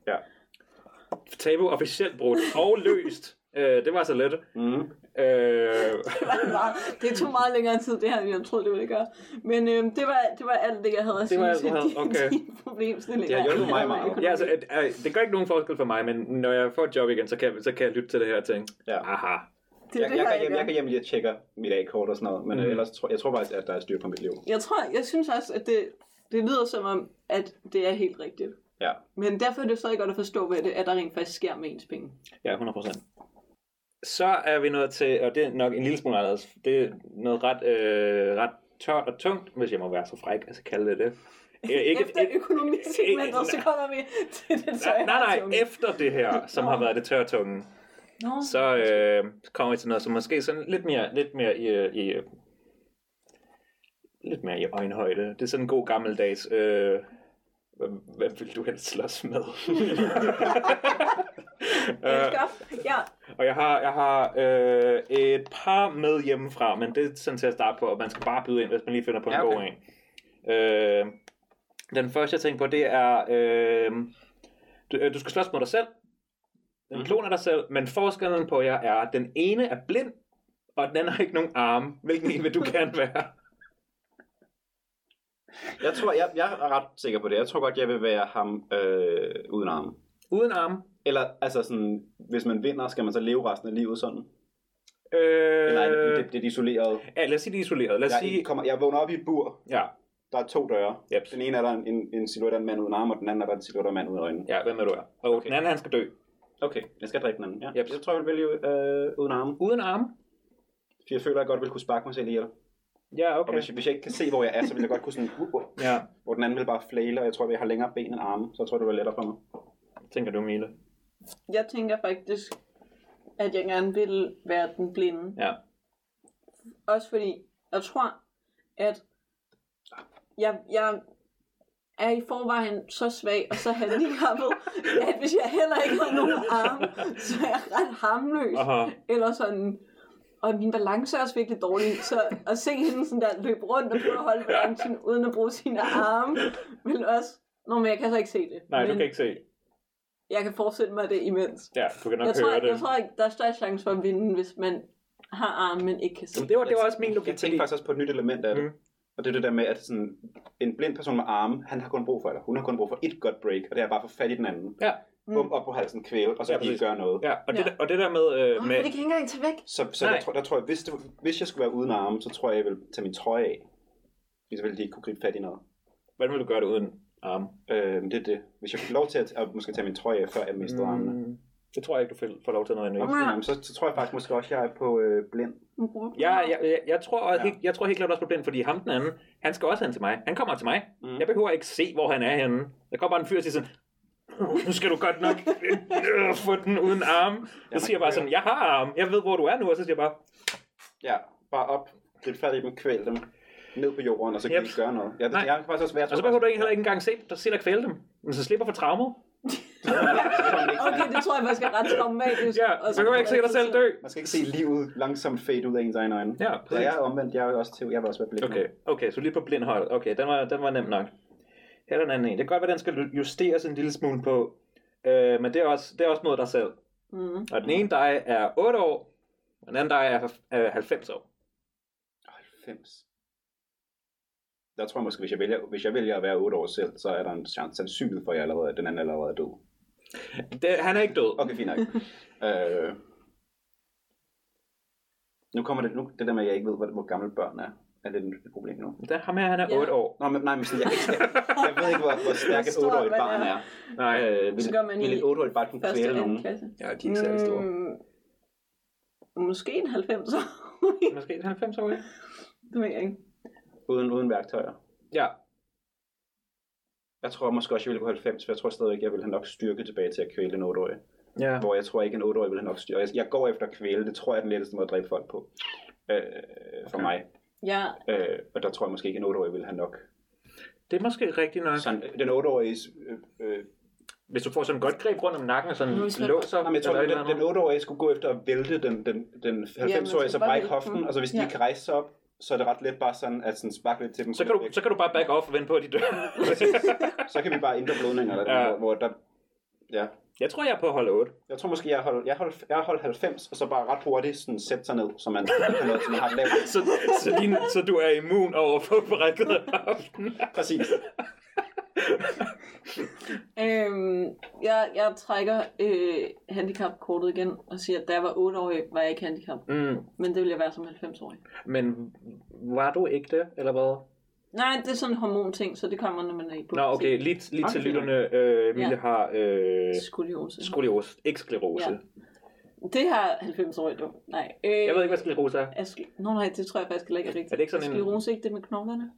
A: Tabu officielt brudt og løst. Øh, det var så let.
C: Mm.
A: Øh,
B: Det var meget, det tog meget længere tid, det her, end jeg troede, det ville gøre. Men øhm, det, var, det var alt det, jeg havde at
A: Det var
B: sige
A: alt,
B: til
A: du havde.
B: de,
A: Okay.
B: de problemstillinger.
C: Det har hjulpet
B: jeg
C: mig
B: havde med
C: meget.
B: økonomi.
A: ja, altså, at, øh, det gør ikke nogen forskel for mig, men når jeg får et job igen, så kan, jeg- så kan jeg lytte til det her og tænke,
C: Ja.
A: aha.
B: det, er
C: Jeg,
B: det,
C: jeg,
B: her,
C: kan hjem,
B: gør.
C: jeg kan hjem lige og tjekke mit A-kort og sådan noget, men mm.
A: Mhm.
C: ellers tror, jeg tror faktisk, at der er styr på mit liv.
B: Jeg tror, jeg synes også, at det, det lyder som om, at det er helt rigtigt.
C: Ja.
B: Men derfor er det jo stadig godt at forstå, hvad det er, der rent faktisk sker med ens penge.
A: Ja, 100%. Så er vi nået til, og det er nok en lille smule anderledes, det er noget ret, øh, ret tørt og tungt, hvis jeg må være så fræk, altså kalde det det. Øh, Ikke,
B: Efter økonomisegmentet, så kommer vi til det tøj.
A: nej, nej, nej, efter det her, som har været det tørtunge,
B: Nå,
A: så øh, kommer vi til noget, som måske sådan lidt mere, lidt mere i, øh, i øh, lidt mere i øjenhøjde. Det er sådan en god gammeldags, øh, hvad, hvad vil du helst slås med?
B: jeg
A: Øh,
B: elsker. Ja,
A: og jeg har, jeg har øh, et par med hjemmefra, men det er sådan til at starte på, og man skal bare byde ind, hvis man lige finder på en
C: Ja,
A: ja,
C: okay.
A: god en. Øh, den første, jeg tænker på, det er, øh, du, øh, du skal slås mod dig selv. Den
C: Mhm.
A: klon af dig selv, men forskellen på jer er, at den ene er blind, og den anden har ikke nogen arme. Hvilken en vil du gerne være?
C: Jeg tror, jeg, jeg er ret sikker på det. Jeg tror godt, jeg vil være ham øh, uden arme.
A: Uden arme?
C: Eller altså sådan, hvis man vinder, skal man så leve resten af livet sådan?
A: Øh,
C: Øh, Nej, det, det, det er de isolerede.
A: Ja, lad os sige, de er isoleret. Lad os
C: Jeg,
A: sige...
C: kommer, jeg vågner op i et bur.
A: Ja,
C: Der er to døre.
A: Yep.
C: Den ene er der en, en, en silhuet af en mand uden arme, og den anden er der en silhuet af en mand uden øjne.
A: ja, hvem er du er? Og okay. den anden, han skal dø.
C: Okay, jeg skal dræbe den anden. Ja.
A: Yep.
C: Jeg tror, jeg vil vælge øh, uden arme.
A: Uden arme?
C: Fordi jeg føler, at jeg godt vil kunne sparke mig selv ihjel. Okay.
A: Ja,
C: Og
A: okay.
C: hvis, jeg- hvis jeg ikke kan se, hvor jeg er, så vil jeg godt kunne sådan... Uh, uh,
A: Ja,
C: hvor den anden vil bare flæle, og jeg tror, at jeg har længere ben end arme. Så jeg tror, det var lettere for mig.
A: tænker du, Mille.
B: jeg tænker faktisk, at jeg gerne vil være den blinde.
A: Ja.
B: Også fordi, jeg tror, at jeg, jeg er i forvejen så svag og så handicappet, at hvis jeg heller ikke har nogen arme, så er jeg ret harmløs.
A: Aha.
B: Eller sådan, og min balance er også virkelig dårlig, så at se hende sådan der løbe rundt og prøve at holde balancen uden at bruge sine arme, vil også... Nå, men jeg kan så ikke se det.
A: Nej,
B: men
A: du kan ikke se.
B: Jeg kan forestille mig det imens.
A: Ja, du kan nok
B: Jeg
A: høre
B: tror,
A: det.
B: jeg tror ikke, der er større chance for at vinde, hvis man har arme, men ikke kan se.
A: Jamen, det, var, det var også min
C: Jeg
A: logik.
C: tænkte faktisk også på et nyt element af det.
A: Mm.
C: Mm. Og det er det der med, at sådan, en blind person med arme, han har kun brug for, eller hun har kun brug for et godt break, og det er bare at få fat i den anden.
A: Ja,
B: Mm.
C: Bum op på halsen, kvæle, og så
A: Ja,
C: ja, de
A: præcis.
C: gøre noget.
A: ja. Og, det,
B: Ja.
A: der- og det der med... Øh,
B: Åh,
A: med
B: men det kan jeg ikke engang tage væk.
C: Så, så
A: Nej.
C: jeg tror, der tror jeg, hvis, det, hvis jeg skulle være uden arme, så tror jeg, jeg ville tage min trøje af. Fordi så ville de ikke kunne gribe fat i noget.
A: hvordan vil du gøre det uden arme?
C: Øh, det er det. Hvis jeg fik lov til at, at måske tage min trøje af, før jeg mistede mm. armene.
A: Mm, det tror jeg ikke, du får- får lov til noget endnu.
B: Okay.
C: Jamen, så, så tror jeg faktisk måske også, jeg er på øh, blind.
A: Ja, jeg, jeg, jeg, tror, også,
C: Ja.
A: helt, jeg tror helt klart også på blind, fordi ham den anden, han skal også hen til mig. Han kommer til mig.
C: Mm.
A: Jeg behøver ikke se, hvor han er henne. Der kommer bare en fyr og siger sådan, nu skal du godt nok øh, få den uden arm.
C: man
A: Så siger jeg bare
C: kan
A: sådan, jeg har arm, jeg ved, hvor du er nu. Og så siger jeg bare,
C: Ja, bare op, grib fat i dem, kvæl dem, ned på jorden, og så kan
A: Yep.
C: yep. de ikke gøre noget. Ja, det,
A: Nej.
C: jeg kan faktisk også være,
A: og så behøver du ikke, heller ikke engang se, se dig kvæle dem. Men så slipper for traumet.
B: Okay, det tror jeg faktisk er ret traumatisk.
A: Ja, og så kan man ikke se dig selv dø.
C: Man skal ikke se livet langsomt fade ud af ens egne øjne.
A: Ja,
C: så jeg er omvendt, jeg er også til, jeg vil også være blind.
A: Okay, okay, så lige på blind hold. Okay, den var, den var nem nok. Her er den anden en. Det kan godt være, den skal justeres en lille smule på. Øh, men det er, også, det er også mod dig selv.
B: Mm.
A: Og den ene dig er 8 år, og den anden dig er øh, 90 år.
C: 90. Der tror jeg måske, hvis jeg vælger, hvis jeg vælger at være 8 år selv, så er der en chance, sandsynlighed for, at jeg allerede, den anden allerede er død.
A: Det, han er ikke død.
C: Okay, fint nok. øh, nu kommer det, nu, det der med, at jeg ikke ved, hvor, hvor gamle børn er. Er det et problem nu?
A: Der, ham her, han er
B: Ja.
A: 8 år.
C: Nå, men, nej, men sådan, jeg, jeg, jeg ved ikke, hvor, hvor stærk et
B: Hvor stort man
C: 8-årigt barn
B: er.
C: er.
A: Nej, øh,
C: Øh, vil,
B: Så gør man
C: vil
B: i
C: et 8-årigt barn kunne
B: Første
C: kvæle
B: anden
C: nogen?
B: klasse.
A: ja, de er ikke særlig store.
B: Mm, måske en 90 år.
A: Mm. Måske en 90 år, ikke?
B: det ved jeg ikke.
C: Uden, uden værktøjer.
A: Ja,
C: Jeg tror måske også, jeg ville gå 90, for jeg tror stadigvæk, jeg ville have nok styrke tilbage til at kvæle en 8-årig.
A: ja.
C: Hvor jeg tror ikke, en 8-årig ville have nok styrke. Jeg, jeg går efter at kvæle, det tror jeg er den letteste måde at dræbe folk på. Øh, for
A: Okay.
C: mig.
B: Ja,
C: Øh, og der tror jeg måske ikke, en 8-årig ville have nok.
A: Det er måske rigtigt nok.
C: Sådan, øh, den 8-årige... Øh, øh,
A: Hvis du får sådan en godt greb rundt om nakken og sådan
B: Nu er vi spændt.
A: låser.
C: nej, men jeg tror,
A: eller et
C: den,
A: eller andet.
C: den 8-årige skulle gå efter at vælte den, den, den
B: Ja,
C: 90-årige,
B: men
C: så
B: så bare
C: brække
B: vælte
C: hoften,
B: den.
C: og så hvis de
B: Ja.
C: ikke kan rejse sig op, så er det ret let bare sådan at sådan sparke lidt til dem.
A: så, kan du, så kan du bare back off og vente på, at de dør.
C: så kan vi bare ændre blødninger, eller
A: Ja.
C: ja. hvor, hvor der... Ja.
A: jeg tror, jeg er på hold 8.
C: Jeg tror måske, jeg holdt jeg hold, jeg hold 90, og så bare ret hurtigt sådan sætte sig ned, så man kan noget, som man har lavt.
A: Så, så, din, så du er immun over for brækket aften.
C: Præcis.
B: øhm, jeg, jeg trækker øh, handicapkortet igen og siger, at da jeg var 8 år, var jeg ikke handicap.
A: Mm,
B: Men det ville jeg være som 90-årig.
A: men var du ikke det, eller hvad?
B: Nej, det er sådan en hormonting, så det kommer, når man er i
A: Nå, okay, lige, lige til
C: Okay.
A: lytterne. Øh, Mille
B: Ja.
A: har øh,
B: Skoliose.
A: skoliose, ikke sklerose.
B: Ja. Det har 90-årige dog. Nej. Øh,
A: Jeg ved ikke, hvad sklerose er.
B: Aske... Nå nej, det tror jeg faktisk heller ikke er rigtigt.
A: Er det ikke sådan en-
B: Sklerose, ikke det med knoglerne?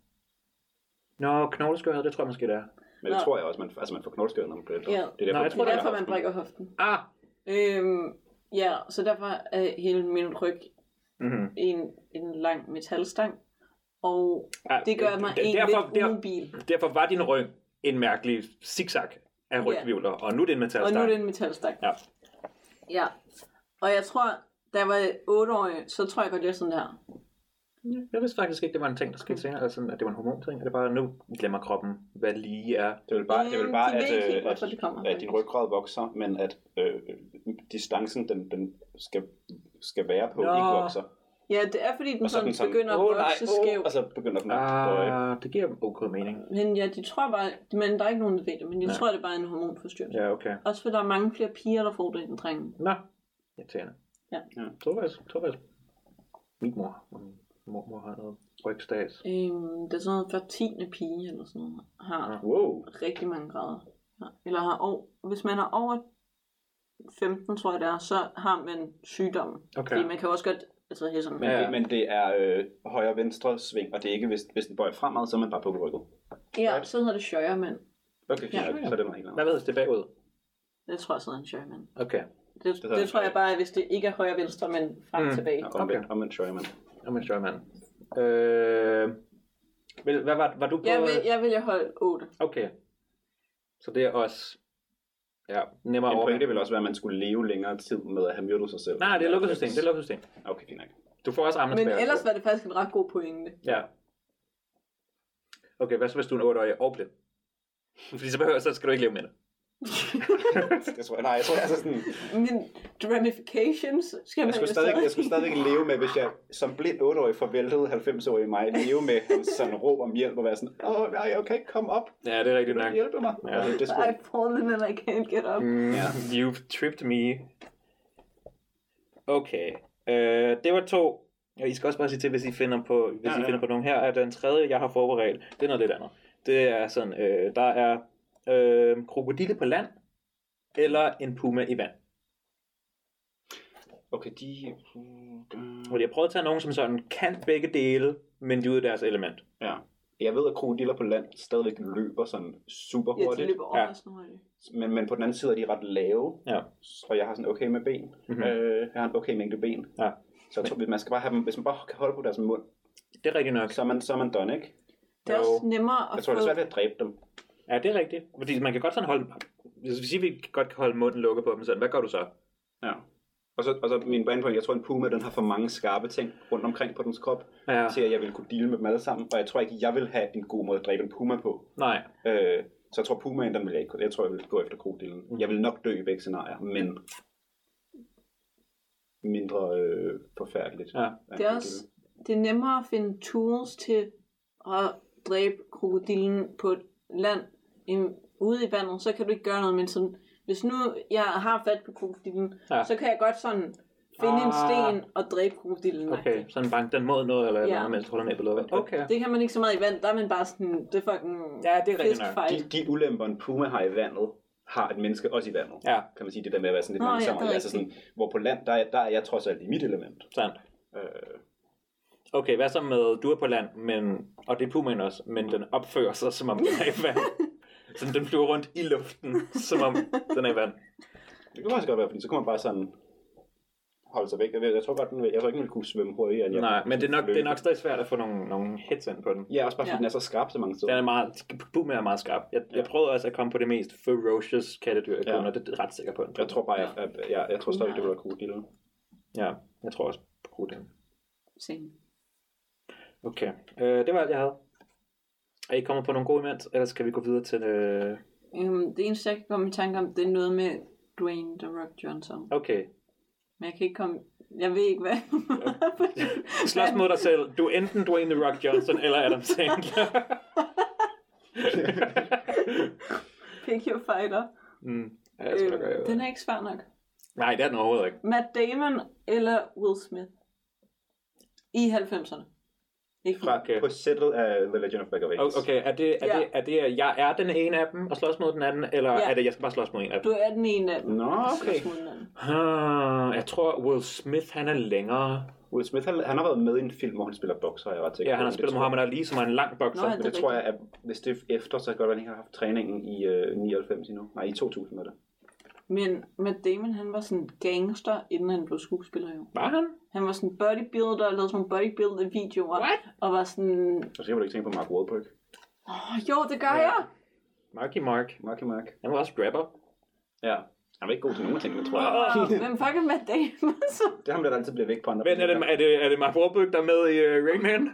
A: Nå, knogleskørhed, det tror jeg måske, det er.
C: Men det
B: Nå.
C: tror jeg også, man, altså man får knogleskade, når man bliver ældre.
B: Ja.
C: Det er
A: Nå, jeg
B: Det
A: tror,
B: er
A: det
B: derfor, man brækker hoften.
A: Ah!
B: Øhm, ja, så derfor er hele min ryg
A: Mm-hmm.
B: en, en lang metalstang, og
A: Ah,
B: det gør mig
A: der-
B: en
A: derfor,
B: lidt
A: der,
B: umobil.
A: derfor var din ryg en mærkelig zigzag af rygvivler, og nu er det en
B: Og
A: metalstang.
B: nu er det en metalstang.
A: Ja.
B: Ja. Og jeg tror, da jeg var 8 år, så tror jeg godt, jeg er sådan her.
A: Jeg vidste faktisk ikke, det var en ting, der skete senere, altså, at det var en hormonting. Er det bare, nu glemmer kroppen, hvad lige er.
C: Det vil bare, det vil bare
B: Mm, de
C: at,
B: ved ikke helt,
C: øh,
B: hvorfor det kommer,
C: at, at din
B: faktisk.
C: ryggrad vokser, men at øh, distancen, den, den skal, skal være på,
A: Nå.
C: ikke vokser.
B: Ja, det er fordi, den
C: Og så er
B: sådan,
C: den sådan,
B: begynder at
A: "Åh, nej,
B: vokse
A: åh."
B: skæv.
C: Og så begynder den at døje.
A: Ah, det giver ok mening.
B: Men ja, de tror bare, men der er ikke nogen, der ved det, men jeg
A: Nej.
B: tror, det er bare en hormonforstyrrelse.
A: Ja, okay.
B: Også fordi der er mange flere piger, der får det end drenge.
A: Nå, irriterende.
B: Ja.
C: Ja.
A: Tror jeg, tror jeg. Min mor, og min mormor har noget rygstas.
B: Øhm, det er sådan noget, hver tiende pige eller sådan noget, har
A: Ja.
C: Wow.
B: rigtig mange grader. Ja. Eller har over, hvis man er over 15, tror jeg det er, så har man sygdommen.
A: Okay.
B: Fordi man kan også godt, altså det er sådan,
C: Men,
B: ja.
A: Ja.
C: ja. det, men det er øh, højre-venstre sving, og det er ikke, hvis, hvis den bøjer fremad, så er man bare på ryggen.
B: ja, så hedder det sjøjermand.
C: Okay, fint
B: Ja.
C: nok, så er det noget helt andet.
A: Hvad hedder det bagud?
B: Det tror jeg så hedder en sjøjermand.
A: Okay.
B: Det,
C: hedder
B: det, det
C: en
B: tror jeg
C: sjøjermand.
B: bare, hvis det ikke er højre venstre, men frem
A: Mm.
B: mm. tilbage.
C: Ja, omvendt, omvendt, sorry, man.
A: Om en sjov mand. Øh, Vel, hvad var, var du på?
B: Jeg vil, jeg vil jeg holde 8.
A: Okay. Så det er også ja, nemmere
C: En
A: over.
C: pointe vil også være, at man skulle leve længere tid med at have myrdet sig selv.
A: Nej, det er lukket system. Det er lukket system.
C: Okay, fint nok.
A: Du får også
B: Men
A: armensbærer.
B: ellers var det faktisk en ret god pointe.
A: Ja. Okay, hvad så hvis du er en 8-årig og blind? Fordi så, behøver, så skal du ikke leve med det.
C: Jeg tror, nej, jeg tror, altså sådan,
B: Men ramifications skal man
C: jeg, skulle
B: jo
C: stadig, jeg skulle stadig leve med, hvis jeg som blind 8-årig forvæltede 90-årige mig, leve med hans sådan råb om hjælp og være sådan, åh, nej, jeg kan ikke komme op,
A: Ja, det er rigtigt
C: vil du
A: nok.
C: ikke hjælpe mig? Altså,
A: Ja.
C: det er sgu...
B: I've fallen and I can't get up.
A: Mm,
C: Ja.
A: You've tripped me. Okay. Øh, det var to. Og I skal også bare sige til, hvis I finder på, hvis
C: Ja,
A: I
C: ja.
A: finder på nogen her. Er den tredje, jeg har forberedt, det er noget lidt andet. Det er sådan, øh, der er øh, krokodille på land, eller en puma i vand.
C: Okay, de...
A: Fordi jeg prøvede at tage nogen, som sådan kan begge dele, men de er ude af deres element.
C: Ja. Jeg ved, at krokodiller på land stadigvæk løber sådan super
B: Jeg
C: hurtigt,
B: løber over
A: Ja.
B: ja. hurtigt.
C: men, men på den anden side er de ret lave,
A: Ja.
C: og jeg har sådan okay med ben.
A: Mhm.
C: Øh, jeg har en okay mængde ben.
A: Ja.
C: Så jeg tror, man skal bare have dem, hvis man bare kan holde på deres mund,
A: Det er rigtigt nok.
C: så er man, så er man done, ikke?
B: Det er
A: Jo.
B: også nemmere at
C: Jeg tror, det er svært ved at dræbe dem.
A: Ja, det er rigtigt. Fordi man kan godt sådan holde... Hvis vi siger, vi godt kan holde munden lukket på dem sådan, hvad gør du så?
C: Ja. Og så, og så min banepoint, jeg tror, en puma, den har for mange skarpe ting rundt omkring på dens krop,
A: Ja,
C: til at jeg vil kunne dele med dem alle sammen, og jeg tror ikke, jeg vil have en god måde at dræbe en puma på.
A: nej.
C: Øh, så jeg tror, pumaen, den vil jeg ikke Jeg tror, jeg vil gå efter krokodillen.
A: Mm.
C: Jeg vil nok dø i begge scenarier, men mindre øh, forfærdeligt.
A: Ja.
C: af en
B: Det er, også, det er nemmere at finde tools til at dræbe krokodillen på et land end ude i vandet, så kan du ikke gøre noget, men sådan, hvis nu jeg har fat på krokodillen,
A: Ja.
B: ja. så kan jeg godt sådan finde ah. en
A: Ah.
B: sten og dræbe krokodillen.
A: Okay, sådan bank den mod noget, eller
B: Ja.
A: ja. noget, mens du holder den ned på lukket. Okay.
B: Det kan man ikke så meget i vand, der er man bare sådan, det er fucking
A: Ja, det er rigtigt nok.
B: fiskfight.
C: De, de ulemper, en puma har i vandet, har et menneske også i vandet.
A: Ja,
C: Kan man sige, det der med at være sådan lidt
B: Nå, ja,
C: langsommere.
B: det er
C: altså sådan, hvor på land, der er, der er jeg trods alt i mit element.
A: sandt.
C: Øh,
A: Okay, hvad så med, du er på land, men, og det er pumaen også, men den opfører sig, som om den er i vand. Så den flyver rundt i luften, som om den er i vand.
C: det kan faktisk godt være, fordi så kunne man bare sådan holde sig væk. Jeg, ved, jeg tror godt, den vil, jeg tror ikke, den ville kunne svømme hurtigere. End jeg
A: Nej,
C: kunne
A: men det er nok,
C: løbe.
A: det er nok stadig svært at få nogle, nogle hits ind på den.
C: Ja, også bare fordi
B: Ja.
C: ja. den er så skarp så mange
A: Den er
C: steder.
A: meget, pumaen er meget skarp. Jeg, jeg prøvede også at komme på det mest ferocious kattedyr, jeg
C: Ja.
A: kunne, og det er jeg ret sikker på.
C: Jeg tror bare, jeg, jeg, jeg, jeg tror stadig, det ville være krokodiller.
A: Ja, jeg tror også på det.
B: Same.
A: Okay, øh, det var alt, jeg havde. Er I kommet på nogle gode imens, ellers skal vi gå videre til... Øh...
B: Øhm, det eneste, jeg kan komme i tanke om, det er noget med Dwayne The Rock Johnson.
A: Okay,
B: Men jeg kan ikke komme... Jeg ved ikke, hvad...
A: slås mod dig selv. Du er enten Dwayne The Rock Johnson eller Adam Sandler.
B: Pick your fighter.
A: mm. ja, jeg skal nok gøre,
B: Øh,
A: jeg
B: den
A: ved.
B: er ikke svær nok.
A: Nej, det er den overhovedet ikke.
B: Matt Damon eller Will Smith? I 90'erne. Ikke
C: Fra,
A: Okay.
C: okay. På sættet af The Legend of Bagger Vance.
A: O- Oh, Okay, er det, er,
B: Ja.
A: det, er det, at jeg er den ene af dem og slås mod den anden, eller
B: Ja.
A: er det, jeg skal bare slås mod en af
B: Du
A: dem?
B: er den ene af dem.
C: Nå, okay.
B: Så smutter den.
A: Hmm, jeg tror, Will Smith, han er længere.
C: Will Smith, han, han har været med i en film, hvor han spiller bokser, er jeg er ret sikker
A: Ja, han har
C: på, men
A: spillet
C: det tror-
A: Muhammad Ali, som er en lang bokser.
B: Nå, ja,
C: Men
B: det
C: det
B: er
C: tror jeg, at hvis det er efter, så kan det godt være, at han ikke har haft træningen i øh, 99 endnu. Nej, i 2000 var det.
B: Men Matt Damon, han var sådan gangster, inden han blev skuespiller jo.
A: Var han?
B: Han var sådan bodybuilder, og lavede sådan nogle bodybuilder-videoer.
A: What?
B: Og var sådan...
C: Og så kan du ikke tænke på Mark Wahlberg.
B: Åh, jo, det gør
A: Ja.
B: jeg!
A: Marky Mark.
C: Marky Mark.
A: Han var også rapper.
C: Ja. Han var ikke god til nogen ting, men tror jeg.
B: Wow, Hvem fuck er Matt Damon? så?
C: Det er ham, der altid bliver væk på andre.
A: Men er det, er det, er det Mark Wahlberg, der er med i uh, Rainman?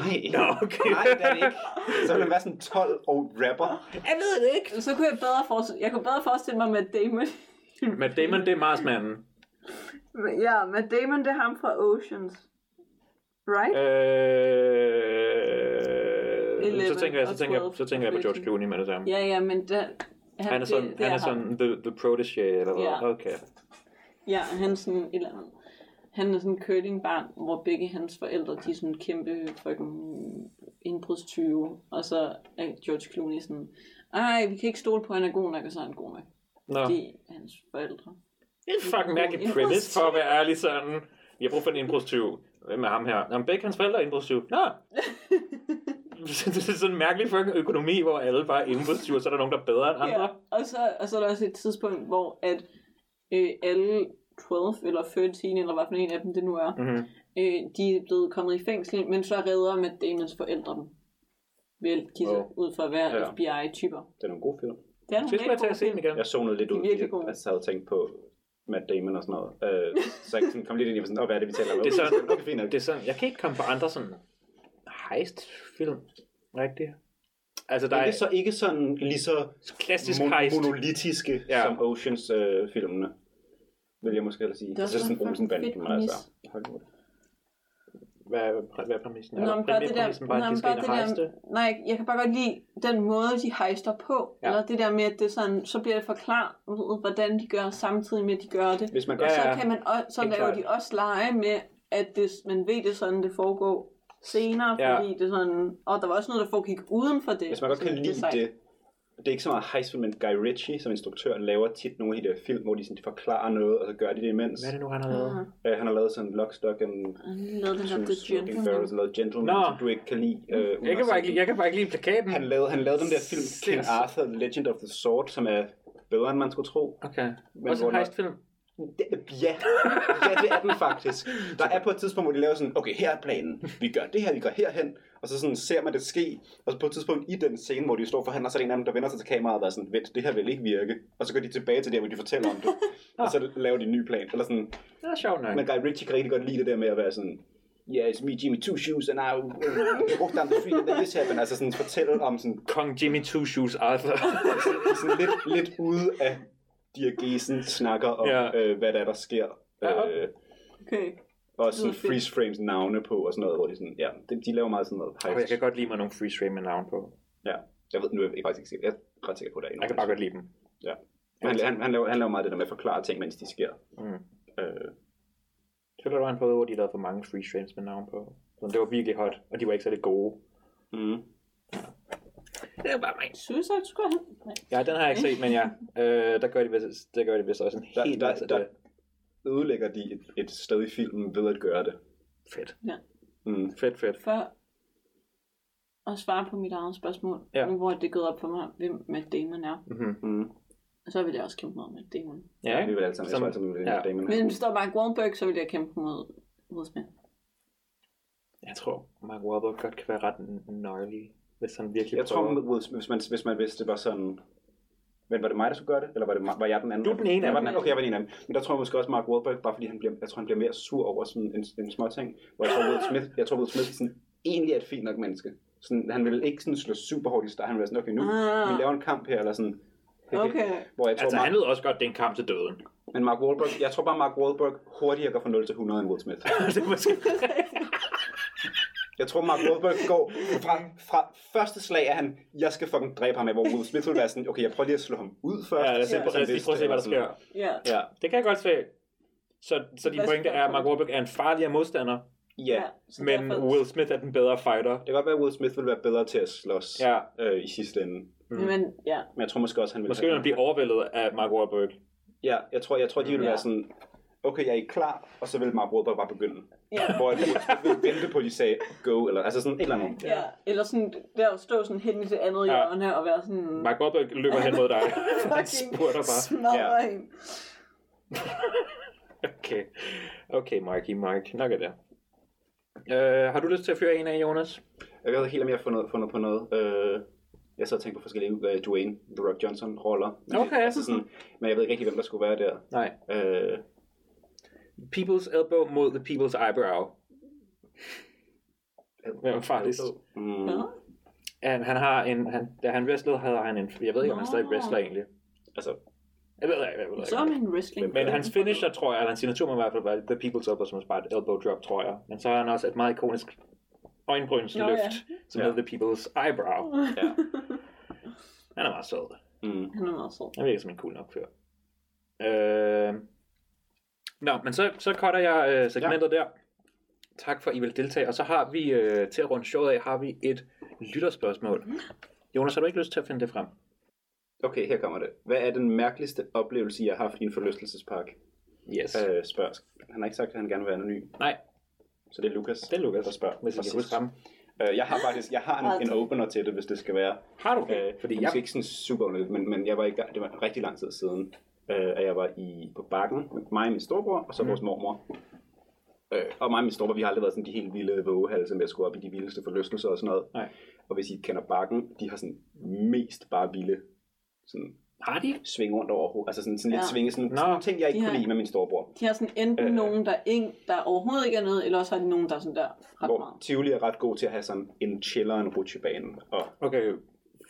C: Nej.
A: Nå, okay.
C: Nej, det er det ikke. Så vil han være sådan 12 og rapper.
A: Jeg ved det ikke.
B: Så kunne jeg bedre forestille, jeg kunne bedre forestille mig Matt Damon.
A: Matt Damon, det er Marsmanden.
B: ja, Matt Damon, det er ham fra Oceans. Right?
A: Øh, så
B: 11
A: tænker jeg, så
B: og
A: tænker jeg,
B: 12
A: så tænker jeg på George
B: og
A: Clooney med det samme.
B: Ja, ja, men der, han,
A: Han er sådan,
B: det, det
A: han er sådan the, the protege, eller hvad?
B: Ja.
A: Okay.
B: Ja, han er sådan et eller andet. Han er sådan en curlingbarn, hvor begge hans forældre, de er sådan kæmpe fucking indbrudstyve. Og så er George Clooney sådan, ej, vi kan ikke stole på, at han er god nok, og så er han god nok.
A: Nå,
B: Fordi hans forældre.
A: det er en fucking mærkelig
B: Indbrudstyv.
A: premise, for at være ærlig sådan. Jeg har brug for en indbrudstyv. Hvem er ham her? Jamen, begge hans forældre er indbrudstyv. Nå! det er sådan en mærkelig fucking økonomi, hvor alle bare er indbrudstyve, og så er der nogen, der er bedre end andre.
B: Ja, og så, og så er der også et tidspunkt, hvor at øh, alle 12 eller 13, eller hvad for en af dem det nu er,
A: Mhm.
B: Øh, de er blevet kommet i fængsel, men så redder Matt Damons forældre dem. Ved at give sig
A: Wow.
B: ud for at være
A: Ja.
B: ja. FBI-typer.
C: Det er nogle gode film.
B: Det er nogle
A: Fedt, at
B: rigtig
A: tage
B: gode
A: og se den
B: film.
A: igen.
C: Jeg zonede lidt
B: De er
C: ud,
B: virkelig
C: fordi
B: gode.
C: jeg altså, havde tænkt på Matt Damon og sådan noget. Øh, så jeg sådan kom lidt ind i sådan, åh, hvad er det, vi taler om?
A: Det er sådan-
C: okay, fint nok.
A: Det er sådan, jeg kan ikke komme på andre sådan heist-film, rigtigt? Altså, der
C: Men
A: er,
C: det er så ikke sådan lige så
A: klassisk
C: mon-
A: heist.
C: monolitiske
A: Ja.
C: ja. som Oceans-filmene. vil jeg måske hellere sige.
B: Det
C: Det
B: er
C: er
B: også
C: sådan
B: en
C: Olsenbanden,
B: fucking
C: men
B: fedt
C: altså. Hold nu.
A: Hvad er, præ- hvad er præmissen?
B: Nå, men bare det der,
A: præmissen bare,
B: nå,
A: at de
B: men
A: skal
B: bare
A: ind
B: det
A: og hejste?
B: der, nej, jeg kan bare godt lide den måde, de hejster på.
A: Ja.
B: Ja. Eller det der med, at det er sådan, så bliver det forklaret, hvordan de gør, samtidig med, at de gør det.
C: Hvis man
A: Ja,
C: godt
A: ja.
B: Så, kan man også, så
A: Helt
B: laver
A: klart.
B: de også lege med, at det, man ved det er sådan, det foregår senere,
A: Ja.
B: ja. fordi det er sådan, og der var også noget, der foregik uden for det.
C: Hvis man godt
B: Så
C: kan
B: er
C: lide
B: sejt.
C: det, det er ikke så meget heistfilm, men Guy Ritchie som instruktør laver tit nogle af de der film, hvor de, sådan, de forklarer noget, og så gør de det imens.
A: Hvad er det nu, han har lavet?
B: Ah,
C: Øh, han har lavet sådan Lock, Stock and
B: han lavede den der The
C: Two Smoking Barrels,
B: Gentleman.
C: og lavet Gentleman,
A: Nå.
C: som du ikke kan lide. Øh, uden
A: Jeg
C: at
A: kan,
C: se
A: bare ikke,
C: den.
A: jeg kan bare ikke lide plakaten.
C: Han lavede, han lavede den der film, King
A: Sindssygt.
C: Arthur, The Legend of the Sword, som er bedre, end man skulle tro.
A: Okay.
C: Men
A: Også en
C: hvor-
A: heistfilm.
C: Det- Ja, ja det er den faktisk. Der er på et tidspunkt, hvor de laver sådan, okay, her er planen. Vi gør det her, vi går herhen. Og så sådan ser man det ske. Og så på et tidspunkt i den scene, hvor de står forhandler, så er der en af dem, der vender sig til kameraet og er sådan, vent, det her vil ikke virke. Og så går de tilbage til der, hvor de fortæller om det. og så laver de en ny plan. Eller sådan.
A: Det er sjovt nok.
C: Men Guy Ritchie kan rigtig godt lide det der med at være sådan, yeah, it's me, Jimmy Two Shoes, and I walked down the street, and this happened. Altså sådan fortælle om sådan,
A: Kong Jimmy Two Shoes Arthur.
C: sådan lidt, lidt ude af Dirgesen snakker om,
A: Ja.
C: ja. øh, hvad der er, der sker.
A: Ja.
C: Øh,
B: Okay.
C: Og sådan
B: lyder fedt.
C: freeze frames navne på og sådan noget, hvor de sådan, ja, de, de laver meget sådan noget
A: Og jeg
C: heist.
A: kan godt lide mig nogle free stream med navn på.
C: Ja, jeg ved, nu er jeg faktisk ikke sikker, jeg er ret sikker på, at der er en
A: Jeg kan bare godt lide dem.
C: Ja. Men Han, han, han, laver, han laver meget det der med at forklare ting, mens de sker.
A: Mm.
C: Øh,
A: Jeg føler, der var en periode, hvor de lavede for mange free streams med navn på. Så det var virkelig hot, og de var ikke særlig gode. Mhm.
C: mm.
A: Det var bare mig.
B: Suicide Squad? Nej.
A: Ja, den har jeg ikke set, men ja. Øh, der gør de vist, der gør de vist også en
C: Der,
A: helt masse
C: der,
A: af det.
C: der ødelægger de et, et sted i filmen ved at gøre det.
A: Fedt.
C: Mm.
A: Fedt, fedt.
B: For at svare på mit eget spørgsmål,
A: Ja.
B: ja. nu hvor det er gået op for mig, hvem Matt Damon er,
A: Mm-hmm.
C: Mm.
B: så vil jeg også kæmpe mod Matt Damon.
A: Ja,
C: vi vil alle sammen, jeg
A: Som-
C: tror, alle sammen, vi vil
A: ja.
C: ja. Damon.
B: Men hvis der var Mark Wahlberg, så ville jeg kæmpe mod Will Smith.
A: jeg tror, Mark Wahlberg godt kan være ret gnarly, hvis han virkelig
C: Jeg tror,
A: prøver.
C: med Will Smith, hvis man, hvis man vidste, det var sådan... Men var det mig, der skulle gøre det? Eller var, det mig, var jeg den anden?
A: Du er den ene af
C: jeg var
A: dem.
C: den anden. Okay, jeg var den ene af dem. Men der tror jeg måske også Mark Wahlberg, bare fordi han bliver, jeg tror, han bliver mere sur over sådan en, en små ting. Hvor jeg tror, Will Smith, jeg tror, Will Smith sådan, egentlig er et fint nok menneske. Sådan, han vil ikke sådan slå super hårdt i start. Han vil være sådan, okay, nu
B: Ah.
C: vi laver en kamp her, eller sådan.
B: Okay.
C: Hvor jeg tror,
A: altså,
C: Mark,
A: han ved også godt, det er en kamp til døden.
C: men Mark Wahlberg, jeg tror bare, Mark Wahlberg hurtigere går fra 0 til 100 end Will Smith.
A: det er måske...
C: Jeg tror, Mark Wahlberg går fra, fra første slag, at han, jeg skal fucking dræbe ham, af, hvor Will Smith vil være sådan, okay, jeg prøver lige at slå ham ud først.
A: Ja, lad os, se,
B: Ja.
A: lad os lige prøve at se, hvad der sker.
B: Ja.
C: Ja,
A: Det kan jeg godt se. Så, så din
B: Hvad
A: pointe
B: skal
A: er, at
B: jeg
A: Mark Wahlberg er en farligere modstander,
C: ja.
B: så
A: men
B: derfor-
A: Will Smith er den bedre fighter.
C: Det kan godt være, at Will Smith ville være bedre til at slås
A: Ja.
C: øh, i sidste ende.
A: Mm.
B: Men ja,
C: Men jeg tror måske også, han ville
A: Måske vil han blive overvældet af Mark Wahlberg.
C: Ja, jeg tror, jeg tror de ville
B: Ja.
C: være sådan, okay, jeg er ikke klar, og så vil Mark Wahlberg bare begynde.
B: Ja.
C: Hvor at Will Smith ville vente på, at de sagde go, eller altså sådan et eller andet.
B: ja. Eller sådan, der at stå sådan hen i det andet
A: Ja.
B: hjørne og være sådan...
A: Mark Wahlberg løber hen mod dig. han spurter bare.
B: smadrer
C: Ja.
B: hende.
A: Okay. Okay, Marky Mark. Nok af det. Uh, har du lyst til at fyre en af, Jonas?
C: Jeg ved helt, om jeg har fundet, fundet på noget. Øh, jeg sad og tænkte på forskellige øh, Dwayne The Rock Johnson-roller. Men-
A: Okay.
C: Altså sådan, men jeg ved ikke rigtig, hvem der skulle være der.
A: Nej.
C: Øh,
A: People's elbow mod the people's eyebrow. Hvem er farligst?
C: mm,
B: Nå,
A: Han, han har en, han, da han wrestlede, havde han en, jeg ved ikke, om han
B: Nå.
A: stadig wrestler egentlig.
C: altså,
A: Jeg ved, jeg, jeg ved,
B: Så er
A: ikke.
B: man wrestling.
A: Men hans finisher, tror jeg, eller hans signatur må i hvert fald være The People's Elbow, som er bare et elbow drop, tror jeg. Men så har han også et meget ikonisk
B: Nå,
A: øjenbrynsløft,
B: ja.
A: ja. som
C: Ja.
A: hedder The People's Eyebrow.
C: ja.
A: Han er meget sød.
C: Mm.
B: Han er meget sød.
A: Han virker som en cool nok fyr. Øh... Nå, men så, så cutter jeg øh, segmentet ja. der. Tak for, at I vil deltage. Og så har vi, øh, til at runde showet af, har vi et lytterspørgsmål. Jonas, har du ikke lyst til at finde det frem?
C: Okay, her kommer det. Hvad er den mærkeligste oplevelse, I har haft i en forlystelsespark?
A: Yes. Øh,
C: Øh, spørg. Han har ikke sagt, at han gerne vil være anonym.
A: Nej,
C: Så det er Lukas,
A: det er Lukas,
C: der spørger.
A: hvis jeg
C: Præcis.
A: kan huske ham.
C: Øh, jeg har faktisk jeg har en, en opener til det, hvis det skal være.
A: Har du?
C: Øh,
A: Fordi
C: Fordi
A: jeg...
C: jeg... ikke sådan super underligt, men, men jeg var i gang, det var rigtig lang tid siden, øh, at jeg var i, på bakken med mig og min storebror, og så
A: Mm.
C: vores mormor. Øh, og mig og min stopper, vi har aldrig været sådan de helt vilde vågehalse med at skulle op i de vildeste forlystelser og sådan noget.
A: Nej.
C: Og hvis I kender bakken, de har sådan mest bare vilde sådan
A: Har de?
C: svinge rundt over hovedet. Altså sådan, sådan lidt
B: Ja.
C: svinge, sådan
A: Nå.
C: ting, jeg ikke
B: De
C: kunne
B: har-
C: lide med min storebror.
B: De har sådan enten øh.
A: Øh.
B: nogen, der, ikke, der overhovedet ikke er noget, eller også har de nogen, der er sådan der ret Hvor?
C: Hvor
B: meget.
C: Tivoli er ret god til at have sådan en chiller, en rutsjebane og,
A: Okay,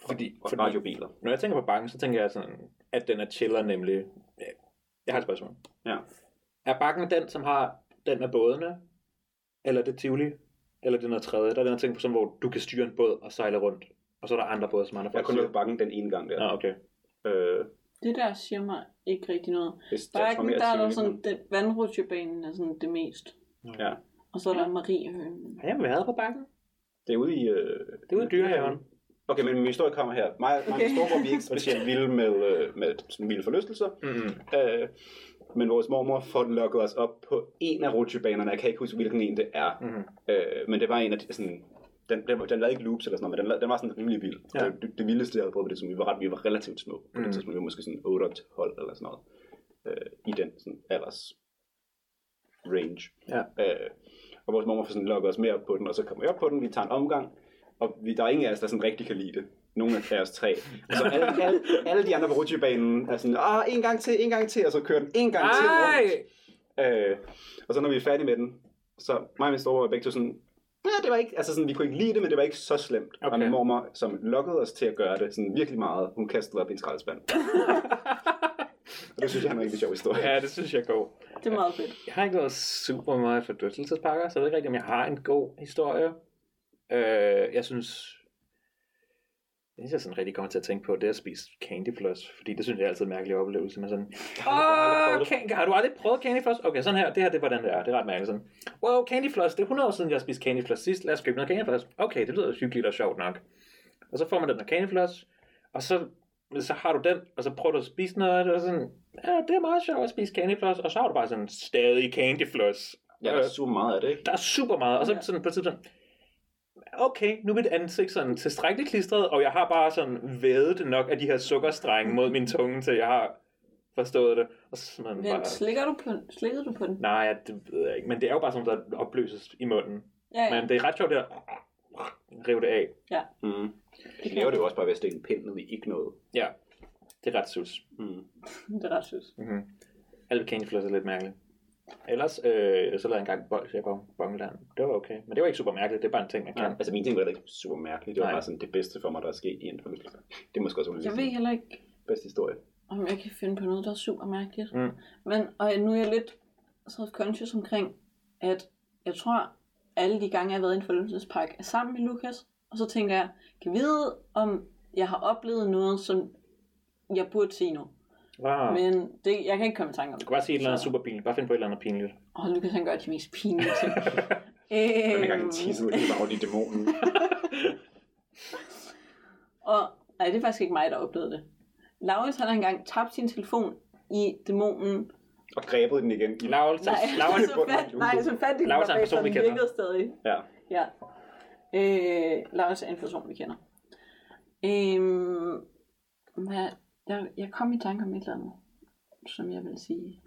A: fordi,
C: og
A: fordi
C: radiobiler.
A: når jeg tænker på bakken, så tænker jeg sådan, at den er chiller nemlig. Jeg har et spørgsmål.
C: Ja.
A: Er bakken den, som har den med bådene? Eller er det Tivoli? Eller er det noget tredje? Der er den her ting, som, hvor du kan styre en båd og sejle rundt. Og så er der andre både, som andre
C: Jeg har
A: folk
C: kun været på
A: styrer.
C: bakken den ene gang der.
A: Ja, okay.
C: Øh,
B: Det der siger mig ikke rigtig noget.
C: hvis jeg tror
B: Bakken,
C: mere
B: der er der
C: Tivoli,
B: sådan, den, vandrutsjebanen er sådan det mest.
C: Ja.
B: Og så er der Mariehønen.
A: Har jeg været på bakken?
C: Det er ude i... Øh,
A: Det er ude i dyrehaven.
C: Okay, men min historie kommer her. Mig, okay. mig og
B: Okay.
C: min storebror, vi er ikke specielt vilde med, øh, med sådan vilde forlystelser.
A: Mm.
C: Øh, men vores mormor får den lukket os op på en af rutsjebanerne. Jeg kan ikke huske, hvilken en det er.
A: Mm.
C: Øh, men det var en af de, sådan... Den, den, den lavede ikke loops eller sådan noget, men den, lavede- den var sådan rimelig vild.
A: Ja.
C: Ja. Det, det, vildeste, jeg havde prøvet på det, som vi var ret, vi var relativt små på mm.
A: Mm.
C: det tidspunkt. Vi var måske sådan 8 hold eller sådan noget. Øh, I den sådan, alders range.
A: Ja.
C: Øh, og vores mormor får sådan lukket os mere op på den, og så kommer jeg op på den, vi tager en omgang, og vi, der er ingen af os, der sådan rigtig kan lide det. Nogle af os tre. Og så alle, alle, alle de andre på rutsjebanen er sådan, ah, en gang til, en gang til, og så kører den en gang til rundt.
A: Ej!
C: Øh, og så når vi er færdige med den, så mig og min storebror er begge to sådan, nej, det var ikke, altså sådan, vi kunne ikke lide det, men det var ikke så slemt. Okay.
A: Okay.
C: Og min mormor, som lokkede os til at gøre det sådan virkelig meget, hun kastede op i en skraldespand. og det synes jeg er en rigtig sjov historie.
A: Ja, det synes jeg er god.
B: Det er meget fedt.
A: Jeg har ikke været super meget for dødselsespakker, så jeg ved ikke rigtig, om jeg har en god historie. Øh, jeg synes... Det synes jeg sådan rigtig kommer til at tænke på, det er at spise candy floss, fordi det synes jeg er altid en mærkelig oplevelse med sådan, Åh, can- har du aldrig prøvet candy floss? Okay, sådan her, det her, det er hvordan det er, det er ret mærkeligt sådan, wow, candy floss, det er 100 år siden, jeg spiste candy floss sidst, lad os købe noget candy floss. Okay, det lyder hyggeligt og sjovt nok. Og så får man den her candy floss, og så, så har du den, og så prøver du at spise noget af det, og sådan, ja, det er meget sjovt at spise candy floss, og så har du bare sådan stadig candy floss.
C: Jeg er super meget af det, ikke?
A: Der er super meget, og så
B: Ja.
A: sådan på et tidspunkt, okay, nu er mit ansigt sådan tilstrækkeligt klistret, og jeg har bare sådan vædet det nok af de her sukkerstrenge mod min tunge, til jeg har forstået det. Og så sådan man
B: Men
A: bare,
B: slikker du på, slikkede du på den?
A: nej, ja, det ved jeg ikke, men det er jo bare sådan, noget, der opløses i munden.
B: Ja,
A: Men det er ret sjovt, det der, rive det af.
C: Mm. De
B: kan
C: laver
B: jeg.
C: det jo også bare ved at stikke en pind ned i ikke noget.
A: Ja, det er ret sus.
C: Mm.
B: Det er ret sødt.
A: Mm-hmm. Alle candyfloss er lidt mærkeligt. Ellers, øh, så lavede jeg engang bold, jeg på Bongeland. Det var okay, men det var ikke super mærkeligt, det er bare en ting, man kan.
C: Ja. Altså min ting var heller ikke super mærkeligt. Det var
A: Nej.
C: bare sådan det bedste for mig, der er sket i en forlystelse. Det er måske også
B: Jeg
C: en
B: ved heller ikke,
C: bedste historie.
B: om jeg kan finde på noget, der er super mærkeligt.
A: Mm.
B: Men, og nu er jeg lidt self-conscious omkring, at jeg tror, alle de gange, jeg har været i en forlystelsespark, er sammen med Lukas. Og så tænker jeg, kan jeg vide, om jeg har oplevet noget, som jeg burde sige nu.
A: Wow. Men...
B: Men det, jeg kan ikke komme i tanke
A: Du
B: om det.
A: kan bare sige et eller andet super pinligt. Bare find på et eller andet pinligt.
B: Og Lukas han gør de mest pinlige ting.
C: Den gang
B: Øhm,
C: jeg tissede lige bare i dæmonen.
B: Og nej, det er faktisk ikke mig, der oplevede det. Laurits han har engang tabt sin telefon i dæmonen.
C: Og grebet den igen.
A: Laurits,
B: Nej,
A: Laurits,
B: så fandt, nej, så fandt de den
A: Laurits er en
B: opad,
A: person,
B: så den
A: vi kender.
B: virkede stadig.
C: Ja.
B: Ja. Øh, Laurits er en person, vi kender. Øhm, hvad, jeg, jeg kom i tanke om et eller andet, som jeg vil sige,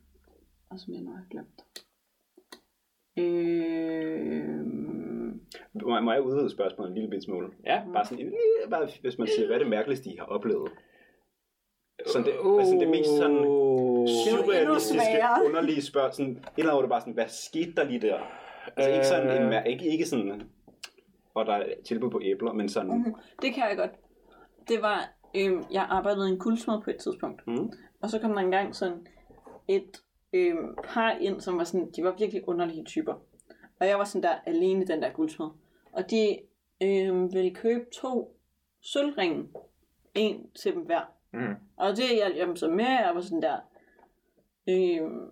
B: og som jeg nu har glemt. Øh,
C: Må, må jeg udvide spørgsmålet en lille bit smule?
A: Ja.
C: Bare sådan, en lille- bare hvis man siger, hvad er det mærkeligste, I har oplevet? Sådan det,
A: Åh.
C: oh. sådan det mest sådan surrealistiske,
B: sværere.
C: underlige spørgsmål. Sådan, et eller andet, hvor det bare sådan, hvad skete der lige der? Altså ikke sådan, en, mær- ikke, ikke sådan, hvor der er tilbud på æbler, men sådan,
B: Mhm. Det kan jeg godt. Det var, øhm, jeg arbejdede i en kuldsmed på et tidspunkt.
C: Mhm.
B: Og så kom der engang sådan et øhm, par ind, som var sådan, de var virkelig underlige typer. Og jeg var sådan der alene i den der guldsmed. Og de øhm, ville købe to sølvringe. En til dem hver.
A: Mm.
B: Og det hjalp jeg dem så med, jeg var sådan der, øhm,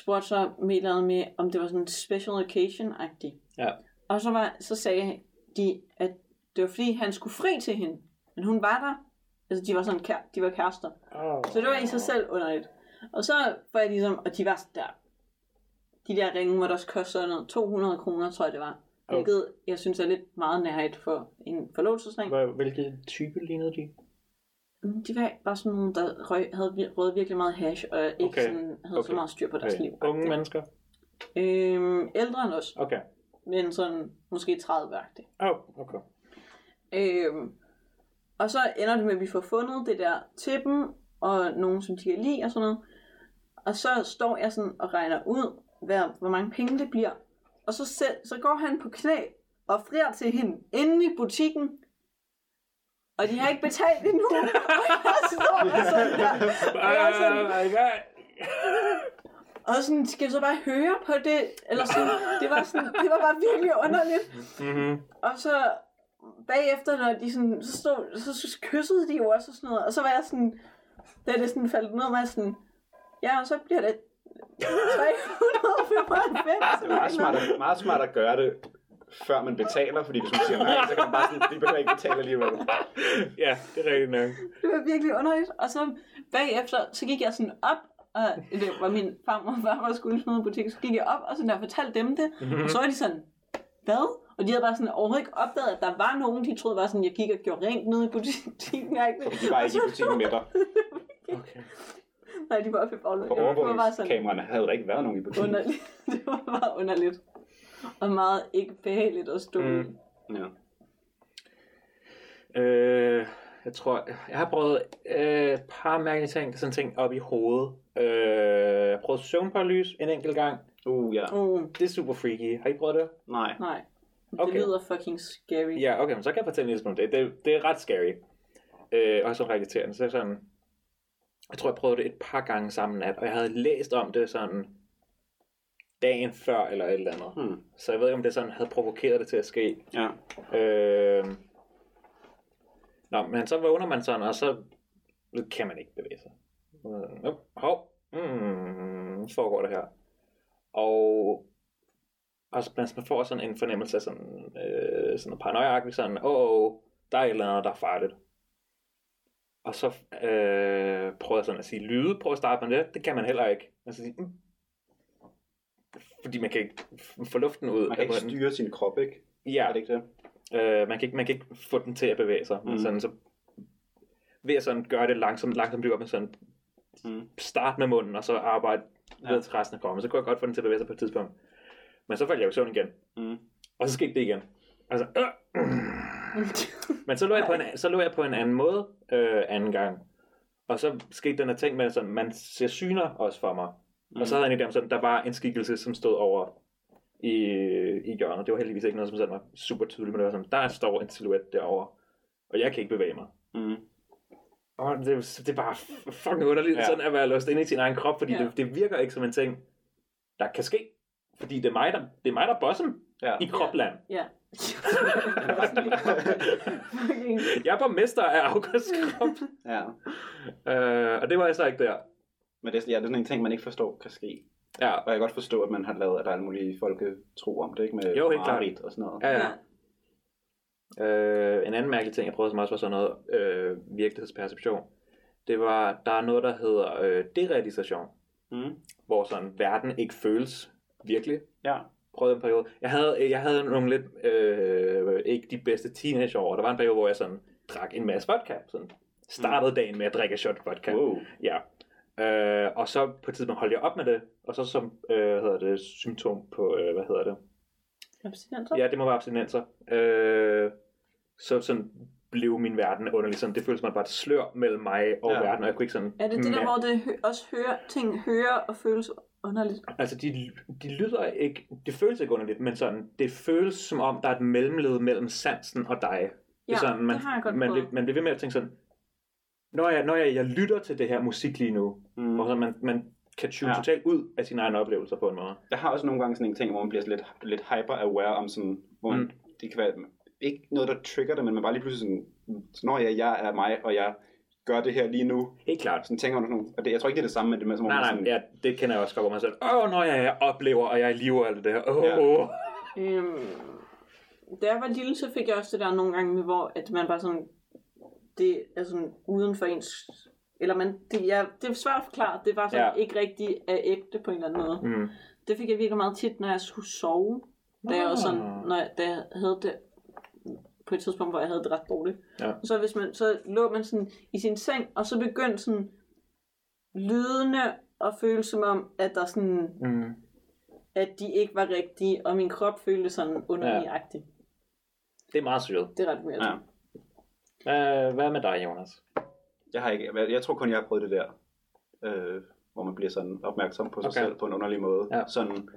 B: spurgte så med et eller andet med, om det var sådan special occasion-agtigt.
A: Ja.
B: Og så, var, så sagde de, at det var fordi, han skulle fri til hende. Men hun var der. Altså, de var sådan kær, de var kærester.
A: Oh.
B: Så det var i sig selv underligt. Og så var jeg ligesom, og de var sådan der. De der ringe måtte også koste sådan noget 200 kroner, tror jeg det var.
A: Okay.
B: Hvilket jeg synes er lidt meget nærhed for en forlovelsesring.
A: Hvilke type lignede de?
B: Mm, De var bare sådan nogle, der røg, havde vir- røget virkelig meget hash, og ikke
A: Okay.
B: sådan, havde okay. så
A: Okay.
B: meget styr på deres liv.
A: Øh, Unge mennesker.
B: Øhm, ældre end os,
A: Okay.
B: men sådan måske 30-agtig.
A: Oh, okay.
B: Øhm, og så ender det med, at vi får fundet det der til dem, og nogen, som de kan lide og sådan noget. Og så står jeg sådan og regner ud, hvad, hvor mange penge det bliver. Og så, selv, så går han på knæ og frier til hende inde i butikken. Og de har ikke betalt endnu. Og jeg står der sådan der. Og jeg er sådan,
A: Ah, my god.
B: og sådan, skal vi så bare høre på det? Eller sådan, det var, sådan, det var bare virkelig underligt.
A: Mm-hmm.
B: Og så bagefter, når de sådan, så, stod, så, så kyssede de jo også og sådan noget. Og så var jeg sådan, da det sådan faldt ned, var jeg sådan, ja, og så bliver det 395.
C: Det er meget smart, at, meget smart at gøre det, før man betaler, fordi hvis man siger nej, så kan man bare sådan, vi behøver ikke betale alligevel.
A: Ja, det er rigtigt nok.
B: Det var virkelig underligt. Og så bagefter, så gik jeg sådan op, og det var min farmor og farmor, der skulle smide butik, så gik jeg op og sådan der fortalte dem det.
A: Mhm.
B: Og så var de sådan, hvad? Og de havde bare sådan overhovedet ikke opdaget, at der var nogen, de troede var sådan, jeg gik og gjorde rent nede i butikken.
C: Fordi de var ikke i butikken med dig.
A: Okay.
B: Nej, de var oppe i bagloven.
C: På
B: Det var bare sådan
C: overvågningskameraerne havde der ikke været nogen i butikken.
B: underligt. Det var bare underligt. Og meget ikke behageligt at stå mm.
A: Mm.
C: Ja.
A: Øh, jeg tror, jeg har prøvet øh, et par mærkelige ting, sådan ting op i hovedet. Øh, jeg har prøvet søvnparalys en enkelt gang.
C: Uh, ja.
B: Uh,
A: Det er super freaky. Har I prøvet det?
C: Nej.
B: nej. Det
A: Okay.
B: lyder fucking scary.
A: Ja, okay, men så kan jeg fortælle en lille smule om det. Det, det er ret scary. Øh, og sådan ret irriterende. Så sådan, jeg tror, jeg prøvede det et par gange sammen nat, og jeg havde læst om det sådan dagen før eller et eller andet.
C: Hmm.
A: Så jeg ved ikke, om det sådan havde provokeret det til at ske.
C: Ja.
A: Øh... Nå, men så vågner man sådan, og så kan man ikke bevæge sig. Øh, Nå, hov, mm, så foregår det her. Og og så man man får sådan en fornemmelse af sådan, øh, sådan paranoiagtigt, sådan, åh, oh, oh, der er et eller andet, der er farligt. Og så øh, prøver jeg sådan at sige lyde, prøver at starte med det, det kan man heller ikke. Altså, sige, mm. Fordi man kan ikke få luften ud.
C: Man kan
A: af
C: ikke
A: munden.
C: styre sin krop, ikke?
A: Ja,
C: Er det ikke det?
A: Øh, man, kan ikke, man kan ikke få den til at bevæge sig. Men
C: Mhm.
A: sådan, så ved at sådan gøre det langsomt, langsomt bygge op med sådan,
C: Mm.
A: start med munden, og så arbejde
C: Ja.
A: ja. ved til resten af kroppen. Så kunne jeg godt få den til at bevæge sig på et tidspunkt. Men så faldt jeg jo i søvn igen.
C: Mm.
A: Og så skete det igen. Altså, øh, men så lå, jeg på en, så lå jeg på en anden måde øh, anden gang. Og så skete den her ting med, at sådan, man ser syner også for mig. Mm. Og så havde jeg en idé om sådan, der var en skikkelse, som stod over i, i hjørnet. Det var heldigvis ikke noget, som sådan var super tydeligt, men det var sådan, der står en silhuet derovre, og jeg kan ikke bevæge mig.
C: Mm.
A: Og det, det er bare fucking underligt,
C: Ja.
A: ja. sådan at være låst inde i sin egen krop, fordi
B: Ja.
A: ja. det, det, virker ikke som en ting, der kan ske. Fordi det er mig, der, det er mig, der er bossen
C: Ja.
A: i kropland.
B: Ja. Det var sådan lidt fucking-
A: Jeg er borgmester af Augusts krop.
C: ja.
A: øh, og det var jeg så ikke der.
C: Men det, er- ja, det er sådan en ting, man ikke forstår kan ske.
A: Ja,
C: Og jeg kan godt forstå, at man har lavet, at der er alle mulige folketro om det, ikke? Med
A: Jo, helt klart.
C: mareridt og sådan noget.
A: ja, ja. Øh, en anden mærkelig ting, jeg prøvede, som også var sådan noget øh, virkelighedsperception, det var, der er noget, der hedder øh, derealisation,
C: Mm.
A: hvor sådan verden ikke føles virkelig.
C: Ja.
A: Prøvede en periode. Jeg havde, jeg havde nogle lidt, øh, ikke de bedste teenageår. Der var en periode, hvor jeg sådan drak en masse vodka. Sådan startede dagen med at drikke et shot vodka.
C: Wow.
A: Ja. Øh, og så på et tidspunkt holdt jeg op med det, og så som, øh, hvad hedder det, symptom på, øh, hvad hedder det,
B: Abstinenser?
A: Ja, det må være abstinenser. Øh, så sådan blev min verden underlig. Sådan, det føltes som at der var et slør mellem mig og
C: Ja.
A: ja. verden, og jeg kunne ikke sådan...
B: Er det det der,
A: mær-
B: hvor det hø- også hører, ting hører og føles underligt?
A: Altså, de, de lyder ikke... Det føles ikke underligt, men sådan, det føles som om, der er et mellemled mellem sansen og dig.
B: Ja,
A: det, er sådan, man,
B: det har jeg godt
A: man,
B: prøvet.
A: bliver- man bliver ved med at tænke sådan, når jeg, når jeg, jeg lytter til det her musik lige nu,
C: Mm.
A: hvor sådan, man, man kan tune
C: Ja.
A: ja. totalt ud af sine egne oplevelser på en måde.
C: Jeg har også nogle gange sådan en ting, hvor man bliver sådan lidt, lidt hyper-aware om sådan, hvor man, mm. det kan være ikke noget, der trigger det, men man bare lige pludselig sådan, når jeg, jeg er mig, og jeg gør det her lige nu,
A: Helt klart.
C: sådan tænker man sådan, nogle- og det, jeg tror ikke, det er det samme, men det er mere som om, man
A: Nej,
C: sådan,
A: nej, ja, det kender jeg også godt, hvor man sådan, åh, når jeg, jeg oplever, og jeg er i live og alt det her, åh,
C: Ja.
A: ja. åh.
B: Øhm, da jeg var lille, så fik jeg også det der nogle gange med, hvor at man bare sådan, det er sådan uden for ens, eller man, det, ja, det er svært at forklare, det var sådan
A: Ja.
B: ja. ikke rigtig af ægte på en eller anden måde.
A: Mm.
B: Det fik jeg virkelig meget tit, når jeg skulle sove, da jeg, også sådan,
A: Ah.
B: når jeg, da jeg havde det på et tidspunkt, hvor jeg havde det ret dårligt.
A: Ja.
B: Og så, hvis man, så lå man sådan i sin seng, og så begyndte sådan lydene at føles som om, at der sådan
A: Mm.
B: at de ikke var rigtige, og min krop følte sådan underligagtig. Ja.
A: Det er meget syret.
B: Det er ret weird.
C: Ja.
B: Ja.
A: Hvad, hvad med dig, Jonas?
C: Jeg, har ikke, jeg tror kun, jeg har prøvet det der, øh, hvor man bliver sådan opmærksom på sig
A: Okay.
C: okay. selv på en underlig måde.
A: Ja.
C: Sådan,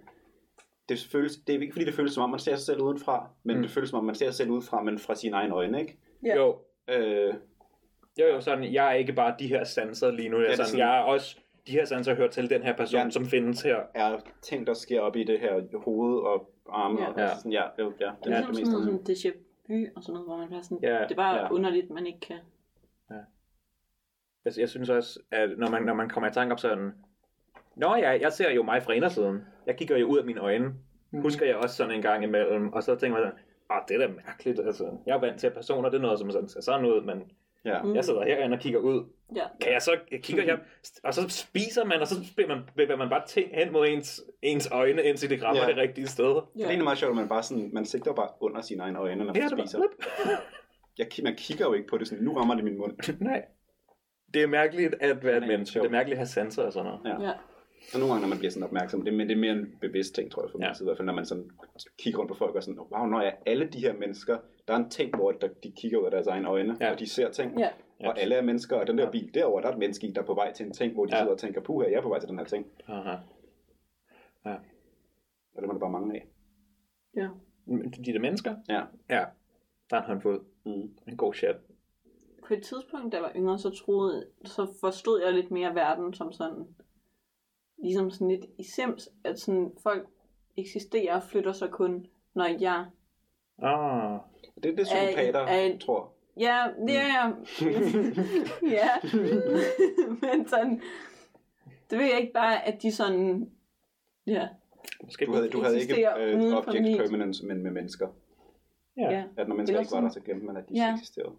C: det, føles, det er ikke fordi, det føles som om, man ser sig selv udenfra, men
A: Mm.
C: mm. det føles som om, man ser sig selv udenfra, men fra sine egne øjne, ikke?
B: Ja.
A: Jo,
C: Øh,
A: jo, jo, sådan, jeg er ikke bare de her sanser lige nu. Jeg er,
C: det er
A: sådan,
C: sådan-
A: jeg er også de her sanser hører til den her person, ja.
C: Ja.
A: som findes her.
C: er ting, der sker op i det her hoved og arme.
B: Ja.
C: Og
A: Ja.
C: Sådan, ja, jo,
B: Det
C: ja,
B: er ligesom
C: det
B: sådan noget
C: meste.
B: som déjà vu og sådan noget, hvor man bare sådan,
A: Ja,
B: det er bare
C: ja.
B: underligt, man ikke kan.
A: Altså, Jeg, jeg synes også, at når man, når man kommer i tanke om sådan, Nå ja, jeg ser jo mig fra indersiden. Jeg kigger jo ud af mine øjne. Husker jeg også sådan en gang imellem. Og så tænker man sådan, ah, det er da mærkeligt. Altså, jeg er vant til, at personer, det er noget, som sådan, ser sådan ud, men
C: Ja.
B: Mm.
A: jeg sidder herinde og kigger ud.
B: Ja.
A: Kan jeg så, jeg kigger her, og så spiser man, og så bliver man, bevæger man bare ting hen mod ens, ens øjne, indtil det rammer ja.
C: Ja.
A: det rigtige sted.
C: Det er egentlig meget sjovt, at man bare sådan, man sigter bare under sine egne øjne, når man
A: Ja, det
C: spiser.
A: var,
C: Jeg, ki- man kigger jo ikke på det sådan, nu rammer det min mund.
A: Nej. Det er mærkeligt at være et
C: Nej,
A: menneske.
C: sjovt.
A: Det er mærkeligt at have sanser og sådan noget.
C: Ja.
B: ja.
C: Og nogle gange, når man bliver sådan opmærksom, det, men det er mere en bevidst ting, tror jeg, for min
A: Ja.
C: ja. side, i hvert fald, når man sådan kigger rundt på folk og sådan, wow, når jeg alle de her mennesker, der er en ting, hvor der, de kigger ud af deres egne øjne,
A: Ja.
C: ja. og de ser ting,
B: Ja.
A: Ja.
C: og alle er mennesker, og den der
A: Ja.
C: bil derover der er et menneske i, der er på vej til en ting, hvor de
A: Ja.
C: ja. sidder og tænker, puha, jeg er på vej til den her ting,
A: Aha. Ja.
C: og det er man bare mange af.
B: ja.
A: Men De der mennesker?
C: Ja.
A: Ja. Der er en håndfuld.
C: Mm.
A: En god chat.
B: På et tidspunkt, da jeg var yngre, så troede, så forstod jeg lidt mere verden som sådan, ligesom sådan lidt i sims, at sådan folk eksisterer og flytter sig kun, når jeg...
A: Ah.
C: Det er det, psykopater
B: er-
C: tror.
B: Ja, det er jeg. ja. Men sådan, det ved jeg ikke bare, at de sådan... Ja,
A: Måske
C: Du havde, du havde ikke
B: Eksisterer uden
C: øh,
B: for
C: object
B: mit.
C: permanence, men med mennesker.
A: Ja.
B: ja.
C: At når mennesker
B: Eller
C: ikke var
B: sådan-
C: der, så glemte man, at de
B: Ja.
C: ja. eksisterede.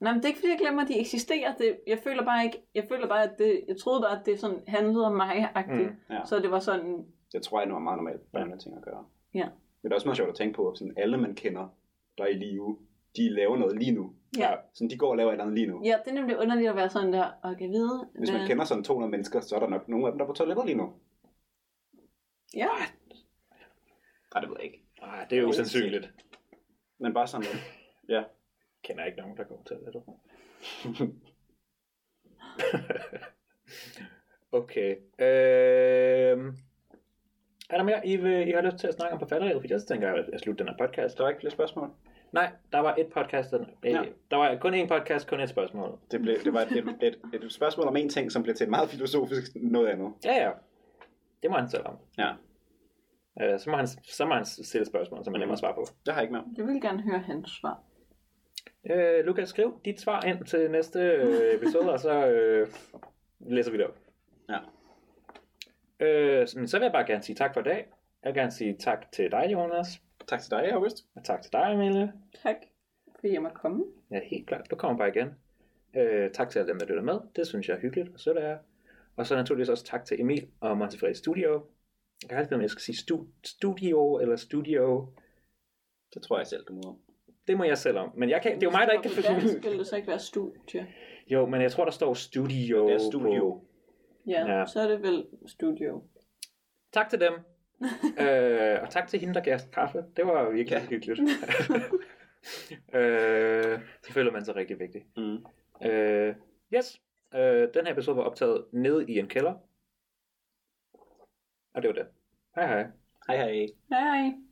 B: Nej, men det er ikke fordi, jeg glemmer, at de eksisterer. Det, jeg føler bare ikke, jeg føler bare, at det, jeg troede bare, at det sådan handlede om mig agtigt.
A: Mm,
B: Mm,
C: ja.
B: ja. Så det var sådan,
C: Jeg tror, jeg nu er meget normalt, hvad
A: Ja.
C: man har ting at gøre.
B: Ja.
C: Men det er også meget sjovt at tænke på, at sådan alle man kender, der er i live, de laver noget lige nu.
B: ja.
C: Sådan, de går og laver et eller andet lige nu.
B: Ja, det er nemlig underligt at være sådan der, og kan vide,
C: Hvis man kender sådan 200 mennesker, så er der nok nogle af dem, der er på toilettet lige nu.
B: Ja,
C: Nej, det ved jeg ikke.
A: Ah, det er usandsynligt.
C: Men bare sådan noget. Ja.
A: Kender ikke nogen, der går til det. okay. Øhm. Er der mere, I, vil, I har lyst til at snakke om på falderevet? For jeg tænker, at jeg slutter den her podcast.
C: Der er ikke flere spørgsmål.
A: Nej, der var et podcast. Den, øh,
C: Ja.
A: Der var kun én podcast, kun et spørgsmål.
C: Det, blev, det var et, et, et, et spørgsmål om en ting, som blev til et meget filosofisk noget andet.
A: Ja, ja. Det må han selv om.
C: Ja.
A: Øh, så, må han, så må han stille spørgsmål, som er nemmere at svare på.
C: Jeg har ikke mere.
B: jeg vil gerne høre hans svar.
A: Øh, Lukas, skriv dit svar ind til næste øh, episode, og så øh, læser vi det op.
C: Ja.
A: Øh, så, men så vil jeg bare gerne sige tak for i dag. Jeg vil gerne sige tak til dig, Jonas.
C: Tak til dig, August.
A: Og tak til dig, Emilie.
B: Tak, fordi jeg måtte komme.
A: Ja, helt klart. Du kommer bare igen. Øh, tak til alle dem, der lytter med. Det synes jeg er hyggeligt, og så det er. Og så naturligvis også tak til Emil og Montefred Studio. Jeg kan aldrig finde, ud af, om jeg skal sige stu- studio eller studio.
C: Det tror jeg selv, du må.
A: Det må jeg selv om. Men jeg kan, det er jo mig, der ikke kan
B: finde
A: finde
B: dansk, ville det så ikke være studie.
A: Jo, men jeg tror, der står studio.
C: Det er studio.
A: På.
B: Ja,
A: Ja.
B: ja, så er det vel studio.
A: Tak til dem. øh, og tak til hende, der gav os kaffe. Det var virkelig ja.
C: Ja.
A: hyggeligt. øh, så føler man sig rigtig vigtig.
C: Mm.
A: Øh, yes. Øh, den her episode var optaget nede i en kælder. Og det var det. Hej hej.
C: Hej hej.
B: Hej.